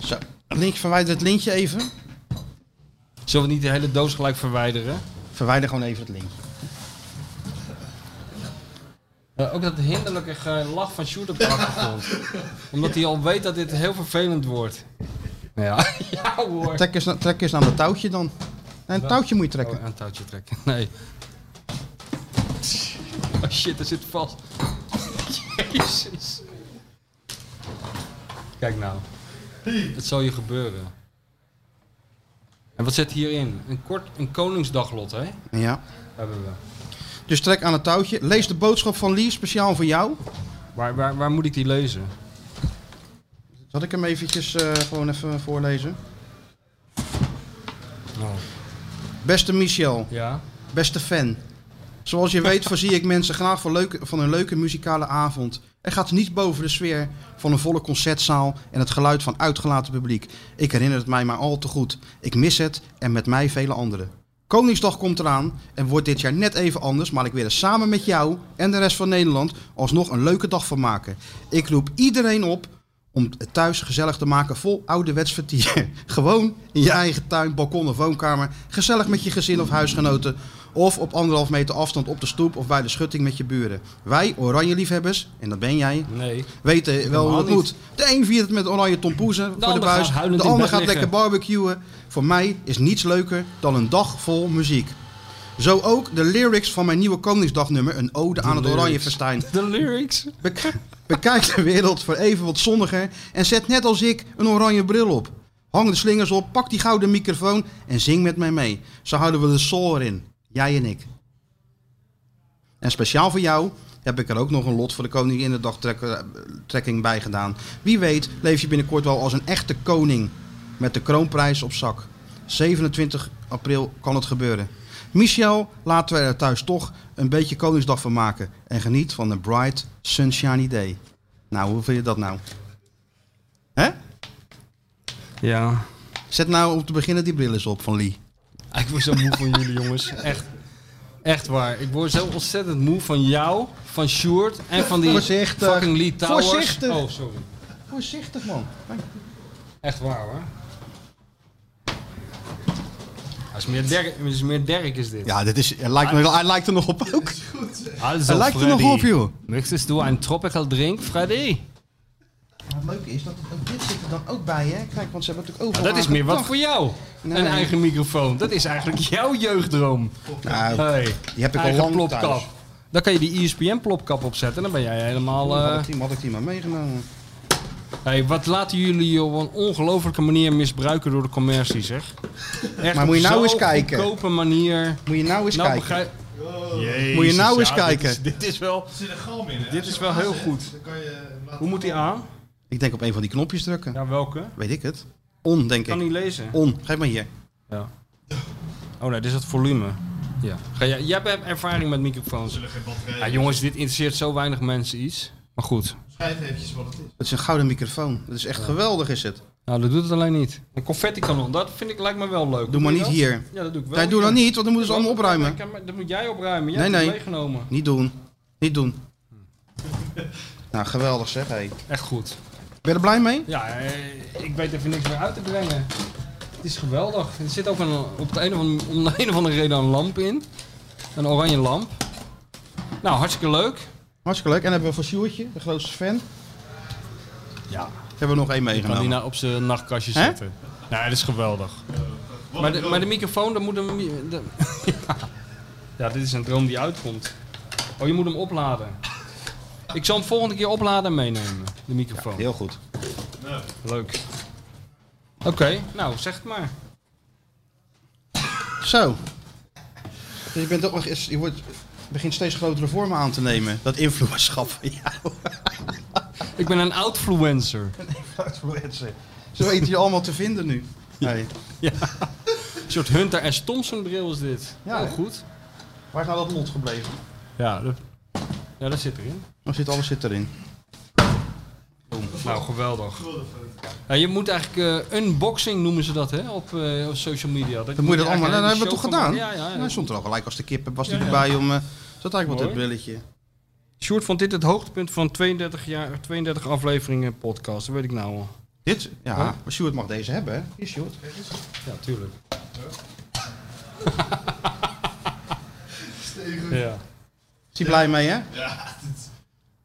Speaker 4: Zo, link, verwijder het linkje even.
Speaker 5: Zullen we niet de hele doos gelijk verwijderen?
Speaker 4: Verwijder gewoon even het linkje.
Speaker 5: Eh, ook dat hinderlijke ge- lach van Sjoerd op de *laughs* achtergrond. Omdat hij al weet dat dit heel vervelend wordt. Nou Ja, *laughs* ja hoor.
Speaker 4: Trek eens, na- trek eens aan het touwtje dan. Nee, een touwtje moet je trekken.
Speaker 5: Oh, aan het touwtje trekken. Nee. Oh shit, er zit vast. *laughs* Jezus. Kijk nou. Het zal je gebeuren. En wat zit hierin? Een kort, een koningsdaglot, hè?
Speaker 4: Ja.
Speaker 5: Hebben we.
Speaker 4: Dus trek aan het touwtje. Lees de boodschap van Lee, speciaal voor jou.
Speaker 5: Waar, waar, waar moet ik die lezen?
Speaker 4: Zal ik hem eventjes eh, gewoon even voorlezen? Beste Michel,
Speaker 5: Ja.
Speaker 4: beste fan. Zoals je weet voorzie ik mensen graag van, leuke, van een leuke muzikale avond. Er gaat niets boven de sfeer van een volle concertzaal en het geluid van uitgelaten publiek. Ik herinner het mij maar al te goed. Ik mis het en met mij vele anderen. Koningsdag komt eraan en wordt dit jaar net even anders, maar ik wil er samen met jou en de rest van Nederland alsnog een leuke dag van maken. Ik roep iedereen op om het thuis gezellig te maken vol ouderwets vertier. *laughs* Gewoon in je eigen tuin, balkon of woonkamer, gezellig met je gezin of huisgenoten of op anderhalf meter afstand op de stoep of bij de schutting met je buren. Wij, oranje liefhebbers, en dat ben jij,
Speaker 5: Nee.
Speaker 4: weten wel hoe het
Speaker 5: Helemaal
Speaker 4: moet. De een viert het met oranje tompoezen voor de
Speaker 5: ander
Speaker 4: buis.
Speaker 5: gaat huilend
Speaker 4: De
Speaker 5: in
Speaker 4: ander
Speaker 5: bed
Speaker 4: gaat lekker
Speaker 5: liggen.
Speaker 4: barbecuen. Voor mij is niets leuker dan een dag vol muziek. Zo ook de lyrics van mijn nieuwe Koningsdagnummer, een ode aan het Oranje Festijn.
Speaker 5: De lyrics.
Speaker 4: Bek- Bekijk de wereld voor even wat zonniger en zet net als ik een oranje bril op. Hang de slingers op, pak die gouden microfoon en zing met mij mee. Zo houden we de soul erin, jij en ik. En speciaal voor jou heb ik er ook nog een lot voor de Koninginnedagtrekking bij gedaan. Wie weet leef je binnenkort wel als een echte koning met de kroonprijs op zak. 27 april kan het gebeuren. Michel, laten we er thuis toch een beetje Koningsdag van maken. En geniet van een bright, sunshiny day. Nou, hoe vind je dat nou? Hè?
Speaker 5: Ja.
Speaker 4: Zet nou om te beginnen die bril eens op van Lee.
Speaker 5: Ik word zo moe van jullie, jongens. Echt. Echt waar. Ik word zo ontzettend moe van jou, van Sjoerd en van die
Speaker 4: Voorzichtig.
Speaker 5: fucking Lee Towers.
Speaker 4: Voorzichtig.
Speaker 5: Oh, sorry.
Speaker 4: Voorzichtig, man.
Speaker 5: Echt waar, hoor. Hij is meer Derk, hij is, meer Derk is dit.
Speaker 4: Ja, dit is, hij, lijkt, me- hij lijkt er nog op ook.
Speaker 5: Also,
Speaker 4: Hij lijkt er nog op, joh.
Speaker 5: Möchtest du een tropical drink, Freddy?
Speaker 4: Het leuke is dat ook dit zit er dan ook bij, hè? Kijk, want ze hebben natuurlijk overal
Speaker 5: Dat is meer wat voor jou.
Speaker 4: Nee.
Speaker 5: Een eigen microfoon. Dat is eigenlijk *laughs* jouw jeugddroom.
Speaker 4: Nou,
Speaker 5: Hey,
Speaker 4: die heb ik al
Speaker 5: eigen
Speaker 4: lang
Speaker 5: plopkap.
Speaker 4: thuis.
Speaker 5: Dan kan je die E ESPN-plopkap opzetten. Dan ben jij helemaal... eh,
Speaker 4: had ik die- had ik die maar meegenomen.
Speaker 5: Hey, wat laten jullie op een ongelofelijke manier misbruiken door de commercie, zeg. Echt
Speaker 4: Maar moet je
Speaker 5: op
Speaker 4: nou eens
Speaker 5: zo'n
Speaker 4: kijken.
Speaker 5: goedkope manier.
Speaker 4: Moet je nou eens
Speaker 5: Nou,
Speaker 4: kijken.
Speaker 5: begrijp- *laughs*
Speaker 4: Moet je nou eens kijken.
Speaker 5: Dit is, dit is wel,
Speaker 6: Er zit een galm in, hè?
Speaker 5: dit is wel heel goed.
Speaker 6: Dan kan je laten-
Speaker 5: Hoe moet die aan?
Speaker 4: Ik denk op een van die knopjes drukken.
Speaker 5: Ja, welke?
Speaker 4: Weet ik het. On, denk
Speaker 5: Kan
Speaker 4: ik.
Speaker 5: niet lezen.
Speaker 4: On, geef maar hier.
Speaker 5: Ja. Oh nee, dit is het volume. Ja. Ga jij, jij hebt ervaring met microfoons. Ja, jongens, dit interesseert zo weinig mensen iets. Maar goed.
Speaker 6: Schrijf eventjes wat het is.
Speaker 4: Het is een gouden microfoon. Dat is echt geweldig, is het.
Speaker 5: Nou, dat doet het alleen niet. Een confetti-kanon, dat vind ik, lijkt me wel leuk.
Speaker 4: Doe maar
Speaker 5: je
Speaker 4: niet
Speaker 5: dat?
Speaker 4: hier.
Speaker 5: Ja, dat doe ik wel.
Speaker 4: Nee, doe
Speaker 5: hier.
Speaker 4: dat niet, want dan moeten ze allemaal opruimen.
Speaker 5: Ja, maar Dat moet jij opruimen. Jij
Speaker 4: Nee,
Speaker 5: hebt het
Speaker 4: nee.
Speaker 5: meegenomen.
Speaker 4: Niet doen. Niet doen.
Speaker 5: *laughs*
Speaker 4: Nou, geweldig zeg. Hey. Ben
Speaker 5: Echt goed.
Speaker 4: je er blij mee?
Speaker 5: Ja, eh, ik weet even niks meer uit te brengen. Het is geweldig. Er zit ook een, op de een of andere, om de een of andere reden een lamp in. Een oranje lamp. Nou, hartstikke leuk.
Speaker 4: Hartstikke leuk. En dan hebben we voor Sjoertje, de grootste fan,
Speaker 5: Ja,
Speaker 4: hebben we nog één
Speaker 5: kan die
Speaker 4: meegenomen.
Speaker 5: nou op zijn nachtkastje
Speaker 4: Hè?
Speaker 5: zetten. Nee, dat is geweldig. Maar de, maar de microfoon, dan moet hem... de- *laughs* ja. ja, dit is een droom die uitkomt. Oh, je moet hem opladen. Ik zal hem volgende keer opladen en meenemen, de microfoon.
Speaker 4: Heel goed.
Speaker 5: Leuk. Oké, nou, zeg het maar.
Speaker 4: Zo. Dus je, bent ook, nog eens- je wordt, begint steeds grotere vormen aan te nemen. Dat influencerschap *laughs* van jou.
Speaker 5: Ik ben een outfluencer.
Speaker 4: Influencer. Zo weten je allemaal te vinden nu. Hey.
Speaker 5: Een soort Hunter S. Thompson bril is dit.
Speaker 4: Ja,
Speaker 5: Ja, Heel
Speaker 4: hè?
Speaker 5: goed.
Speaker 4: Waar is nou dat lot gebleven?
Speaker 5: Ja, dat, ja, dat zit erin.
Speaker 4: Dan zit alles zit erin.
Speaker 5: Nou, geweldig. Ja, je moet eigenlijk eh, unboxing noemen ze dat hè, op, eh, op social media. Dat
Speaker 4: Dan moet je dat allemaal. Nou,
Speaker 5: eigenlijk
Speaker 4: dat
Speaker 5: een
Speaker 4: hebben we toch
Speaker 5: show van
Speaker 4: gedaan? Nou,
Speaker 5: maken. Ja, ja, ja.
Speaker 4: Hij stond er al gelijk als de kippen. Was hij erbij om. eh zat eigenlijk wat
Speaker 5: Mooi.
Speaker 4: het brilletje.
Speaker 5: Sjoerd vond dit het hoogtepunt van 32, jaar, 32 afleveringen podcast. Dat weet ik nou al.
Speaker 4: Dit? Ja, maar Sjoerd mag deze hebben, hè? Hier, Sjoerd.
Speaker 5: Ja, tuurlijk. ja.
Speaker 4: Is hij blij mee, hè? Ja.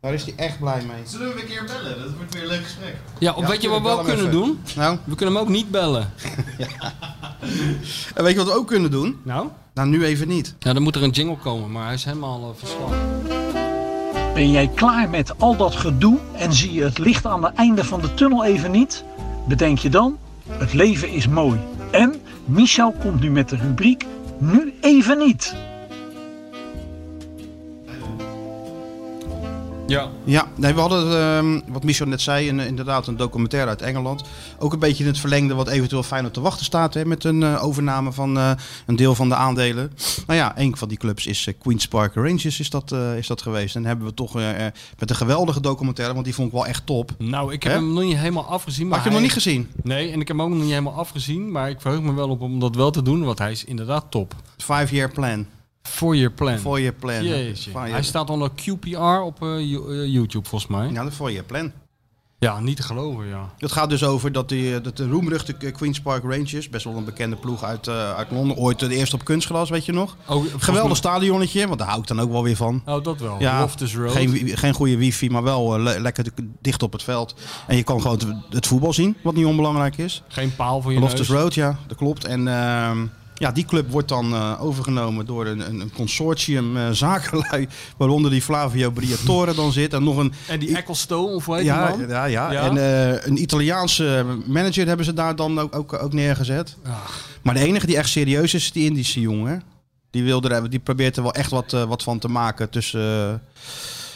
Speaker 4: Daar is hij echt blij mee.
Speaker 6: Zullen we hem een keer bellen? Dat wordt weer een leuk gesprek.
Speaker 5: ja, of weet je wat we
Speaker 4: bel
Speaker 5: ook
Speaker 4: hem
Speaker 5: kunnen
Speaker 4: even.
Speaker 5: doen?
Speaker 4: Nou,
Speaker 5: We kunnen hem ook niet bellen.
Speaker 4: en weet je wat we ook kunnen doen?
Speaker 5: Nou?
Speaker 4: Nou, nu even niet.
Speaker 5: Ja, dan moet er een jingle komen, maar hij is helemaal eh, verslagen.
Speaker 9: Ben jij klaar met al dat gedoe en zie je het licht aan het einde van de tunnel even niet? Bedenk je dan, het leven is mooi. En Michel komt nu met de rubriek Nu even niet.
Speaker 5: Ja.
Speaker 4: Ja, nee, we hadden, ehm, wat Michel net zei, een, eh, inderdaad een documentaire uit Engeland. Ook een beetje in het verlengde wat eventueel Feyenoord te wachten staat. Hè, met een eh, overname van eh, een deel van de aandelen. Nou ja, een van die clubs is eh, Queen's Park Rangers is dat, eh, is dat geweest. En hebben we toch eh, eh, met een geweldige documentaire, want die vond ik wel echt top.
Speaker 5: Nou, ik heb
Speaker 4: Hè?
Speaker 5: hem nog niet helemaal afgezien. Maar
Speaker 4: Maar heb je hem nog
Speaker 5: hij-
Speaker 4: niet gezien?
Speaker 5: Nee, en ik heb hem ook nog niet helemaal afgezien. Maar ik verheug me wel op om dat wel te doen, want hij is inderdaad top.
Speaker 4: Five year plan.
Speaker 5: Voor je plan.
Speaker 4: Four year plan.
Speaker 5: Jeetje.
Speaker 4: Five
Speaker 5: Hij
Speaker 4: year-
Speaker 5: staat onder QPR op eh, You- eh, YouTube volgens mij. Ja.
Speaker 4: Ja, de four year plan.
Speaker 5: niet te geloven, ja.
Speaker 4: Het gaat dus over dat, die, dat de roemruchte Queen's Park Rangers, best wel een bekende ploeg uit, eh, uit Londen, ooit de eerste op kunstgras, weet je nog?
Speaker 5: Oh, volgens
Speaker 4: Geweldig
Speaker 5: mij-
Speaker 4: stadionnetje, want daar hou ik dan ook wel weer van.
Speaker 5: Oh, dat wel.
Speaker 4: Ja,
Speaker 5: Loftus Road.
Speaker 4: Geen, wi- geen goede wifi, maar wel eh, le- lekker de- dicht op het veld. En je kan gewoon het- het voetbal zien, wat niet onbelangrijk is.
Speaker 5: Geen paal voor je
Speaker 4: Loftus
Speaker 5: neus.
Speaker 4: Road, ja, dat klopt. En ehm, Ja, die club wordt dan eh, overgenomen door een, een een consortium eh zakenlui, *laughs* waaronder die Flavio Briatore dan zit. En nog een...
Speaker 5: En die Ecclestone, of hoe heet
Speaker 4: Ja,
Speaker 5: die man?
Speaker 4: ja, ja.
Speaker 5: Ja.
Speaker 4: En eh, een Italiaanse manager hebben ze daar dan ook, ook, ook neergezet.
Speaker 5: Ah.
Speaker 4: Maar de enige die echt serieus is, is die Indische jongen. Die, wil er, hebben- die probeert er wel echt wat, eh, wat van te maken tussen... eh,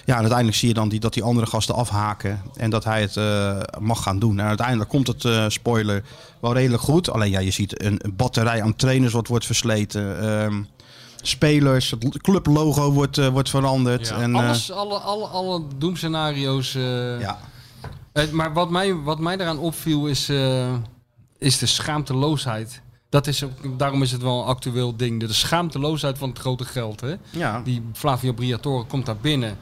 Speaker 4: ja, en uiteindelijk zie je dan die, dat die andere gasten afhaken. En dat hij het eh, mag gaan doen. En uiteindelijk komt het, eh, spoiler, wel redelijk goed. Alleen ja, je ziet een, een batterij aan trainers wat wordt versleten. ehm, spelers, het clublogo wordt, eh, wordt veranderd.
Speaker 5: Ja,
Speaker 4: en, eh,
Speaker 5: alles, alle, alle, alle doemscenario's. eh,
Speaker 4: ja.
Speaker 5: eh, maar wat mij, wat mij daaraan opviel is, eh, is de schaamteloosheid. Dat is, ook- daarom is het wel een actueel ding. De schaamteloosheid van het grote geld. Hè?
Speaker 4: Ja.
Speaker 5: Die Flavio Briatore komt daar binnen.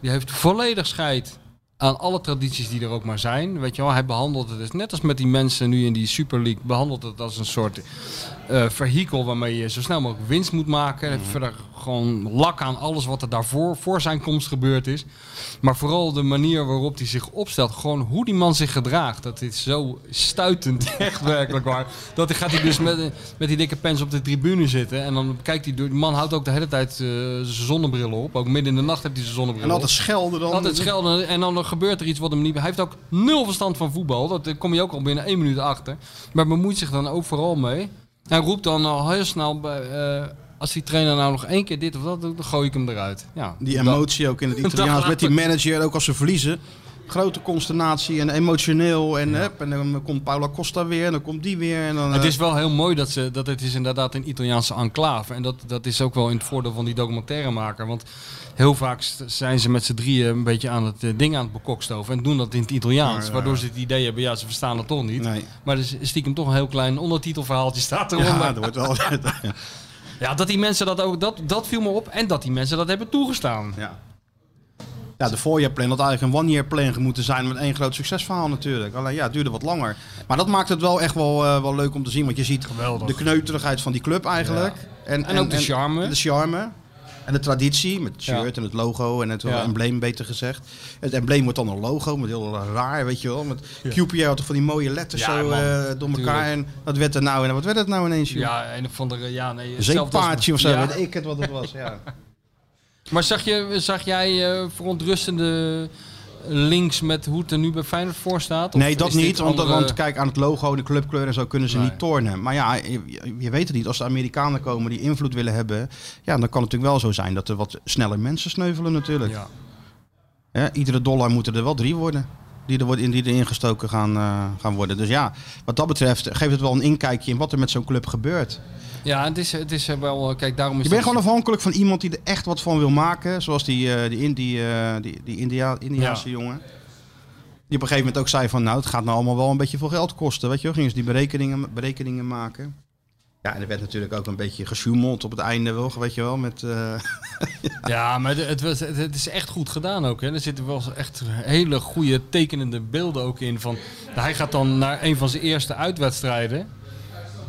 Speaker 5: Die heeft volledig scheid aan alle tradities die er ook maar zijn. Weet je wel, hij behandelt het dus net als met die mensen nu in die Super League. Behandelt het als een soort eh vehikel waarmee je zo snel mogelijk winst moet maken.
Speaker 4: Mhm.
Speaker 5: Hij heeft Verder gewoon lak aan alles wat er daarvoor voor zijn komst gebeurd is. Maar vooral de manier waarop hij zich opstelt. Gewoon hoe die man zich gedraagt. Dat is zo stuitend, *laughs* echt werkelijk waar. Dat hij gaat hij dus met, met die dikke pens op de tribune zitten. En dan kijkt hij door. Die man houdt ook de hele tijd eh, zijn zonnebril op. Ook midden in de nacht heeft hij zijn zonnebril
Speaker 4: en
Speaker 5: op.
Speaker 4: altijd schelden dan.
Speaker 5: Altijd schelden en dan gebeurt er iets wat hem niet... Hij heeft ook nul verstand van voetbal. Dat daar kom je ook al binnen één minuut achter. Maar bemoeit zich dan ook vooral mee. Hij roept dan al heel snel... bij, eh, als die trainer nou nog één keer dit of dat doet, dan gooi ik hem eruit. Ja.
Speaker 4: Die emotie ook in
Speaker 5: *laughs*
Speaker 4: het Italiaans met die manager, ook als ze verliezen. Grote consternatie en emotioneel. En, hup, en dan komt Paula Costa weer en dan komt die weer. En dan,
Speaker 5: Het
Speaker 4: eh,
Speaker 5: is wel heel mooi dat, ze, dat het is inderdaad een Italiaanse enclave. En dat, dat is ook wel in het voordeel van die documentairemaker. Want heel vaak st- zijn ze met z'n drieën een beetje aan het eh, ding aan het bekokstoven. En doen dat in het Italiaans.
Speaker 4: Maar, eh,
Speaker 5: waardoor ze het idee hebben, ja, ze verstaan het toch niet.
Speaker 4: Nee.
Speaker 5: Maar er is stiekem toch een heel klein ondertitelverhaaltje staat eronder.
Speaker 4: *laughs* Ja, dat wordt wel.
Speaker 5: Ja, dat die mensen dat ook, dat, dat viel me op. En dat die mensen dat hebben toegestaan.
Speaker 4: ja. ja, de voorjaarplan had eigenlijk een one-year plan moeten zijn met één groot succesverhaal natuurlijk. Alleen ja, het duurde wat langer. Maar dat maakt het wel echt wel, eh, wel leuk om te zien. Want je ziet
Speaker 5: Geweldig.
Speaker 4: de kneuterigheid van die club eigenlijk. En,
Speaker 5: En ook de charme.
Speaker 4: En de charme. En de traditie met het shirt en het logo en het
Speaker 5: Ja.
Speaker 4: embleem beter gezegd. Het embleem wordt dan een logo, met heel raar, weet je wel. Met QPR had toch van die mooie letters
Speaker 5: Ja,
Speaker 4: zo
Speaker 5: man,
Speaker 4: eh, door elkaar. En dat werd er nou en wat werd het nou ineens? joh?
Speaker 5: Ja, een of andere... Ja, nee,
Speaker 4: een
Speaker 5: hetzelfde als-
Speaker 4: zeepaardje of zo,
Speaker 5: Ja.
Speaker 4: weet ik het wat het was. Ja.
Speaker 5: Maar zag, je, zag jij eh, verontrustende links met hoe het er nu bij Feyenoord voor staat? Of
Speaker 4: Nee, dat
Speaker 5: is dit
Speaker 4: niet. Want,
Speaker 5: andere-
Speaker 4: want kijk, aan het logo, de clubkleur en zo kunnen ze
Speaker 5: Nee.
Speaker 4: niet tornen. Maar ja, je, je weet het niet. Als de Amerikanen komen die invloed willen hebben... Ja, dan kan het natuurlijk wel zo zijn dat er wat sneller mensen sneuvelen natuurlijk.
Speaker 5: Ja.
Speaker 4: Hè, iedere dollar moeten er wel drie worden. Die er wordt in die erin gestoken gaan, eh, gaan worden. Dus ja, wat dat betreft geeft het wel een inkijkje in wat er met zo'n club gebeurt.
Speaker 5: ja, het is, het is eh, wel... eh, Kijk, daarom is
Speaker 4: Je bent
Speaker 5: het-
Speaker 4: gewoon afhankelijk van iemand die er echt wat van wil maken. Zoals die, eh, die, Indi- eh, die, die India, Indiaanse jongen. Die op een gegeven moment ook zei van nou, het gaat nou allemaal wel een beetje veel geld kosten. Weet je wel, gingen ze die berekeningen, berekeningen maken. Ja, en er werd natuurlijk ook een beetje gesjoemeld op het einde wel, weet je wel. Met, eh,
Speaker 5: Ja, maar het, het, was- het- het is echt goed gedaan ook. Hè. Er zitten wel echt hele goede tekenende beelden ook in. Van, hij gaat dan naar een van zijn eerste uitwedstrijden.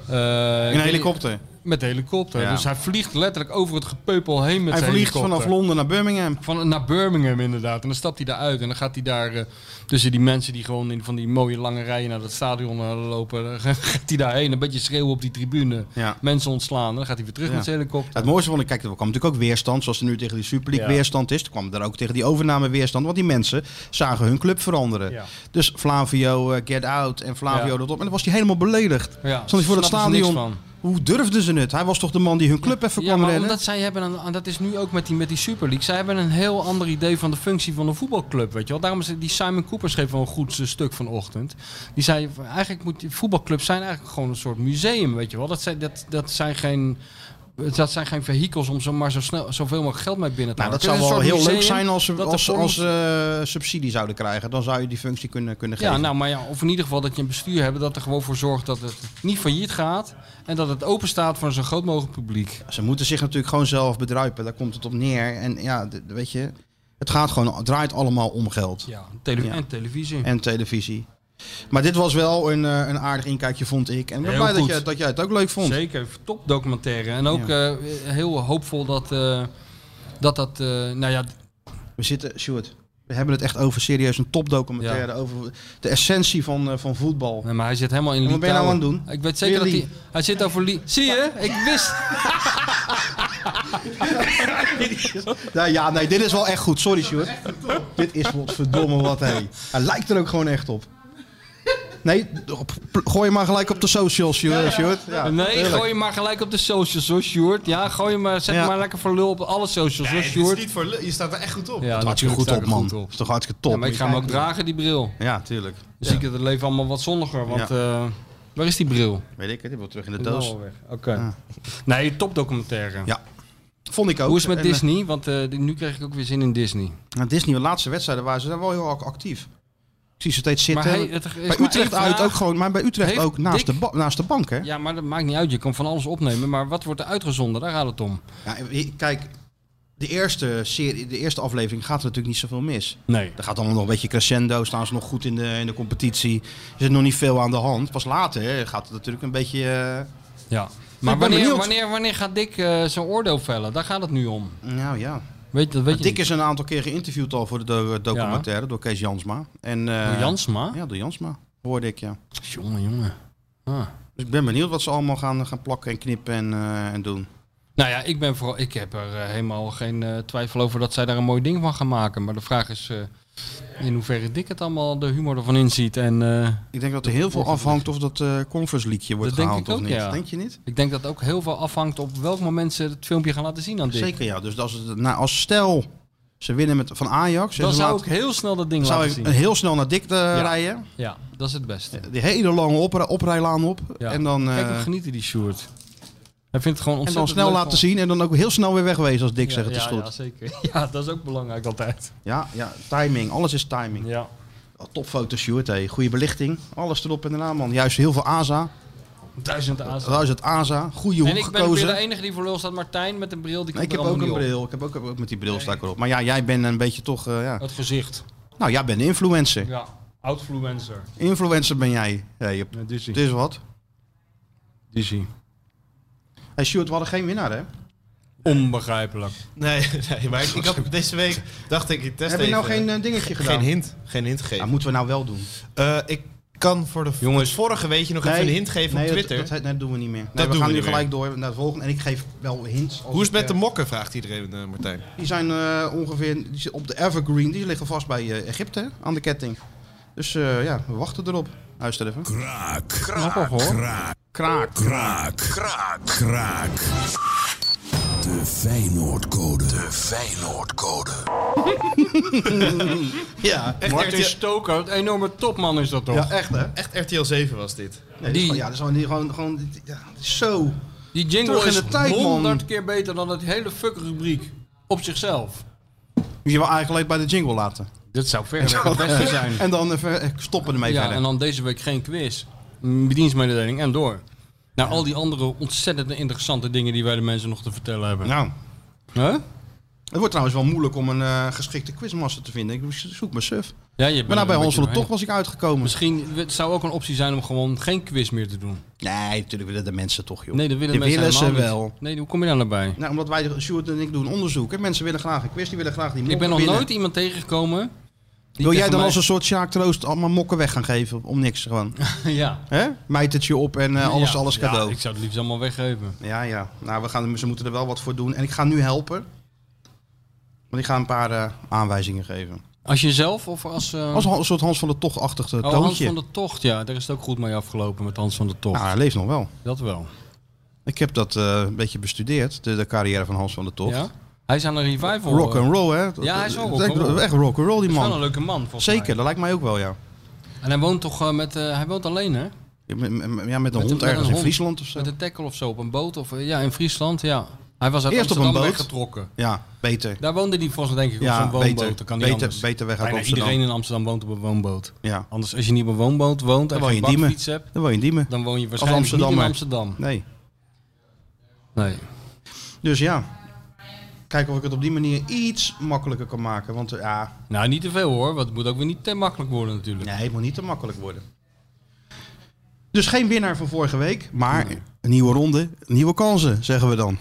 Speaker 5: Eh,
Speaker 4: in een helikopter.
Speaker 5: Met de helikopter.
Speaker 4: Ja.
Speaker 5: Dus hij vliegt letterlijk over het gepeupel heen met
Speaker 4: Hij
Speaker 5: zijn
Speaker 4: vliegt
Speaker 5: helikopter.
Speaker 4: vanaf Londen naar Birmingham.
Speaker 5: Van, naar Birmingham inderdaad. En dan stapt hij daar uit. En dan gaat hij daar eh, tussen die mensen die gewoon in van die mooie lange rijen naar dat stadion eh, lopen. *laughs* Dan gaat hij daarheen. Een beetje schreeuwen op die tribune.
Speaker 4: Ja.
Speaker 5: Mensen ontslaan. En dan gaat hij weer terug
Speaker 4: Ja.
Speaker 5: met zijn helikopter.
Speaker 4: Ja, het mooiste vond ik, kijk, er kwam natuurlijk ook weerstand, zoals er nu tegen die Super League
Speaker 5: Ja.
Speaker 4: weerstand is. Er kwam er ook tegen die overname weerstand, want die mensen zagen hun club veranderen.
Speaker 5: Ja.
Speaker 4: Dus Flavio, eh, get out en Flavio
Speaker 5: Ja.
Speaker 4: dat op. En dan was hij helemaal beledigd.
Speaker 5: Ja,
Speaker 4: Stond hij voor dat
Speaker 5: snappen ze niks
Speaker 4: stadion. Hoe durfden ze het? Hij was toch de man die hun club even
Speaker 5: Ja,
Speaker 4: kwam
Speaker 5: maar
Speaker 4: redden?
Speaker 5: omdat zij hebben, een, en dat is nu ook met die, met die Super League, zij hebben een heel ander idee van de functie van een voetbalclub, weet je wel. Daarom is het- die Simon Cooper schreef wel een goed eh, stuk vanochtend. Die zei, eigenlijk moet die voetbalclubs zijn eigenlijk gewoon een soort museum, weet je wel. Dat zijn, dat, dat zijn geen... Dat zijn geen vehikels om zomaar zo snel, zoveel mogelijk geld mee binnen te
Speaker 4: Nou, dat
Speaker 5: halen.
Speaker 4: zou
Speaker 5: Het is
Speaker 4: wel
Speaker 5: een
Speaker 4: heel
Speaker 5: soort
Speaker 4: leuk
Speaker 5: museum
Speaker 4: zijn als ze
Speaker 5: dat de
Speaker 4: als,
Speaker 5: volks-
Speaker 4: als eh, subsidie zouden krijgen. Dan zou je die functie kunnen, kunnen geven.
Speaker 5: ja, nou, maar ja, of in ieder geval dat je een bestuur hebt dat er gewoon voor zorgt dat het niet failliet gaat. En dat het open staat voor een zo groot mogelijk publiek.
Speaker 4: Ze moeten zich natuurlijk gewoon zelf bedruipen. Daar komt het op neer. En ja, d- weet je, het gaat gewoon, het draait allemaal om geld.
Speaker 5: Ja, tele-
Speaker 4: Ja.
Speaker 5: en televisie.
Speaker 4: en televisie. Maar dit was wel een, eh, een aardig inkijkje, vond ik. En ik ben
Speaker 5: Heel
Speaker 4: blij dat
Speaker 5: goed.
Speaker 4: jij, dat jij het ook leuk vond.
Speaker 5: Zeker, top documentaire. En ook eh, heel hoopvol dat eh, dat, dat eh, nou ja,
Speaker 4: We zitten, Sjoerd, We hebben het echt over serieus een topdocumentaire. Over de essentie van, eh, van voetbal.
Speaker 5: Nee, maar hij zit helemaal in
Speaker 4: En wat ben je nou
Speaker 5: Litouwen.
Speaker 4: aan het doen?
Speaker 5: Ik weet zeker dat
Speaker 4: Weer
Speaker 5: hij... Hij zit over... Li- Zie je? Ik wist...
Speaker 4: Nou ja, nee, dit is wel echt goed. Sorry, Sjoerd. Dit is wat verdomme wat, hé. Hij lijkt er ook gewoon echt op. Nee, op- gooi hem maar gelijk op de socials, Sjoerd. Sjoerd. *laughs* Ja,
Speaker 5: nee,
Speaker 4: tuurlijk.
Speaker 5: gooi hem maar gelijk op de socials hoor, Sjoerd. Ja, gooi hem maar... Zet
Speaker 4: Ja.
Speaker 5: hem maar lekker voor lul op alle socials hoor,
Speaker 6: Nee, dit is
Speaker 5: Sjoerd.
Speaker 6: niet voor lul. Je staat er echt goed
Speaker 5: Ja,
Speaker 6: op.
Speaker 4: Dat had je
Speaker 5: natuurlijk
Speaker 4: goed
Speaker 5: sta ik
Speaker 4: op,
Speaker 5: er
Speaker 4: man.
Speaker 5: goed
Speaker 4: Dat
Speaker 5: op.
Speaker 4: is toch hartstikke top.
Speaker 5: Ja, maar ik ga hem ook dragen, die bril.
Speaker 4: Ja, tuurlijk.
Speaker 5: Dus ik het leven allemaal wat zonniger, want... eh, waar is die bril?
Speaker 4: Weet ik het, die wil terug in de
Speaker 5: Is nou
Speaker 4: doos.
Speaker 5: alweer. Oké. Nee, topdocumentaire.
Speaker 4: Ja. Vond ik ook.
Speaker 5: Hoe is het
Speaker 4: En,
Speaker 5: met
Speaker 4: eh,
Speaker 5: Disney? Want eh, nu krijg ik ook weer zin in Disney.
Speaker 4: nou, Disney, de laatste wedstrijden waren ze daar wel heel actief. Ik eh, zie ze steeds
Speaker 5: Maar
Speaker 4: zitten.
Speaker 5: hij- het is maar
Speaker 4: bij
Speaker 5: één
Speaker 4: Utrecht uit
Speaker 5: vraag.
Speaker 4: ook gewoon, maar bij Utrecht
Speaker 5: Heeft
Speaker 4: ook naast,
Speaker 5: Dick-
Speaker 4: de ba- naast de bank, hè?
Speaker 5: Ja, maar dat maakt niet uit. Je kan van alles opnemen. Maar wat wordt er uitgezonden? Daar gaat het om.
Speaker 4: Ja, kijk, de eerste, serie, de eerste aflevering gaat er natuurlijk niet zoveel mis.
Speaker 5: Nee.
Speaker 4: Er gaat allemaal nog een beetje crescendo, staan ze nog goed in de, in de competitie. Er zit nog niet veel aan de hand. Pas later hè, gaat het natuurlijk een beetje... eh,
Speaker 5: Ja.
Speaker 4: ben
Speaker 5: Maar wanneer,
Speaker 4: benieuwd.
Speaker 5: wanneer, wanneer gaat Dick eh, zijn oordeel vellen? Daar gaat het nu om.
Speaker 4: nou ja.
Speaker 5: Weet, dat weet je
Speaker 4: Dick
Speaker 5: niet.
Speaker 4: is een aantal keer geïnterviewd al voor de do- documentaire door Kees Jansma. En, eh,
Speaker 5: Door Jansma?
Speaker 4: Ja, door Jansma. Hoorde ik, ja.
Speaker 5: Jongen, jongen. Ah.
Speaker 4: Dus ik ben benieuwd wat ze allemaal gaan, gaan plakken en knippen en, eh, en doen.
Speaker 5: Nou ja, ik, ben vooral, ik heb er eh, helemaal geen eh, twijfel over dat zij daar een mooi ding van gaan maken. Maar de vraag is eh, in hoeverre Dick het allemaal de humor ervan inziet. En eh,
Speaker 4: Ik denk dat er heel veel afhangt of dat eh Converse League wordt
Speaker 5: denk
Speaker 4: gehaald
Speaker 5: ik
Speaker 4: of
Speaker 5: ook,
Speaker 4: niet.
Speaker 5: ja.
Speaker 4: Denk je niet?
Speaker 5: ik denk dat ook heel veel afhangt op welk moment ze het filmpje gaan laten zien aan Dick.
Speaker 4: Zeker ja. Dus als, het, nou, als stel ze winnen met, van Ajax, en
Speaker 5: Dan
Speaker 4: ze
Speaker 5: zou
Speaker 4: laten-
Speaker 5: ik heel snel dat ding
Speaker 4: zou
Speaker 5: laten
Speaker 4: ik
Speaker 5: zien.
Speaker 4: heel snel naar Dick eh, rijden.
Speaker 5: Ja, dat is het beste.
Speaker 4: Die hele lange opri- oprijlaan op.
Speaker 5: Ja.
Speaker 4: En dan, eh,
Speaker 5: Kijk hoe genieten die Sjoerd. Hij vindt het gewoon
Speaker 4: en dan
Speaker 5: ontzettend
Speaker 4: snel
Speaker 5: leuk
Speaker 4: laten
Speaker 5: om-
Speaker 4: zien en dan ook heel snel weer wegwezen als Dick
Speaker 5: Ja,
Speaker 4: zegt het
Speaker 5: ja,
Speaker 4: is goed.
Speaker 5: Ja, zeker. *laughs* Ja, dat is ook belangrijk altijd.
Speaker 4: Ja, ja, timing. Alles is timing.
Speaker 5: Ja.
Speaker 4: Oh, Topfoto's, Sjoerd. Hey. Goede belichting. Alles erop en eraan, man. Juist heel veel AZA.
Speaker 5: Duizend aanzien.
Speaker 4: Duizend AZA. Goede
Speaker 5: En
Speaker 4: hoek
Speaker 5: ik ben weer
Speaker 4: gekozen.
Speaker 5: de enige die voor lul staat. Martijn met een bril, die
Speaker 4: Nee,
Speaker 5: komt
Speaker 4: ik heb
Speaker 5: er
Speaker 4: ook
Speaker 5: allemaal
Speaker 4: een
Speaker 5: niet op.
Speaker 4: bril. Ik heb ook, ook met die bril sta ik erop. Maar ja, jij bent een beetje toch... eh, ja.
Speaker 5: Het gezicht.
Speaker 4: Nou, jij bent een influencer.
Speaker 5: Ja. Outfluencer.
Speaker 4: Influencer ben jij. Ja, je-
Speaker 5: Dizzy.
Speaker 4: Het is wat. Hey, Sjoerd, we hadden geen winnaar, hè?
Speaker 5: Onbegrijpelijk.
Speaker 6: Nee, *laughs* nee, maar ik, ik had deze week dacht ik, ik test
Speaker 4: Heb je nou
Speaker 6: even.
Speaker 4: geen eh, dingetje gedaan?
Speaker 6: geen hint, geen hint gegeven.
Speaker 4: Dat moeten we nou wel doen.
Speaker 6: Eh, ik kan voor de Jongens. vorige weetje nog even een hint geven
Speaker 4: nee,
Speaker 6: op
Speaker 4: dat-
Speaker 6: Twitter.
Speaker 4: Dat, dat, doen we niet meer. Nee,
Speaker 6: Dat
Speaker 4: we
Speaker 6: doen
Speaker 4: gaan
Speaker 6: we
Speaker 4: nu
Speaker 6: niet
Speaker 4: gelijk door naar het volgende. En ik geef wel hints. als
Speaker 6: Hoe is
Speaker 4: ik,
Speaker 6: het met de
Speaker 4: eh,
Speaker 6: mokken, vraagt iedereen, eh, Martijn.
Speaker 4: Die zijn eh, ongeveer die zitten op de Evergreen. Die liggen vast bij eh, Egypte hè, aan de ketting. Dus eh, ja, we wachten erop. Luister even.
Speaker 5: Grappig hoor.
Speaker 4: Kraak.
Speaker 10: Kraak. Kraak. Kraak. De Feyenoordcode. De Feyenoordcode.
Speaker 4: Ja,
Speaker 6: Echt
Speaker 5: Martin
Speaker 6: RTL,
Speaker 5: Stoker, een enorme topman is dat toch?
Speaker 4: ja echt hè? Nee,
Speaker 6: echt RTL 7 was dit.
Speaker 4: dat is
Speaker 5: Die-
Speaker 4: gewoon- ja, dat is gewoon, die- gewoon, gewoon ja, het is zo.
Speaker 5: Die jingle
Speaker 4: Terug in
Speaker 5: is
Speaker 4: de tijd, man.
Speaker 5: honderd keer beter dan dat hele fuck rubriek. Op zichzelf.
Speaker 4: Moet je wel eigenlijk bij de jingle laten.
Speaker 5: Dit zou verder het beste zijn.
Speaker 4: En dan even eh, stoppen ermee
Speaker 5: *laughs* Ja,
Speaker 4: verder.
Speaker 5: en dan deze week geen quiz. Mm, Dienstmededeling en door. Naar al die andere ontzettend interessante dingen die wij de mensen nog te vertellen hebben.
Speaker 4: Nou,
Speaker 5: Huh?
Speaker 4: het wordt trouwens wel moeilijk om een eh, geschikte quizmaster te vinden. Ik zoek mijn suf.
Speaker 5: Ja, je
Speaker 4: Maar
Speaker 5: bent
Speaker 4: nou,
Speaker 5: er
Speaker 4: bij
Speaker 5: een
Speaker 4: Hans van de
Speaker 5: beetje
Speaker 4: Tocht was ik uitgekomen.
Speaker 5: doorheen. Misschien het zou ook een optie zijn om gewoon geen quiz meer te doen.
Speaker 4: Nee, natuurlijk willen de mensen toch, joh.
Speaker 5: Nee, dat willen
Speaker 4: Die
Speaker 5: mensen
Speaker 4: willen ze
Speaker 5: helemaal niet.
Speaker 4: wel.
Speaker 5: Nee, hoe kom je daar nou bij?
Speaker 4: Nou, omdat wij, Sjoerd en ik, doen onderzoek. Hè? Mensen willen graag een quiz, die willen graag die
Speaker 5: Ik
Speaker 4: mokken
Speaker 5: ben nog
Speaker 4: winnen.
Speaker 5: nooit iemand tegengekomen. die
Speaker 4: Wil jij
Speaker 5: tegen
Speaker 4: dan
Speaker 5: mij-
Speaker 4: als een soort Sjaak Troost allemaal mokken weg gaan geven? Om niks gewoon.
Speaker 5: *laughs* ja.
Speaker 4: Hè? Mijtertje op en eh, *laughs* alles,
Speaker 5: Ja.
Speaker 4: alles cadeau.
Speaker 5: Ja,
Speaker 4: Ja,
Speaker 5: ik zou het liefst allemaal weggeven.
Speaker 4: ja. Nou, we gaan, ze moeten er wel wat voor doen. En ik ga nu helpen. Want ik ga een paar eh, aanwijzingen geven.
Speaker 5: Als jezelf of als. eh,
Speaker 4: Als een, een soort Hans van der Toch-achtig eh,
Speaker 5: oh, Hans
Speaker 4: toontje.
Speaker 5: van de Tocht, ja. Daar is het ook goed mee afgelopen met Hans van de Tocht.
Speaker 4: Nou, hij leeft nog wel.
Speaker 5: Dat wel.
Speaker 4: Ik heb dat eh, een beetje bestudeerd, de, de carrière van Hans van der Tocht.
Speaker 5: Ja? Hij is aan een revival.
Speaker 4: Rock
Speaker 5: eh,
Speaker 4: and roll, hè? Dat-
Speaker 5: Ja, hij is wel
Speaker 4: dat-
Speaker 5: rock and roll.
Speaker 4: Echt rock and roll, die
Speaker 5: is wel
Speaker 4: man.
Speaker 5: een leuke man, volgens mij.
Speaker 4: Zeker, dat lijkt mij ook wel, ja.
Speaker 5: En hij woont toch eh, met, eh, hij woont alleen hè?
Speaker 4: Ja, met, met- ja, met een
Speaker 5: Met
Speaker 4: hond
Speaker 5: een- met een
Speaker 4: ergens in
Speaker 5: hond.
Speaker 4: Friesland of zo.
Speaker 5: Met een tackle of zo op een boot of eh, ja in Friesland ja. Hij was uit
Speaker 4: Eerst op
Speaker 5: Amsterdam
Speaker 4: een boot.
Speaker 5: weggetrokken.
Speaker 4: Ja, beter.
Speaker 5: Daar woonde hij volgens mij denk ik
Speaker 4: Ja,
Speaker 5: op zo'n woonboot.
Speaker 4: beter.
Speaker 5: Dan kan
Speaker 4: Beter-
Speaker 5: niet anders.
Speaker 4: beter weg uit
Speaker 5: Bijna
Speaker 4: Amsterdam.
Speaker 5: Iedereen in Amsterdam woont op een woonboot.
Speaker 4: Ja.
Speaker 5: Anders als je niet op een woonboot woont en
Speaker 4: woon je
Speaker 5: geen
Speaker 4: in Diemen.
Speaker 5: bakfiets hebt,
Speaker 4: Dan woon je in Diemen.
Speaker 5: dan woon je waarschijnlijk niet in
Speaker 4: Amsterdammer.
Speaker 5: Amsterdam.
Speaker 4: Nee.
Speaker 5: Nee.
Speaker 4: Dus ja. Kijken of ik het op die manier iets makkelijker kan maken. Want eh, ja,
Speaker 5: Nou, niet te veel hoor, want het moet ook weer niet te makkelijk worden natuurlijk.
Speaker 4: nee, het moet niet te makkelijk worden. Dus geen winnaar van vorige week. Maar een nieuwe ronde, nieuwe kansen, zeggen we dan.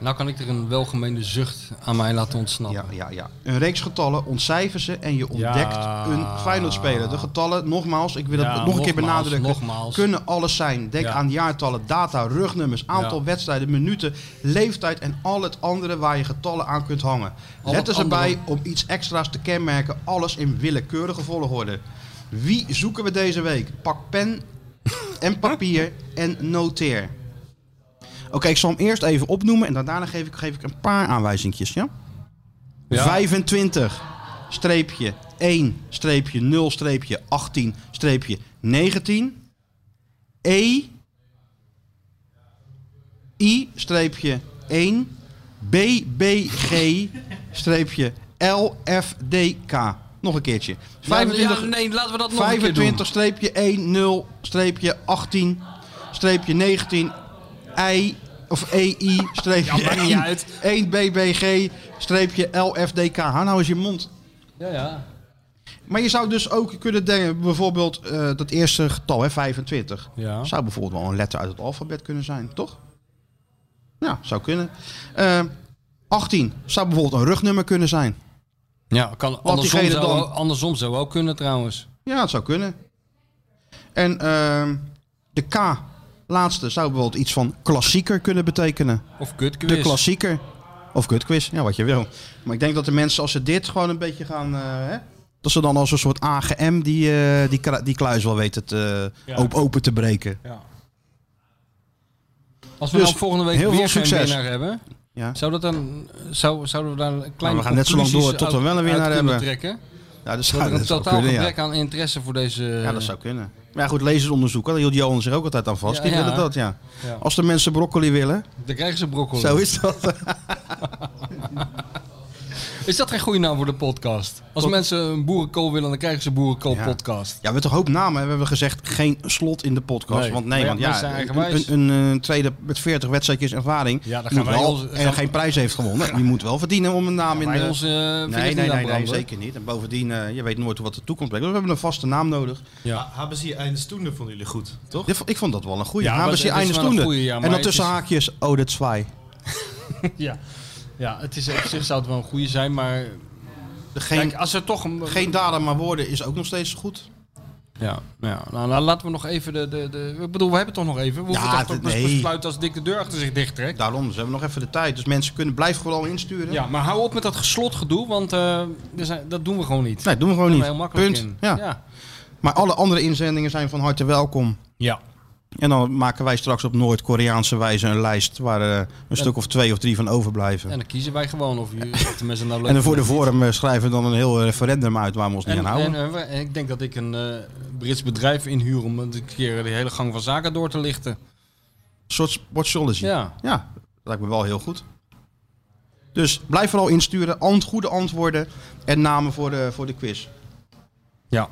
Speaker 5: Nou kan ik er een welgemeende zucht aan mij laten ontsnappen.
Speaker 4: Ja, ja, ja. Een reeks getallen, ontcijfer ze en je ontdekt
Speaker 5: Ja.
Speaker 4: een Feyenoord-speler. De getallen, nogmaals, ik wil het
Speaker 5: Ja,
Speaker 4: nog een keer
Speaker 5: nogmaals,
Speaker 4: benadrukken,
Speaker 5: nogmaals.
Speaker 4: kunnen alles zijn. Denk
Speaker 5: Ja.
Speaker 4: aan jaartallen, data, rugnummers, aantal
Speaker 5: Ja.
Speaker 4: wedstrijden, minuten, leeftijd en al het andere waar je getallen aan kunt hangen.
Speaker 5: Al
Speaker 4: Let
Speaker 5: het
Speaker 4: dus erbij om iets extra's te kenmerken, alles in willekeurige volgorde. Wie zoeken we deze week? Pak
Speaker 5: *laughs*
Speaker 4: pen en papier en noteer. Oké, ik zal hem eerst even opnoemen en dan daarna geef ik, geef ik een paar aanwijzingjes, ja?
Speaker 5: Ja.
Speaker 4: 25 streepje 1 streepje 0 streepje 18 streepje 19 E I streepje 1 BBG streepje LFDK. Nog een keertje.
Speaker 5: Ja,
Speaker 4: 25
Speaker 5: ja, nee, laten we dat nog een keer doen.
Speaker 4: 25 streepje 1 0 streepje 18 streepje 19 I of EI streepje
Speaker 5: Ja, maakt niet
Speaker 4: 1,
Speaker 5: uit.
Speaker 4: 1 BBG streepje LFDK. Hou nou eens je mond.
Speaker 5: Ja, ja.
Speaker 4: Maar je zou dus ook kunnen denken, bijvoorbeeld eh, dat eerste getal, hè, 25.
Speaker 5: Ja.
Speaker 4: Zou bijvoorbeeld wel een letter uit het alfabet kunnen zijn, toch? Ja, zou kunnen. Eh, 18 zou bijvoorbeeld een rugnummer kunnen zijn.
Speaker 5: Ja, kan andersom
Speaker 4: diegene
Speaker 5: zou,
Speaker 4: dan-
Speaker 5: ook- andersom zou ook kunnen trouwens.
Speaker 4: Ja, het zou kunnen. En ehm, de K, laatste, zou bijvoorbeeld iets van klassieker kunnen betekenen.
Speaker 5: Of kutquiz.
Speaker 4: De klassieker. Of kutquiz, ja, wat je wil. Maar ik denk dat de mensen, als ze dit gewoon een beetje gaan... eh, hè, dat ze dan als een soort AGM die, eh, die, kra- die kluis wel weten te,
Speaker 5: Ja.
Speaker 4: op- open te breken.
Speaker 5: Als we
Speaker 4: Dus,
Speaker 5: nou volgende week
Speaker 4: heel
Speaker 5: weer
Speaker 4: veel
Speaker 5: geen
Speaker 4: succes.
Speaker 5: winnaar hebben,
Speaker 4: Ja.
Speaker 5: zou dat dan, zou, zouden we daar een kleine
Speaker 4: we gaan net zo lang
Speaker 5: conclusies
Speaker 4: door tot we
Speaker 5: uit-
Speaker 4: wel een winnaar
Speaker 5: uit kunnen
Speaker 4: hebben.
Speaker 5: trekken?
Speaker 4: Ja, dat
Speaker 5: Dat
Speaker 4: zou,
Speaker 5: er een
Speaker 4: dat zou
Speaker 5: totaal
Speaker 4: kunnen, ja.
Speaker 5: gebrek aan interesse voor deze...
Speaker 4: Ja, dat zou kunnen. Maar ja, goed, lezersonderzoek, daar hield Johan zich ook altijd aan vast.
Speaker 5: Ja,
Speaker 4: Die
Speaker 5: ja.
Speaker 4: willen dat, ja.
Speaker 5: Ja.
Speaker 4: Als de mensen broccoli willen,
Speaker 5: Dan krijgen ze broccoli.
Speaker 4: zo is dat.
Speaker 5: Is dat geen goede naam voor de podcast? Als mensen een boerenkool willen, dan krijgen ze boerenkool
Speaker 4: Ja.
Speaker 5: podcast.
Speaker 4: Ja, we hebben toch een hoop namen. hè? We hebben gezegd geen slot in de podcast.
Speaker 5: Nee.
Speaker 4: Want nee,
Speaker 5: Maar ja,
Speaker 4: want ja,
Speaker 5: mensen zijn
Speaker 4: een,
Speaker 5: eigenwijs.
Speaker 4: een, een, eh, tweede met 40 wedstrijdjes ervaring
Speaker 5: Ja, dan gaan
Speaker 4: moet
Speaker 5: wij
Speaker 4: wel,
Speaker 5: ons-
Speaker 4: en geen prijs heeft gewonnen. Die moet wel verdienen om een naam in
Speaker 5: Maar
Speaker 4: de...
Speaker 5: ons eh vingers
Speaker 4: nee,
Speaker 5: niet
Speaker 4: nee,
Speaker 5: aan
Speaker 4: nee, nee,
Speaker 5: branden.
Speaker 4: zeker niet. En bovendien, eh, je weet nooit wat de toekomst brengt. Dus we hebben een vaste naam nodig.
Speaker 5: Ja.
Speaker 6: Hebben ze hier eindstoende vonden jullie goed, toch?
Speaker 4: Dit vo- Ik vond dat wel een Nou, goede.
Speaker 5: Ja,
Speaker 4: Ja,
Speaker 5: maar
Speaker 4: Namens die
Speaker 5: het is wel een
Speaker 4: eindstoende.
Speaker 5: goeie, ja,
Speaker 4: en
Speaker 5: maar
Speaker 4: dan
Speaker 5: het
Speaker 4: tussen
Speaker 5: is-
Speaker 4: haakjes, oh, dat zwaai.
Speaker 5: Ja. Ja, het is, op zich zou het wel een goede zijn, maar
Speaker 4: Geen,
Speaker 5: kijk, ah. als er toch een...
Speaker 4: geen daden, maar woorden is ook nog steeds goed.
Speaker 5: Ja, ja. Nou, nou, laten we nog even de, de, de... Ik bedoel, we hebben het toch nog even. We hoeven
Speaker 4: Ja,
Speaker 5: toch
Speaker 4: d-
Speaker 5: toch bes-
Speaker 4: nee.
Speaker 5: besluiten als dik de deur achter zich dicht trekt.
Speaker 4: Daarom, dus hebben we nog even de tijd. Dus mensen kunnen blijf gewoon insturen.
Speaker 5: Ja, maar hou op met dat geslotgedoe, want eh, er zijn, dat doen we gewoon niet.
Speaker 4: Nee, doen we gewoon
Speaker 5: Daar
Speaker 4: niet.
Speaker 5: zijn we heel makkelijk
Speaker 4: Punt.
Speaker 5: in.
Speaker 4: Ja.
Speaker 5: ja.
Speaker 4: Maar alle andere inzendingen zijn van harte welkom.
Speaker 5: Ja.
Speaker 4: En dan maken wij straks op Noord-Koreaanse wijze een lijst waar eh, een stuk of twee of drie van overblijven.
Speaker 5: En
Speaker 4: En,
Speaker 5: dan kiezen wij gewoon of je of
Speaker 4: *laughs*
Speaker 5: de mensen nou leuk
Speaker 4: dan voor de
Speaker 5: vinden.
Speaker 4: vorm eh, schrijven we dan een heel referendum uit waar we ons niet aan
Speaker 5: En,
Speaker 4: houden.
Speaker 5: en, eh, we- en ik denk dat ik een eh, Brits bedrijf inhuur om een keer de hele gang van zaken door te lichten.
Speaker 4: een soort sportsology.
Speaker 5: Ja.
Speaker 4: ja, dat lijkt me wel heel goed. Dus blijf vooral insturen, ant goede antwoorden en namen voor de, voor de quiz.
Speaker 5: Ja.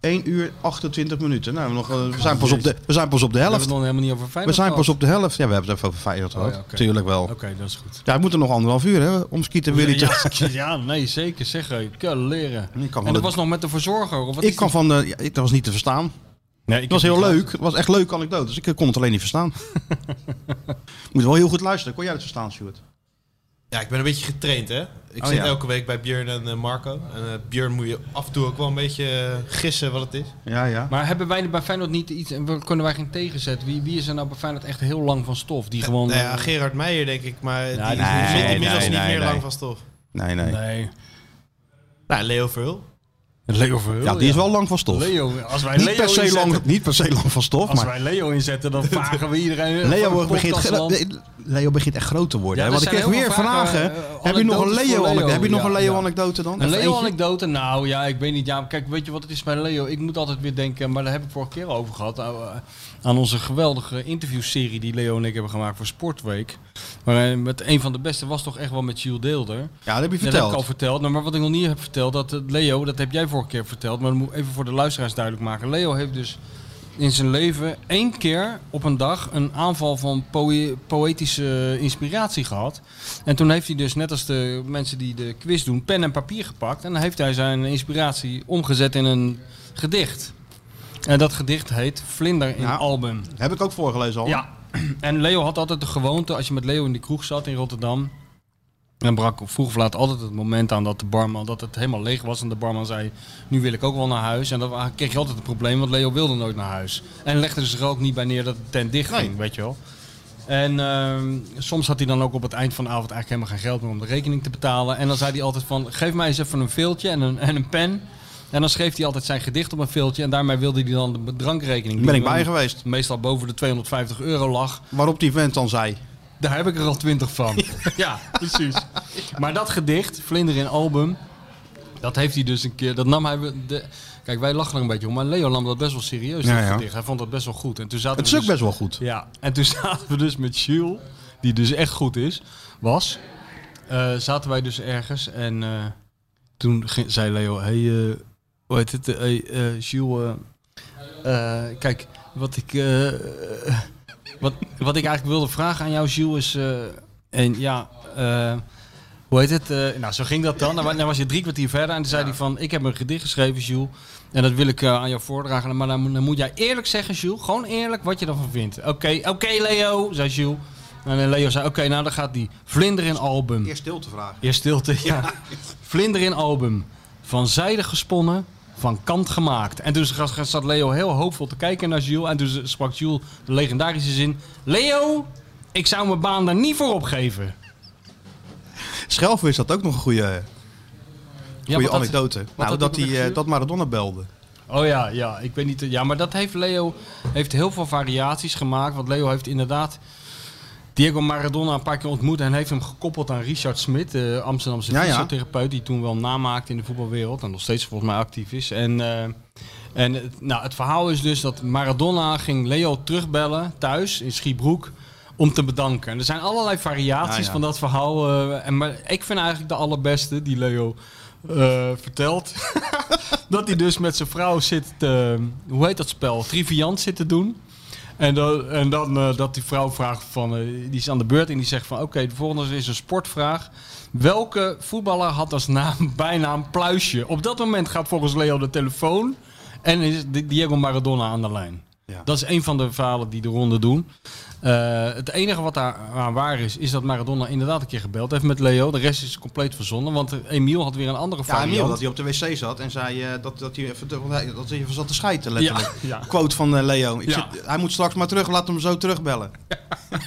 Speaker 4: 1 uur 28 minuten. Nou, we, nog, eh, we, zijn pas op de, we zijn pas op de
Speaker 5: We
Speaker 4: helft.
Speaker 5: hebben het nog helemaal niet over
Speaker 4: We
Speaker 5: Feyenoord
Speaker 4: zijn
Speaker 5: gehad.
Speaker 4: pas op de helft. Ja, we hebben het even over Feyenoord
Speaker 5: Oh,
Speaker 4: gehad.
Speaker 5: ja, oké.
Speaker 4: Tuurlijk wel.
Speaker 5: Oké, dat is goed.
Speaker 4: Ja, het moet er nog anderhalf uur hè, om skieten Willy te...
Speaker 5: Ja, ja, nee, zeker. Zeg, hé, kan leren.
Speaker 4: Ik kan
Speaker 5: en
Speaker 4: wel
Speaker 5: dat
Speaker 4: het-
Speaker 5: was nog met de verzorger? Of wat
Speaker 4: Ik
Speaker 5: is
Speaker 4: kan
Speaker 5: dat?
Speaker 4: van de... ja, ik- dat was niet te verstaan.
Speaker 5: Nee, ik
Speaker 4: Het was heel leuk. Het was echt leuk anekdote. Dus ik kon het alleen niet
Speaker 5: *laughs*
Speaker 4: verstaan. Moet wel heel goed luisteren. Kon jij het verstaan, Stuart?
Speaker 6: Ja, ik ben een beetje getraind, hè? Ik
Speaker 4: Oh,
Speaker 6: zit
Speaker 4: ja.
Speaker 6: elke week bij Björn en eh, Marco. En eh, Björn moet je af en toe ook wel een beetje eh, gissen wat het is.
Speaker 4: Ja, ja.
Speaker 5: Maar hebben wij er bij Feyenoord niet iets... en we- Kunnen wij geen tegenzet? Wie, wie is er nou bij Feyenoord echt heel lang van stof? Die gewoon...
Speaker 6: Nou ja, Gerard Meijer, denk ik, maar
Speaker 5: Ja,
Speaker 6: die
Speaker 5: nee,
Speaker 6: zit
Speaker 5: nee,
Speaker 6: inmiddels
Speaker 4: nee,
Speaker 6: niet
Speaker 4: nee,
Speaker 6: meer
Speaker 4: nee.
Speaker 6: lang van stof.
Speaker 4: Nee, nee.
Speaker 5: nee.
Speaker 6: Nou, Leo Verhul.
Speaker 5: Leo Verheul.
Speaker 4: Ja, die is wel lang van stof.
Speaker 5: Leo, als wij
Speaker 4: Niet
Speaker 5: Leo
Speaker 4: per, se
Speaker 5: inzetten-
Speaker 4: lang, niet per se lang van stof,
Speaker 5: Als
Speaker 4: maar
Speaker 5: wij Leo
Speaker 4: *laughs*
Speaker 5: inzetten, dan vragen we iedereen... van
Speaker 4: Leo
Speaker 5: de
Speaker 4: begint,
Speaker 5: podcast land.
Speaker 4: ge- Leo begint echt groot te worden.
Speaker 5: Ja,
Speaker 4: hè?
Speaker 5: er
Speaker 4: Want ik
Speaker 5: zijn
Speaker 4: kreeg
Speaker 5: heel
Speaker 4: weer
Speaker 5: veel vragen,
Speaker 4: vragen.
Speaker 5: eh, eh,
Speaker 4: heb je nog een
Speaker 5: anekdotes
Speaker 4: Leo,
Speaker 5: voor Leo?
Speaker 4: anekdote? Heb je nog
Speaker 5: Ja,
Speaker 4: een Leo
Speaker 5: ja.
Speaker 4: anekdote dan?
Speaker 5: Een
Speaker 4: Even eentje?
Speaker 5: Leo-anekdote? Nou ja, ik weet niet. Ja, kijk, weet je wat het is bij Leo? Ik moet altijd weer denken, maar daar heb ik vorige keer al over gehad. aan- Aan onze geweldige interviewserie die Leo en ik hebben gemaakt voor Sportweek. Maar eh, met een van de beste was toch echt wel met Jules Deelder.
Speaker 4: Ja, dat heb je
Speaker 5: Ja, dat heb
Speaker 4: verteld.
Speaker 5: ik al verteld. Nou, maar wat ik nog niet heb verteld, dat eh, Leo, dat heb jij vorige keer verteld. Maar dat moet ik even voor de luisteraars duidelijk maken. Leo heeft dus in zijn leven één keer op een dag een aanval van poë- poëtische inspiratie gehad. En toen heeft hij dus, net als de mensen die de quiz doen, pen en papier gepakt. En dan heeft hij zijn inspiratie omgezet in een gedicht. En dat gedicht heet Vlinder in
Speaker 4: Ja.
Speaker 5: Album.
Speaker 4: Heb ik ook voorgelezen al.
Speaker 5: Ja. En Leo had altijd de gewoonte, als je met Leo in de kroeg zat in Rotterdam. Dan brak vroeg of laat altijd het moment aan dat de barman dat het helemaal leeg was. En de barman zei, nu wil ik ook wel naar huis. En dan kreeg je altijd het probleem, want Leo wilde nooit naar huis. En legde zich er ook niet bij neer dat de tent dicht ging, weet je wel. En ehm, soms had hij dan ook op het eind van de avond eigenlijk helemaal geen geld meer om de rekening te betalen. En dan zei hij altijd van, geef mij eens even een veeltje en een, en een pen. En dan schreef hij altijd zijn gedicht op een veeltje. En daarmee wilde hij dan de drankrekening.
Speaker 4: Ben
Speaker 5: die
Speaker 4: ik bij
Speaker 5: dan
Speaker 4: geweest.
Speaker 5: Meestal boven de 250 euro lag.
Speaker 4: Waarop die vent dan zei.
Speaker 5: Daar heb ik er al twintig
Speaker 4: *laughs*
Speaker 5: van. ja, precies. Maar dat gedicht, Vlinder in Album, dat heeft hij dus een keer. Dat nam hij. De, kijk, wij lachen er een beetje om, maar Leo nam dat best wel serieus. Dat
Speaker 4: Ja, ja.
Speaker 5: gedicht. Hij vond dat best wel goed. En toen zaten
Speaker 4: Het is
Speaker 5: we
Speaker 4: ook
Speaker 5: dus,
Speaker 4: best wel goed.
Speaker 5: Ja, en toen *laughs* zaten we dus met Jules, die dus echt goed is, was. eh, zaten wij dus ergens en eh, toen ging- zei Leo: Hey, eh, hoe heet het? eh, hey, eh, Jules, eh, eh, kijk, wat ik. eh, eh, wat, wat ik eigenlijk wilde vragen aan jou, Jules, is. eh, en ja, eh, hoe heet het? eh, nou, zo ging dat dan. Dan wa- dan was je drie kwartier verder en toen zei hij van... Ik heb een gedicht geschreven, Jules. En dat wil ik eh, aan jou voordragen. Maar dan, moet- dan moet jij eerlijk zeggen, Jules. Gewoon eerlijk wat je ervan vindt. Oké, oké Leo, zei Jules. En eh, Leo zei, oké, nou dan gaat die. Vlinder in album.
Speaker 4: Eerst stil te vragen.
Speaker 5: Eerst stilte, ja. Vlinder in album. Van zijde gesponnen, van kant gemaakt. En toen zag- zat Leo heel hoopvol te kijken naar Jules. En toen sprak Jules de legendarische zin... Leo, ik zou mijn baan daar niet voor opgeven.
Speaker 4: Schelven is dat ook nog een goede,
Speaker 5: Ja,
Speaker 4: goede
Speaker 5: want dat-
Speaker 4: anekdote. nou,
Speaker 5: had
Speaker 4: dat,
Speaker 5: hij
Speaker 4: die,
Speaker 5: ook
Speaker 4: eh, dat Maradona belde.
Speaker 5: Oh ja, ja, ik weet niet. eh, Ja, maar dat heeft Leo heeft heel veel variaties gemaakt. Want Leo heeft inderdaad Diego Maradona een paar keer ontmoet en heeft hem gekoppeld aan Richard Smit, de Amsterdamse
Speaker 4: Ja, ja.
Speaker 5: fysiotherapeut, die toen wel een naam maakte in de voetbalwereld en nog steeds volgens mij actief is. En, eh, en het- nou, het verhaal is dus dat Maradona ging Leo terugbellen thuis in Schiebroek om te bedanken. En er zijn allerlei variaties
Speaker 4: Ja, ja.
Speaker 5: van dat verhaal. eh, en, maar ik vind eigenlijk de allerbeste die Leo eh, vertelt. *laughs* dat hij dus met zijn vrouw zit, te, hoe heet dat spel? Triviant zit te doen. En dan, en dan eh, dat die vrouw vraagt van, eh, die is aan de beurt en die zegt van, oké, de volgende is een sportvraag. Welke voetballer had als naam, *laughs* bijnaam Pluisje? Op dat moment gaat volgens Leo de telefoon en is Di- Diego Maradona aan de lijn.
Speaker 4: Ja.
Speaker 5: Dat is een van de verhalen die de ronde doen. Eh, het enige wat daar aan waar is, is dat Maradona inderdaad een keer gebeld heeft met Leo. De rest is compleet verzonnen, want eh, Emiel had weer een andere
Speaker 4: Ja,
Speaker 5: variant.
Speaker 4: Emiel, dat hij op de wc zat en zei eh, dat, dat, hij even, want hij- dat hij even zat te schijten, letterlijk.
Speaker 5: Ja, ja.
Speaker 4: Quote van eh, Leo. Ik
Speaker 5: Ja.
Speaker 4: zit- hij moet straks maar terug, laat hem zo terugbellen. ja.
Speaker 5: En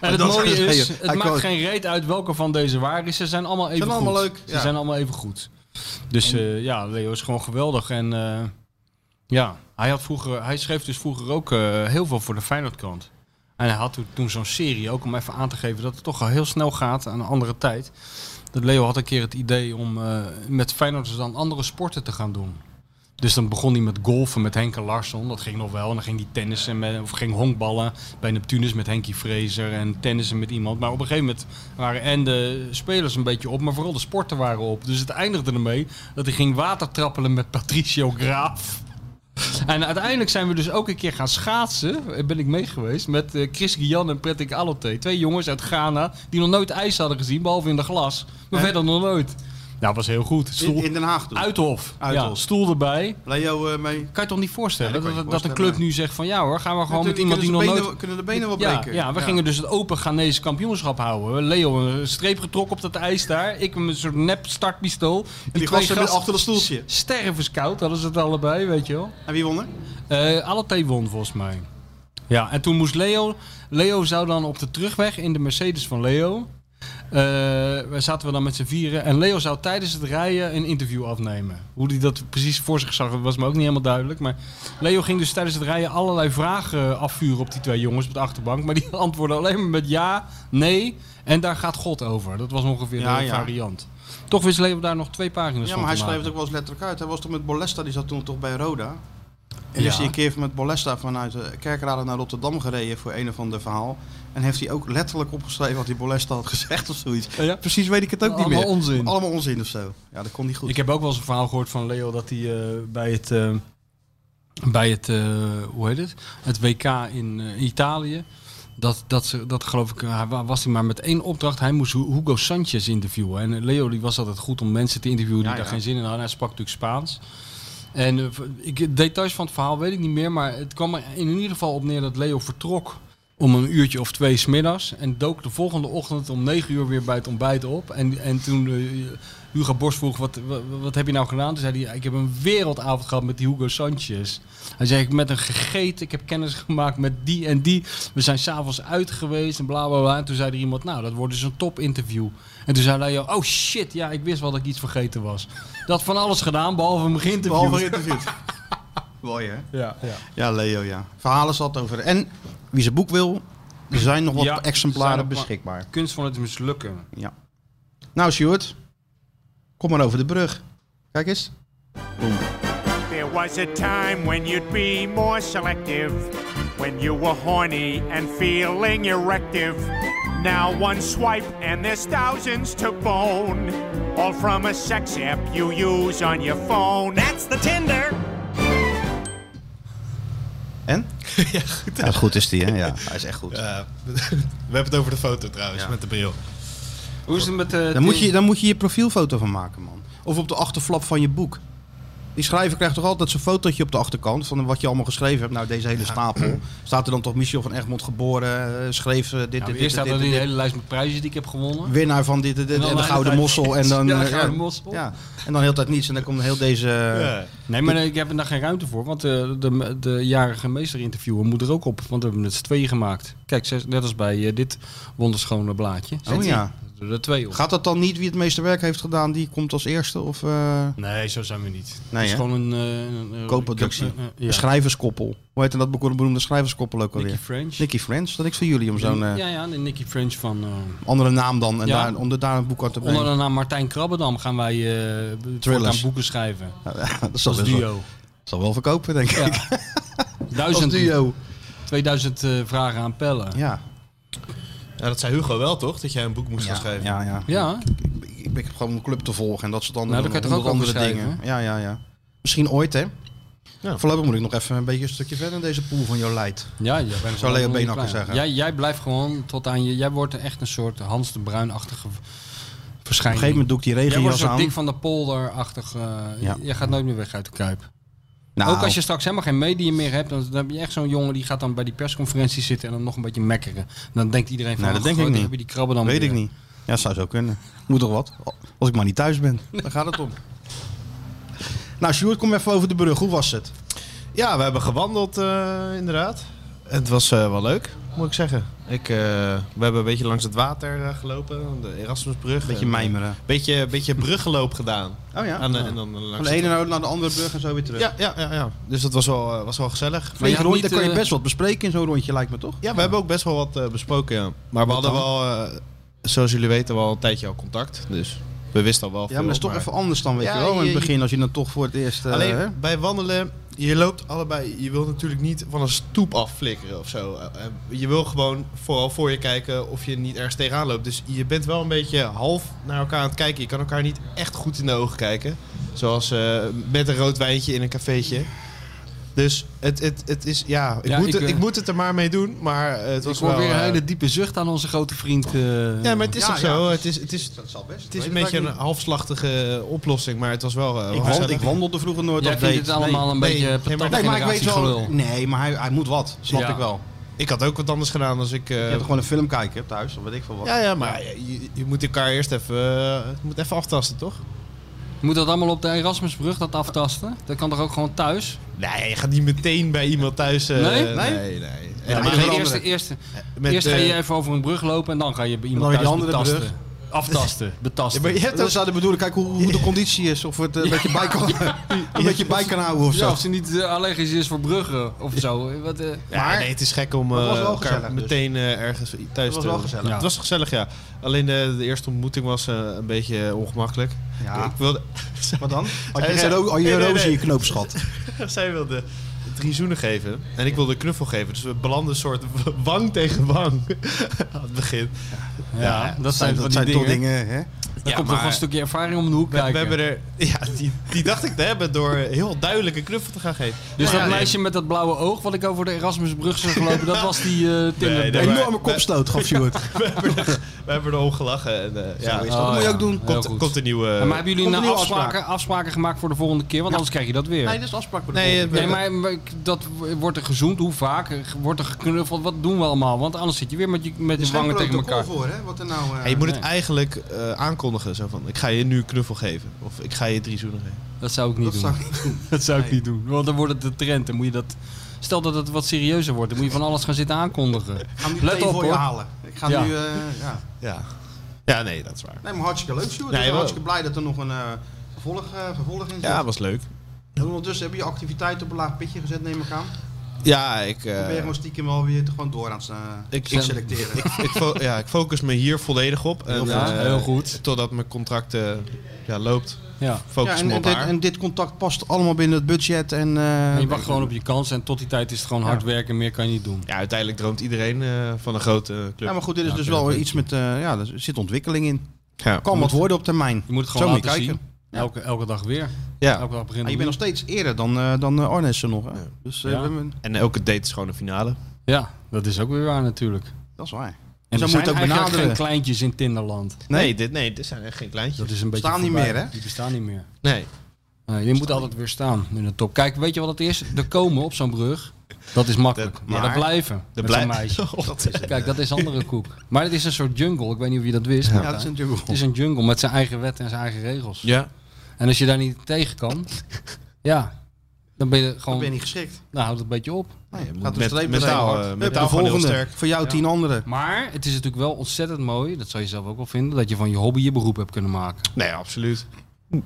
Speaker 4: Maar
Speaker 5: het
Speaker 4: dat
Speaker 5: mooie
Speaker 4: Leo.
Speaker 5: is,
Speaker 4: Hij
Speaker 5: het maakt
Speaker 4: quote-
Speaker 5: geen reet uit welke van deze waar is. Ze zijn allemaal even goed.
Speaker 4: allemaal leuk,
Speaker 5: Ze
Speaker 4: ja.
Speaker 5: zijn allemaal even goed. Dus eh, ja, Leo is gewoon geweldig. En eh, ja, hij, had vroeger, hij schreef dus vroeger ook eh, heel veel voor de Feyenoordkrant. En hij had toen- toen zo'n serie, ook om even aan te geven dat het toch al heel snel gaat aan een andere tijd. Dat Leo had een keer het idee om eh, met Feyenoorders dan andere sporten te gaan doen. Dus dan begon hij met golfen met Henke Larsson. Dat ging nog wel. En dan ging hij tennissen met, of ging honkballen bij Neptunus met Henkie Fraser. En tennissen met iemand. Maar op een gegeven moment waren en de spelers een beetje op. Maar vooral de sporten waren op. Dus het eindigde ermee dat hij ging watertrappelen met Patricio Graaf. En uiteindelijk zijn we dus ook een keer gaan schaatsen. Eh, Ben ik mee geweest met eh, Chris Guyan en Pretik Alote. Twee jongens uit Ghana die nog nooit ijs hadden gezien. Behalve in de glas. Maar verder nog nooit. Nou, was heel goed.
Speaker 4: In,
Speaker 5: Stoel,
Speaker 4: in Den Haag toen.
Speaker 5: Uithof.
Speaker 4: Uithof.
Speaker 5: Ja, stoel erbij.
Speaker 4: Leo eh, mee.
Speaker 5: Kan je toch niet voorstellen
Speaker 4: Ja, dat
Speaker 5: dat,
Speaker 4: kan je
Speaker 5: dat een
Speaker 4: voorstellen,
Speaker 5: club nu zegt van ja hoor, gaan we gewoon met
Speaker 4: Natuurlijk
Speaker 5: iemand die nog
Speaker 4: kunnen ze benen-
Speaker 5: nooit...
Speaker 4: Kunnen de benen wel
Speaker 5: Ja,
Speaker 4: breken.
Speaker 5: ja, we gingen dus het open Ghanese kampioenschap houden. Leo een streep getrokken op dat ijs daar. Ik met een soort nep startpistool.
Speaker 4: En die
Speaker 5: twee
Speaker 4: gasten met
Speaker 5: gasten-
Speaker 4: achter dat stoeltje.
Speaker 5: Stervenskoud hadden ze het allebei, weet je wel.
Speaker 4: En wie won er?
Speaker 5: Eh alle twee won volgens mij. Ja, en toen moest Leo... Leo zou dan op de terugweg in de Mercedes van Leo... eh, Wij zaten we dan met z'n vieren. En Leo zou tijdens het rijden een interview afnemen. Hoe hij dat precies voor zich zag, dat was me ook niet helemaal duidelijk. Maar Leo ging dus tijdens het rijden allerlei vragen afvuren op die twee jongens op de achterbank. Maar die *laughs* antwoordden alleen maar met ja, nee en daar gaat God over. Dat was ongeveer
Speaker 4: Ja,
Speaker 5: de
Speaker 4: ja.
Speaker 5: variant. Toch wist Leo daar nog twee pagina's
Speaker 4: Ja,
Speaker 5: van
Speaker 4: maar hij
Speaker 5: te
Speaker 4: schreef
Speaker 5: maken.
Speaker 4: het ook wel eens letterlijk uit. Hij was toch met Bolesta, die zat toen toch bij Roda. En
Speaker 5: Ja.
Speaker 4: is hij een keer met Bolesta vanuit eh, Kerkrade naar Rotterdam gereden voor een of ander verhaal. En heeft hij ook letterlijk opgeschreven wat die Bolesta had gezegd of zoiets.
Speaker 5: Oh Ja, ja.
Speaker 4: Precies weet ik het ook niet
Speaker 5: Allemaal
Speaker 4: meer.
Speaker 5: onzin.
Speaker 4: Allemaal onzin of zo. Ja, dat kon niet goed.
Speaker 5: Ik heb ook wel eens een verhaal gehoord van Leo dat hij eh, bij het, eh, bij het eh, hoe heet het, het WK in eh, Italië, dat, dat, ze, dat geloof ik, eh, hij wa- was hij maar met één opdracht, hij moest Hu- Hugo Sanchez interviewen. En eh, Leo die was altijd goed om mensen te interviewen die
Speaker 4: Ja,
Speaker 5: daar
Speaker 4: ja.
Speaker 5: geen zin in hadden. Hij sprak natuurlijk Spaans. En eh, v- ik, details van het verhaal weet ik niet meer, maar het kwam er in ieder geval op neer dat Leo vertrok om een uurtje of twee smiddags. En dook de volgende ochtend om negen uur weer bij het ontbijt op. En, en toen eh, Hugo Borst vroeg, wat, wat, wat heb je nou gedaan? Toen zei hij, ik heb een wereldavond gehad met die Hugo Sanchez. Hij zei, ik heb met hem gegeten, ik heb kennis gemaakt met die en die. We zijn s'avonds uit geweest en bla bla bla. En toen zei er iemand, nou dat wordt dus een top interview. En toen zei hij, oh shit, ja ik wist wel dat ik iets vergeten was. Dat van alles gedaan, behalve hem geïnterviewd.
Speaker 4: Behalve interviewd. *laughs* Mooi hè?
Speaker 5: Ja, ja.
Speaker 4: Ja, Leo, ja. Verhalen zat over. En wie zijn boek wil, er zijn nog wat
Speaker 5: Ja,
Speaker 4: exemplaren
Speaker 5: zijn nog maar-
Speaker 4: beschikbaar.
Speaker 5: Kunst van het mislukken.
Speaker 4: Ja. Nou, Stuart, kom maar over de brug. Kijk eens.
Speaker 11: There was a time when you'd be more selective, when you were horny and feeling erective. Now one swipe and there's thousands to bone, all from a sex app you use on your phone. That's the Tinder.
Speaker 5: *laughs*
Speaker 4: En?
Speaker 6: ja, goed.
Speaker 4: Ja, goed is die, hè? Ja, hij is echt goed.
Speaker 6: Ja, *laughs* we hebben het over de foto trouwens,
Speaker 4: Ja.
Speaker 6: met de bril.
Speaker 5: Hoe is het met eh, de...
Speaker 4: Dan moet, je, dan moet je je profielfoto van maken, man. Of op de achterflap van je boek. Die schrijver krijgt toch altijd zo'n fotootje op de achterkant van wat je allemaal geschreven hebt. Nou, deze hele stapel. Staat er dan toch Michel van Egmond geboren, eh, schreef eh, dit, dit,
Speaker 5: Nou,
Speaker 4: dit,
Speaker 5: eerst staat
Speaker 4: dit,
Speaker 5: er
Speaker 4: dit,
Speaker 5: die
Speaker 4: dit.
Speaker 5: hele lijst met prijzen die ik heb gewonnen.
Speaker 4: Winnaar van dit, dit, dit,
Speaker 5: En
Speaker 4: en,
Speaker 5: dan
Speaker 4: de
Speaker 5: de
Speaker 4: Gouden
Speaker 5: hele
Speaker 4: Mossel. En dan,
Speaker 5: *laughs* Ja, de
Speaker 4: eh,
Speaker 5: Gouden Mossel.
Speaker 4: Ja, en dan heel tijd niets. En dan komt heel deze...
Speaker 6: Ja.
Speaker 5: Nee, maar eh, ik heb er daar geen ruimte voor. Want eh, de, de, de jarige meesterinterviewer moet er ook op. Want we hebben het twee gemaakt. Kijk, zes- net als bij eh, dit wonderschone blaadje. Zet
Speaker 4: oh
Speaker 5: die
Speaker 4: ja.
Speaker 5: Er er twee op.
Speaker 4: Gaat dat dan niet wie het meeste werk heeft gedaan, die komt als eerste? Of eh
Speaker 5: Nee, zo zijn we niet.
Speaker 4: Nee,
Speaker 5: het is
Speaker 4: hè? Dus
Speaker 5: gewoon een... eh, een- een-
Speaker 4: Co-productie.
Speaker 5: eh, eh, ja.
Speaker 4: een schrijverskoppel? Hoe heet dat bekoor- beroemde schrijverskoppel ook alweer?
Speaker 5: Nicky
Speaker 4: Nicky,
Speaker 5: French.
Speaker 4: French. Dat is van jullie om zo'n eh,
Speaker 5: Ja, ja, de Nicky French van... eh,
Speaker 4: andere naam dan. En
Speaker 5: Ja.
Speaker 4: daar, om er daar een boek uit te brengen.
Speaker 5: onder de naam Martijn Krabbendam gaan wij eh voortaan boeken schrijven.
Speaker 4: Ja, *laughs* dat zal,
Speaker 5: Als
Speaker 4: best wel-
Speaker 5: duo.
Speaker 4: zal wel verkopen, denk ik. Als
Speaker 5: Duizend,
Speaker 4: duo.
Speaker 5: 2000 eh, vragen aan pellen.
Speaker 4: Ja.
Speaker 6: Ja, dat zei Hugo wel, toch? Dat jij een boek moest gaan
Speaker 4: Ja,
Speaker 6: schrijven.
Speaker 4: ja, ja.
Speaker 5: Ja,
Speaker 4: Ik, ik ben gewoon een club te volgen en dat soort andere,
Speaker 5: Nou, daar kan je
Speaker 4: honderd
Speaker 5: toch ook
Speaker 4: andere
Speaker 5: over
Speaker 4: dingen.
Speaker 5: schrijven,
Speaker 4: Ja, ja, ja. Misschien ooit, hè? Voorlopig moet ik nog even een beetje een stukje verder in deze pool van jou leidt.
Speaker 5: Ja, jij bent
Speaker 4: Zou Leo
Speaker 5: gewoon
Speaker 4: Beenhakker
Speaker 5: klein.
Speaker 4: zeggen.
Speaker 5: Jij, jij blijft gewoon tot aan je... Jij wordt echt een soort Hans de Bruin-achtige
Speaker 4: Op
Speaker 5: v-
Speaker 4: een
Speaker 5: verschijning.
Speaker 4: gegeven moment doe ik die
Speaker 5: jij wordt een
Speaker 4: regenjas
Speaker 5: soort
Speaker 4: aan.
Speaker 5: dik van de polder-achtig... eh,
Speaker 4: Ja.
Speaker 5: Jij gaat nooit meer weg uit de Kuip.
Speaker 4: Nou,
Speaker 5: Ook als je straks helemaal geen medium meer hebt... Dan, dan heb je echt zo'n jongen die gaat dan bij die persconferentie zitten... en dan nog een beetje mekkeren. Dan denkt iedereen van...
Speaker 4: Nou, dat
Speaker 5: "Oh,
Speaker 4: denk
Speaker 5: God,
Speaker 4: ik
Speaker 5: dan
Speaker 4: niet.
Speaker 5: heb je die krabben dan
Speaker 4: weet
Speaker 5: weer."
Speaker 4: ik niet. Ja, dat zou zo kunnen. Moet toch wat? Als ik maar niet thuis ben. *laughs* Daar gaat het om. Nou, Sjoerd, kom even over de brug. Hoe was het?
Speaker 6: Ja, we hebben gewandeld eh, inderdaad. Het was eh, wel leuk, moet ik zeggen. Ik, eh, we hebben een beetje langs het water eh, gelopen, de Erasmusbrug.
Speaker 4: Beetje
Speaker 6: En, eh,
Speaker 4: mijmeren.
Speaker 6: Beetje, beetje bruggenloop gedaan.
Speaker 4: Oh ja?
Speaker 6: Aan de- en dan eh, langs
Speaker 4: Van de
Speaker 6: het-
Speaker 4: ene naar de andere brug en zo weer terug.
Speaker 6: ja, ja, ja, ja. Dus dat was wel, eh, was wel gezellig.
Speaker 5: Maar je
Speaker 4: Vlieg
Speaker 5: had
Speaker 4: rond,
Speaker 5: niet,
Speaker 4: daar kan je
Speaker 5: eh,
Speaker 4: best wat bespreken in zo'n rondje, lijkt me toch?
Speaker 6: Ja, we hebben ook best wel wat eh, besproken. Ja. Maar we hadden
Speaker 4: dan?
Speaker 6: wel, eh, zoals jullie weten, wel een tijdje al contact. Dus we wisten al wel
Speaker 4: Ja, maar dat is toch even anders dan, weet
Speaker 6: Ja,
Speaker 4: je wel. In
Speaker 6: je-
Speaker 4: het begin, als je dan toch voor het eerst... eh,
Speaker 6: Alleen
Speaker 4: hè?
Speaker 6: bij wandelen, je loopt allebei. Je wilt natuurlijk niet van een stoep afflikkeren of zo. Eh, eh, Je wil gewoon vooral voor je kijken of je niet ergens tegenaan loopt. Dus je bent wel een beetje half naar elkaar aan het kijken. Je kan elkaar niet echt goed in de ogen kijken. Zoals eh, met een rood wijntje in een cafeetje. Dus het, het, het is, ja, ik,
Speaker 5: Ja,
Speaker 6: moet
Speaker 5: ik,
Speaker 6: het,
Speaker 5: eh,
Speaker 6: ik moet het er maar mee doen. Maar eh, het
Speaker 5: Ik
Speaker 6: was
Speaker 5: hoor
Speaker 6: wel...
Speaker 5: weer een
Speaker 6: eh,
Speaker 5: hele diepe zucht aan onze grote vriend. eh.
Speaker 6: Ja, maar het is
Speaker 4: Ja,
Speaker 6: toch
Speaker 4: ja.
Speaker 6: zo. Het is, het is,
Speaker 4: Dat zal best.
Speaker 6: het is een beetje een halfslachtige oplossing, maar het was wel...
Speaker 4: Ik,
Speaker 6: eh, wel
Speaker 4: wand, ik
Speaker 6: gezellig.
Speaker 4: wandelde vroeger nooit
Speaker 5: Jij
Speaker 4: op
Speaker 5: vindt
Speaker 4: date.
Speaker 5: het allemaal een
Speaker 6: nee,
Speaker 5: beetje
Speaker 6: nee,
Speaker 5: patat
Speaker 4: Nee, maar ik weet wel...
Speaker 5: generatie gelul.
Speaker 4: Nee, maar hij, hij moet wat. Snap
Speaker 5: Ja.
Speaker 4: ik wel.
Speaker 6: Oh. Ik had ook wat anders gedaan als ik... eh,
Speaker 4: Je hebt gewoon een film kijken hè, thuis, of weet ik veel wat.
Speaker 6: Ja, ja, maar je, je moet elkaar eerst even, eh, je moet even aftasten, toch?
Speaker 5: Moet dat allemaal op de Erasmusbrug, dat aftasten? Dat kan toch ook gewoon thuis?
Speaker 6: Nee, je gaat niet meteen bij iemand thuis. eh,
Speaker 5: Nee?
Speaker 6: Nee? nee,
Speaker 4: Ja,
Speaker 6: En
Speaker 4: maar
Speaker 6: met-
Speaker 4: geen
Speaker 5: eerst,
Speaker 4: andere.
Speaker 5: eerst,
Speaker 6: met,
Speaker 5: eerst ga
Speaker 6: eh,
Speaker 5: je even over een brug lopen en dan ga je bij
Speaker 4: dan
Speaker 5: iemand
Speaker 4: weer die
Speaker 5: thuis
Speaker 4: andere
Speaker 5: betasten. Aftasten,
Speaker 6: ja,
Speaker 5: *laughs* betasten.
Speaker 6: maar je hebt
Speaker 4: Dat
Speaker 6: ook,
Speaker 4: zou ik bedoelen, kijk hoe, hoe de conditie is. Of het eh, een beetje bij kan, een beetje bij kan houden of
Speaker 5: Ja,
Speaker 4: zo.
Speaker 5: of ze niet eh, allergisch is voor bruggen of zo. Wat, eh,
Speaker 6: *laughs* Ja,
Speaker 4: maar-
Speaker 6: nee, het is gek om
Speaker 4: Maar het
Speaker 6: eh,
Speaker 4: was wel
Speaker 6: elkaar
Speaker 4: gezellig dus.
Speaker 6: meteen eh, ergens thuis te...
Speaker 4: was wel gezellig.
Speaker 5: Ja.
Speaker 6: Het was gezellig, ja. Alleen de, de eerste ontmoeting was eh, een beetje ongemakkelijk.
Speaker 4: Ja.
Speaker 6: Ik wilde... *laughs*
Speaker 4: Wat dan? Had je
Speaker 6: Hij
Speaker 4: geen
Speaker 6: zei-
Speaker 4: ro- had je
Speaker 6: Nee, nee,
Speaker 4: roos in je
Speaker 6: nee.
Speaker 4: knoopsgat?
Speaker 6: Zij wilde drie zoenen geven en ik wilde een knuffel geven. Dus we belanden een soort wang tegen wang *laughs* aan het begin.
Speaker 5: ja,
Speaker 6: dat
Speaker 5: dat zijn,
Speaker 4: dat
Speaker 5: van
Speaker 4: zijn
Speaker 5: die
Speaker 4: toch
Speaker 5: dingen.
Speaker 4: dingen, hè?
Speaker 5: Daar
Speaker 6: Ja,
Speaker 5: komt toch
Speaker 6: maar-
Speaker 5: een stukje ervaring om de hoek
Speaker 6: We,
Speaker 5: kijken.
Speaker 6: we hebben er, *laughs* ja, die, die dacht ik te hebben door heel duidelijk een knuffel te gaan geven.
Speaker 5: dus
Speaker 6: Nou
Speaker 5: dat
Speaker 6: ja,
Speaker 5: meisje met dat blauwe oog wat *laughs* ik over de Erasmusbrug zag lopen, dat was die eh Tinder.
Speaker 6: Nee, nee,
Speaker 4: Een
Speaker 6: maar-
Speaker 4: enorme kopstoot gaf Sjoerd.
Speaker 6: we hebben er- we we hebben erom gelachen. En, eh, ja,
Speaker 5: is dat. Oh, Moet je ja. ook doen. Heel
Speaker 6: Komt,
Speaker 5: goed.
Speaker 6: komt een nieuwe.
Speaker 5: Ja, maar hebben jullie
Speaker 6: komt een
Speaker 5: nou
Speaker 6: nieuwe
Speaker 5: afspraken, afspraken gemaakt voor de volgende keer? Want anders krijg je dat weer.
Speaker 6: Nee, dit is de afspraak voor de
Speaker 5: Nee,
Speaker 6: volgende
Speaker 5: nee,
Speaker 6: keer.
Speaker 5: maar maar ik- dat wordt er gezoend. Hoe vaak? Wordt er geknuffeld? Wat doen we allemaal? Want anders zit je weer met je, met je wangen tegen elkaar.
Speaker 4: Wat er nou...
Speaker 6: Ja, je moet het eigenlijk eh, aankondigen. Zo van, ik ga je nu een knuffel geven. Of ik ga je drie zoenen geven.
Speaker 5: Dat zou ik niet doen.
Speaker 6: zou
Speaker 5: *laughs* dat zou ik niet doen. Want dan wordt het de trend. Dan moet je dat... Stel dat het wat serieuzer wordt. Dan moet je van alles gaan zitten aankondigen.
Speaker 4: ga hem nu
Speaker 5: Let
Speaker 4: meteen
Speaker 5: op
Speaker 4: voor
Speaker 5: hoor.
Speaker 4: je halen. Ik ga
Speaker 5: Ja.
Speaker 4: nu... eh, ja.
Speaker 6: Ja. ja, nee, dat is waar.
Speaker 4: Nee, maar hartstikke leuk, Sjoerd.
Speaker 6: Nee,
Speaker 4: ik ben
Speaker 6: wel.
Speaker 4: hartstikke blij dat er nog een eh, vervolg, eh, vervolg in zit.
Speaker 6: Ja, was leuk.
Speaker 4: En ondertussen heb je je activiteit op een laag pitje gezet, neem ik
Speaker 6: Eh.
Speaker 4: aan.
Speaker 6: Ja, ik... eh,
Speaker 4: Dan ben je gewoon stiekem wel weer te- gewoon door aan het eh,
Speaker 6: ik,
Speaker 4: selecteren.
Speaker 6: Ik, ik, fo- ja, ik focus me hier volledig op.
Speaker 4: Heel
Speaker 6: en,
Speaker 4: goed.
Speaker 6: eh,
Speaker 5: Heel goed.
Speaker 6: Totdat mijn contract eh, ja, loopt.
Speaker 5: Ja.
Speaker 6: Focus
Speaker 4: Ja, en,
Speaker 6: me
Speaker 4: en,
Speaker 6: op
Speaker 4: dit,
Speaker 6: haar.
Speaker 4: en dit contact past allemaal binnen het budget. En, eh,
Speaker 5: En je wacht gewoon op je kans. En tot die tijd is het gewoon hard werken. Meer kan je niet doen.
Speaker 6: Ja, uiteindelijk droomt iedereen eh, van een grote club.
Speaker 4: Ja, maar goed, dit is
Speaker 6: Ja,
Speaker 4: dus
Speaker 6: oké,
Speaker 4: wel
Speaker 6: oké.
Speaker 4: iets met... eh, ja, er zit ontwikkeling in.
Speaker 6: Ja.
Speaker 4: Kan wat worden op termijn.
Speaker 5: Je moet het
Speaker 4: Zo
Speaker 5: gewoon laten
Speaker 4: je kijken.
Speaker 5: zien. Elke, elke dag weer.
Speaker 6: Ja.
Speaker 5: Elke
Speaker 4: Maar
Speaker 5: dag beginnen
Speaker 4: Ah, je bent nog
Speaker 5: opnieuw.
Speaker 4: steeds eerder dan, eh dan eh, Arnessen nog. Hè? Dus eh,
Speaker 5: Ja.
Speaker 4: we hebben-
Speaker 6: En elke date is gewoon een finale.
Speaker 5: Ja, dat is ook weer waar natuurlijk.
Speaker 4: dat is waar. Zo
Speaker 5: En
Speaker 4: moet
Speaker 5: er
Speaker 4: je
Speaker 5: zijn
Speaker 4: het ook
Speaker 5: eigenlijk
Speaker 4: benaderen.
Speaker 5: geen kleintjes in Tinderland.
Speaker 6: Nee, dit, nee dit zijn echt geen kleintjes.
Speaker 5: Dat is een beetje
Speaker 4: Staan niet
Speaker 5: voorbij.
Speaker 4: meer, hè?
Speaker 5: Die bestaan niet meer.
Speaker 6: Nee.
Speaker 5: Nee, die moet altijd weer staan in de top. Kijk, weet je wat het is? Er komen op zo'n brug. Dat is makkelijk.
Speaker 6: Dat-
Speaker 5: maar
Speaker 6: maar-
Speaker 5: dat blijven.
Speaker 6: De
Speaker 5: met zo'n
Speaker 6: blij...
Speaker 5: meisje.
Speaker 6: *laughs* Oh, dat is-
Speaker 5: Kijk, dat is andere koek. Maar het is een soort jungle. Ik weet niet of je dat wist.
Speaker 4: Ja,
Speaker 5: Martijn.
Speaker 4: dat is een jungle.
Speaker 5: Het is een jungle met zijn eigen wetten en zijn eigen regels.
Speaker 6: Ja.
Speaker 5: En als je daar niet tegen kan, ja, dan ben je
Speaker 4: Dan
Speaker 5: gewoon.
Speaker 4: ben je niet geschikt.
Speaker 5: Nou, houd het een beetje op.
Speaker 4: Nee, gaat
Speaker 6: Met-
Speaker 4: de streep
Speaker 6: mentaal,
Speaker 4: meteen hard.
Speaker 6: eh,
Speaker 4: Hup,
Speaker 6: mentaal
Speaker 4: de
Speaker 6: gewoon heel
Speaker 4: volgende.
Speaker 6: sterk.
Speaker 4: Voor jou tien anderen.
Speaker 5: Maar het is natuurlijk wel ontzettend mooi, dat zou je zelf ook wel vinden, dat je van je hobby je beroep hebt kunnen maken.
Speaker 6: Nee, absoluut.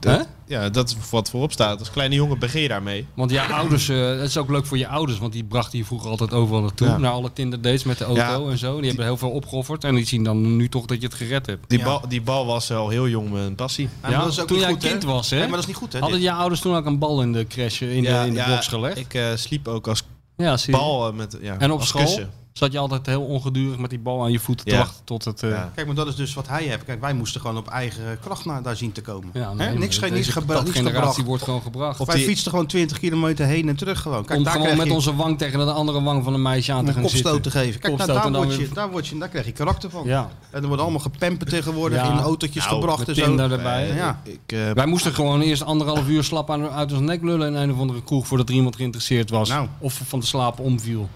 Speaker 6: Dat,
Speaker 5: Hè?
Speaker 6: ja, dat is wat voorop staat. Als kleine jongen begin je daarmee.
Speaker 5: Want jouw ouders, eh, het is ook leuk voor je ouders, want die brachten je vroeger altijd overal naartoe.
Speaker 6: Ja.
Speaker 5: Naar alle Tinder dates met de auto
Speaker 6: Ja.
Speaker 5: en zo. Die hebben heel veel opgeofferd en die zien dan nu toch dat je het gered hebt.
Speaker 6: Die, bal, die bal was al heel jong een passie.
Speaker 4: Ja, maar dat is ook
Speaker 5: toen
Speaker 4: niet
Speaker 5: jij
Speaker 4: goed, hè?
Speaker 5: kind was, hè?
Speaker 4: Nee, maar dat is niet goed, hè?
Speaker 5: Hadden
Speaker 4: dit?
Speaker 5: jouw ouders toen ook een bal in de crash, eh, in de, in de box gelegd?
Speaker 6: Ik eh, sliep ook als
Speaker 5: ja, zie je.
Speaker 6: bal eh, met ja,
Speaker 5: En op
Speaker 6: als
Speaker 5: school
Speaker 6: kussen.
Speaker 5: zat je altijd heel ongedurig met die bal aan je voeten te
Speaker 6: Ja.
Speaker 5: wachten tot het... eh,
Speaker 6: Ja.
Speaker 4: Kijk, maar dat is dus wat hij heeft. Kijk, wij moesten gewoon op eigen kracht naar daar zien te komen.
Speaker 5: ja, nee,
Speaker 4: Hè?
Speaker 5: maar
Speaker 4: niks geen niks,
Speaker 5: deze
Speaker 4: gebra niks
Speaker 5: generatie
Speaker 4: gebracht.
Speaker 5: wordt gewoon gebracht.
Speaker 4: Wij fietsten gewoon 20 kilometer heen en terug gewoon. Kijk,
Speaker 5: om
Speaker 4: daar
Speaker 5: gewoon
Speaker 4: krijg
Speaker 5: met
Speaker 4: je
Speaker 5: onze wang tegen de andere wang van een meisje aan te
Speaker 4: een
Speaker 5: gaan
Speaker 4: kopstoot
Speaker 5: zitten.
Speaker 4: te geven. Kijk, nou,
Speaker 5: Kopstoot en
Speaker 4: daar,
Speaker 5: dan
Speaker 4: word je,
Speaker 5: weer-
Speaker 4: daar, word je, daar krijg je karakter van.
Speaker 5: Ja,
Speaker 4: En er wordt allemaal gepemperd tegenwoordig
Speaker 5: Ja.
Speaker 4: in autootjes
Speaker 6: Nou,
Speaker 4: gebracht
Speaker 5: met
Speaker 4: en
Speaker 5: Tinder
Speaker 4: zo.
Speaker 5: erbij.
Speaker 4: Ja.
Speaker 6: Ik, eh,
Speaker 5: Wij moesten gewoon eerst anderhalf uur slap aan, uit ons nek lullen in een of andere kroeg voordat er iemand geïnteresseerd was.
Speaker 4: Nou.
Speaker 5: Of van de slaap omviel.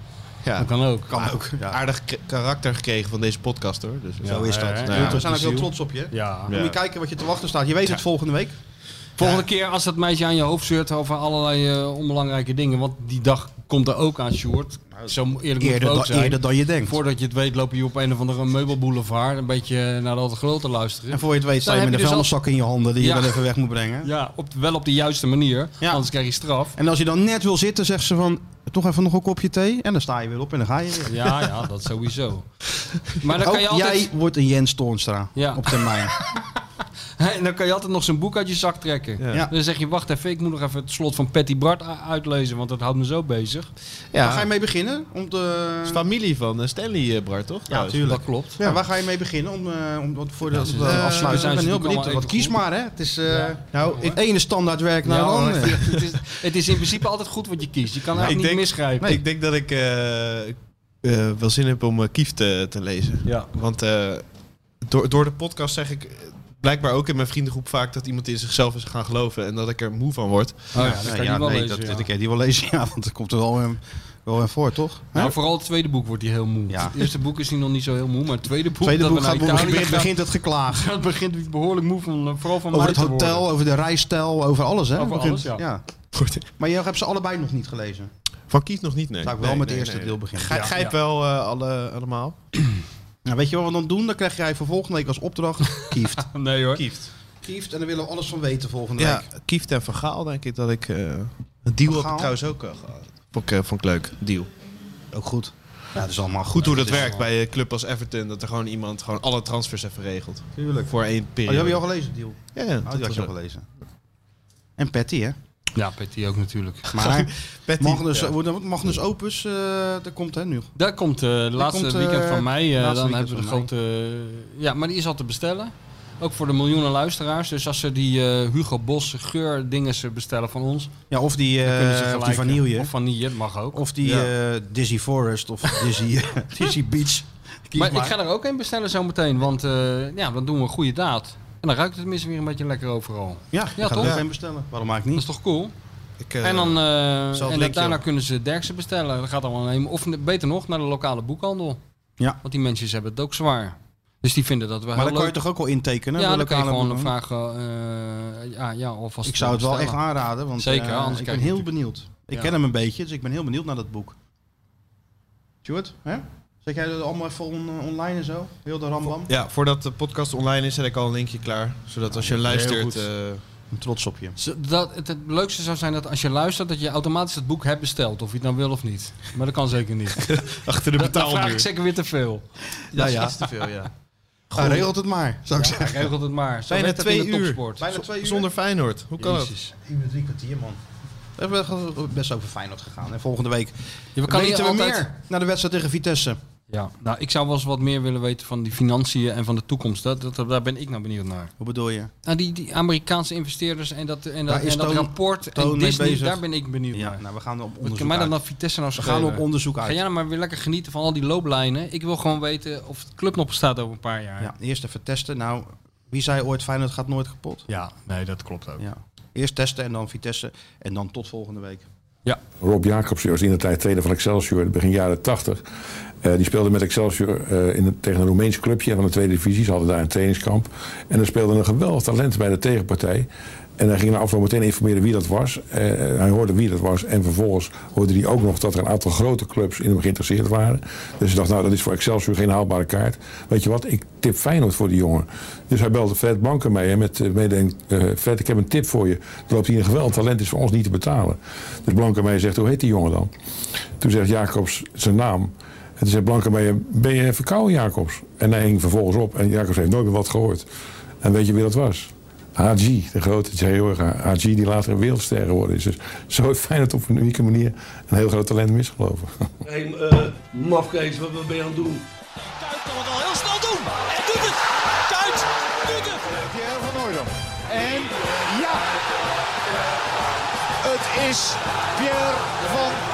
Speaker 6: ja,
Speaker 5: Dat kan ook.
Speaker 4: Kan ook. Ja.
Speaker 6: aardig k- karakter gekregen van deze podcast hoor. Dus,
Speaker 5: Ja.
Speaker 4: Zo is dat.
Speaker 5: Ja, ja.
Speaker 4: Nou, we zijn ook heel trots op je.
Speaker 5: Ja.
Speaker 4: Moet je kijken wat je te wachten staat. Je weet het volgende week.
Speaker 5: Volgende keer als dat meisje aan je hoofd zeurt over allerlei eh, onbelangrijke dingen, want die dag komt er ook aan, Sjoerd. Zo eerlijk moet het
Speaker 4: Eerder,
Speaker 5: ook
Speaker 4: dan-
Speaker 5: zijn.
Speaker 4: eerder dan je denkt.
Speaker 5: Voordat je het weet loop je op een of andere meubelboulevard een beetje naar de Alte Gelul te luisteren.
Speaker 4: En voor je het weet sta
Speaker 5: Dan
Speaker 4: je
Speaker 5: heb
Speaker 4: met een
Speaker 5: je dus al-
Speaker 4: vuilniszak in je handen die
Speaker 5: Ja.
Speaker 4: je wel even weg moet brengen.
Speaker 5: Ja, op, wel op de juiste manier,
Speaker 4: Ja.
Speaker 5: anders krijg je straf.
Speaker 4: En als je dan net wil zitten, zegt ze van, toch even nog een kopje thee. En dan sta je weer op en dan ga je weer.
Speaker 5: Ja, ja, dat sowieso. Maar dan
Speaker 4: Ook
Speaker 5: kan je altijd...
Speaker 4: Oh, jij wordt een Jens Toornstra
Speaker 5: Ja.
Speaker 4: op
Speaker 5: *laughs*
Speaker 4: termijn.
Speaker 5: En dan kan je altijd nog zijn boek uit je zak trekken.
Speaker 4: Ja.
Speaker 5: Dan zeg je, wacht even, ik moet nog even het slot van Patty Bart a- uitlezen, want dat houdt me zo bezig.
Speaker 6: ja.
Speaker 4: Waar ga je mee beginnen? Om te...
Speaker 6: Het is familie van eh, Stanley eh, Bart, toch?
Speaker 4: Ja,
Speaker 6: Trouwens.
Speaker 4: tuurlijk.
Speaker 5: Dat klopt.
Speaker 4: Ja, waar ga je mee beginnen om, eh, om wat voor de,
Speaker 5: ze-
Speaker 4: de
Speaker 5: eh, we
Speaker 4: afsluiting?
Speaker 5: zijn
Speaker 4: Ik ben
Speaker 5: ze
Speaker 4: heel
Speaker 5: natuurlijk
Speaker 4: benieuwd.
Speaker 5: al
Speaker 4: Wat
Speaker 5: even
Speaker 4: kies
Speaker 5: goed.
Speaker 4: maar, hè? Het is eh
Speaker 5: Ja.
Speaker 4: nou, het ene standaardwerk naar
Speaker 5: Ja,
Speaker 4: de
Speaker 5: hoor,
Speaker 4: andere.
Speaker 5: Nou, *laughs* het, het is, het is in principe altijd goed wat je kiest. Je kan
Speaker 6: ik
Speaker 5: eigenlijk
Speaker 6: denk-
Speaker 5: niet misgrijpen.
Speaker 6: Ik denk dat ik eh, eh, wel zin heb om eh, Kieft te, te lezen.
Speaker 5: Ja.
Speaker 6: Want eh, door, door de podcast zeg ik eh, blijkbaar ook in mijn vriendengroep vaak dat iemand in zichzelf is gaan geloven en dat ik er moe van word.
Speaker 5: Oh, ja, dat kan
Speaker 4: Nee,
Speaker 5: je
Speaker 4: ja,
Speaker 5: wel
Speaker 4: nee,
Speaker 5: lezen,
Speaker 4: dat,
Speaker 5: ja.
Speaker 4: dat kan je die wel lezen, ja, want er komt er wel een, wel een voor, toch? Hè?
Speaker 5: Nou, vooral het tweede boek wordt hij heel moe.
Speaker 4: Ja.
Speaker 5: Het eerste boek is hij nog niet zo heel moe, maar het tweede boek...
Speaker 4: Tweede
Speaker 5: dat
Speaker 4: boek
Speaker 5: we naar
Speaker 4: gaat, begint,
Speaker 5: Italië gaan,
Speaker 4: begint het geklaag.
Speaker 5: dat begint hij behoorlijk moe van, eh, vooral van
Speaker 4: Over
Speaker 5: mij
Speaker 4: het
Speaker 5: te worden.
Speaker 4: hotel, over de rijstijl, over alles, hè?
Speaker 5: Over
Speaker 4: Begint-
Speaker 5: alles, ja.
Speaker 4: Maar je hebt ze allebei nog niet gelezen.
Speaker 6: Van Kieft nog niet, nee.
Speaker 4: Zou ik wel
Speaker 6: Nee,
Speaker 4: met
Speaker 6: nee,
Speaker 4: het eerste
Speaker 6: nee.
Speaker 4: deel beginnen.
Speaker 6: Gij- Gijp wel eh, alle, allemaal.
Speaker 4: Nou, weet je wat we dan doen? Dan krijg jij voor volgende week als *laughs* opdracht Kieft.
Speaker 5: Nee hoor.
Speaker 6: Kieft.
Speaker 4: Kieft, en daar willen we alles van weten volgende
Speaker 6: Ja,
Speaker 4: week.
Speaker 6: Kieft en Van Gaal denk ik dat ik... eh, een deal heb ik
Speaker 4: Gaal?
Speaker 6: trouwens ook eh, gehad. Vond ik, eh, vond ik leuk, deal.
Speaker 4: Ook goed. Ja, Nou, dat is allemaal
Speaker 6: Goed
Speaker 4: goed.
Speaker 6: hoe dat werkt bij een club als Everton. Dat er gewoon iemand gewoon alle transfers even regelt.
Speaker 4: Tuurlijk.
Speaker 6: Voor één
Speaker 4: Oh, die
Speaker 6: periode.
Speaker 4: heb je al gelezen, Deal.
Speaker 6: Ja, ja,
Speaker 4: Oh,
Speaker 6: dat
Speaker 4: die had
Speaker 6: was
Speaker 4: je al
Speaker 6: ook.
Speaker 4: gelezen. En *laughs* Patty, hè?
Speaker 5: Ja, Patty ook natuurlijk.
Speaker 4: Maar
Speaker 6: Patty,
Speaker 4: Magnus,
Speaker 6: ja.
Speaker 4: wordt- Magnus Opus, eh daar komt hè nu.
Speaker 5: Daar komt eh, de laatste
Speaker 4: komt, eh,
Speaker 5: weekend van mei. eh,
Speaker 4: laatste
Speaker 5: dan
Speaker 4: weekend
Speaker 5: hebben we de
Speaker 4: van mei.
Speaker 5: grote. eh, ja, maar die is al te bestellen. Ook voor de miljoenen luisteraars. Dus als ze die eh, Hugo Bos geurdingen bestellen van ons,
Speaker 4: Ja, of die,
Speaker 5: dan kunnen ze
Speaker 4: eh
Speaker 5: gelijk.
Speaker 4: of die vanille.
Speaker 5: Of vanille, mag
Speaker 4: *laughs*
Speaker 5: ook.
Speaker 4: Of die eh Dizzy Forest of Dizzy, Dizzy Beach.
Speaker 6: Kies
Speaker 5: maar,
Speaker 6: maar.
Speaker 5: ik ga er ook een bestellen zometeen, want eh, ja, dan doen we een goede daad. En dan ruikt het tenminste weer een beetje lekker overal.
Speaker 4: Ja, ik ga er
Speaker 5: toch?
Speaker 4: ook een bestellen. Waarom maak ik
Speaker 5: Dat
Speaker 4: niet?
Speaker 5: is toch cool?
Speaker 6: Ik, eh,
Speaker 5: en dan, eh,
Speaker 6: zelf
Speaker 5: en
Speaker 6: linken,
Speaker 5: daarna
Speaker 6: joh.
Speaker 5: kunnen ze Derksen bestellen. Dat gaat allemaal heen. Of beter nog, naar de lokale boekhandel.
Speaker 4: Ja.
Speaker 5: Want die mensen hebben het ook zwaar. Dus die vinden dat wel
Speaker 4: Maar
Speaker 5: heel
Speaker 4: dan kan je
Speaker 5: leuk.
Speaker 4: toch ook wel intekenen?
Speaker 5: ja,
Speaker 4: de
Speaker 5: dan kan je
Speaker 4: lokale
Speaker 5: gewoon
Speaker 4: boeken?
Speaker 5: vragen. eh, ja, ja, alvast
Speaker 4: Ik zou het wel echt
Speaker 5: bestellen.
Speaker 4: aanraden, want
Speaker 5: Zeker,
Speaker 4: eh,
Speaker 5: anders
Speaker 4: ik
Speaker 5: krijg
Speaker 4: ben
Speaker 5: je
Speaker 4: heel
Speaker 5: natuurlijk-
Speaker 4: benieuwd. Ik
Speaker 5: Ja.
Speaker 4: ken hem een beetje, dus ik ben heel benieuwd naar dat boek. Stuart, hè? Zeg jij dat allemaal even on- online en zo? Heel de rambam?
Speaker 6: Ja, voordat de podcast online is, zet ik al een linkje klaar. Zodat als je luistert...
Speaker 4: goed.
Speaker 6: eh,
Speaker 4: Ik ben trots op je.
Speaker 5: Zo- Dat, het, het leukste zou zijn dat als je luistert, dat je automatisch het boek hebt besteld. Of je het nou wil of niet. Maar dat kan zeker
Speaker 4: *laughs*
Speaker 5: niet.
Speaker 6: achter de
Speaker 5: Dat dan vraag ik
Speaker 6: betaalmuur.
Speaker 5: zeker weer te veel.
Speaker 4: Nou ja.
Speaker 6: Dat is te veel,
Speaker 4: *laughs*
Speaker 6: ja.
Speaker 4: Hij regelt het maar, zou ik zeggen.
Speaker 5: Regelt het maar. Zo
Speaker 6: Bijna
Speaker 5: werkt het
Speaker 6: twee
Speaker 5: in de
Speaker 6: uur.
Speaker 5: topsport.
Speaker 4: Bijna twee uur.
Speaker 6: Zonder Feyenoord. Hoe kan dat?
Speaker 5: Jezus.
Speaker 4: Uur, drie kwartier, man. We hebben best over Feyenoord gegaan. En volgende week
Speaker 5: Ja, we kan
Speaker 4: weten
Speaker 5: hier
Speaker 4: we
Speaker 5: altijd...
Speaker 4: meer naar de wedstrijd tegen Vitesse.
Speaker 5: Ja, nou, ik zou wel eens wat meer willen weten van die financiën en van de toekomst. Dat, dat, daar ben ik nou benieuwd naar.
Speaker 4: Hoe bedoel je?
Speaker 5: Nou, die, die Amerikaanse investeerders en dat, en dat,
Speaker 4: Daar is
Speaker 5: en dat
Speaker 4: Toon-
Speaker 5: rapport
Speaker 4: Toon
Speaker 5: en
Speaker 4: mee
Speaker 5: Disney,
Speaker 4: bezig.
Speaker 5: daar ben ik benieuwd
Speaker 4: Ja,
Speaker 5: naar.
Speaker 4: nou, we gaan op
Speaker 5: Wat
Speaker 4: onderzoek
Speaker 5: kan mij dan
Speaker 4: uit.
Speaker 5: naar Vitesse nou
Speaker 4: We
Speaker 5: schelen?
Speaker 4: gaan op onderzoek
Speaker 5: Ga
Speaker 4: uit.
Speaker 5: jij nou maar weer lekker genieten van al die looplijnen. Ik wil gewoon weten of de club nog bestaat over een paar jaar.
Speaker 4: Ja, eerst even testen. Nou, wie zei ooit Feyenoord gaat nooit kapot?
Speaker 5: Ja, nee, dat klopt ook.
Speaker 4: Ja. Eerst testen en dan Vitesse. En dan tot volgende week.
Speaker 12: Rob Jacobsen was in de tijd trainer van Excelsior, begin jaren 80. Eh, die speelde met Excelsior eh, in een- tegen een Roemeens clubje van de tweede divisie. Ze hadden daar een trainingskamp. En er speelde een geweldig talent bij de tegenpartij. En hij ging na afloop meteen informeren wie dat was. Eh, hij hoorde wie dat was. En vervolgens hoorde hij ook nog dat er een aantal grote clubs in hem geïnteresseerd waren. Dus hij dacht, nou dat is voor Excelsior geen haalbare kaart. Weet je wat, ik tip Feyenoord voor die jongen. Dus hij belde Fred Banken mee en met eh, mededeling... eh, Fred, ik heb een tip voor je. Er loopt hier een geweldig talent, is voor ons niet te betalen. Dus Blankenmeijer zegt, hoe heet die jongen dan? Toen zegt Jacobs zijn naam. En toen zegt Blankenmeijer, ben je verkouden Jacobs? En hij hing vervolgens op en Jacobs heeft nooit meer wat gehoord. En weet je wie dat was? Haji, de grote Georga. Haji die later een wereldster geworden is. Dus zo heeft Feyenoord op een unieke manier een heel groot talent misgelopen.
Speaker 1: Hé, eh mafkees, wat, wat ben je aan het doen?
Speaker 2: Kuit kan het al heel snel doen. En doet het. Kuit doet het.
Speaker 3: Pierre van Hooydonk. En ja! Het is Pierre van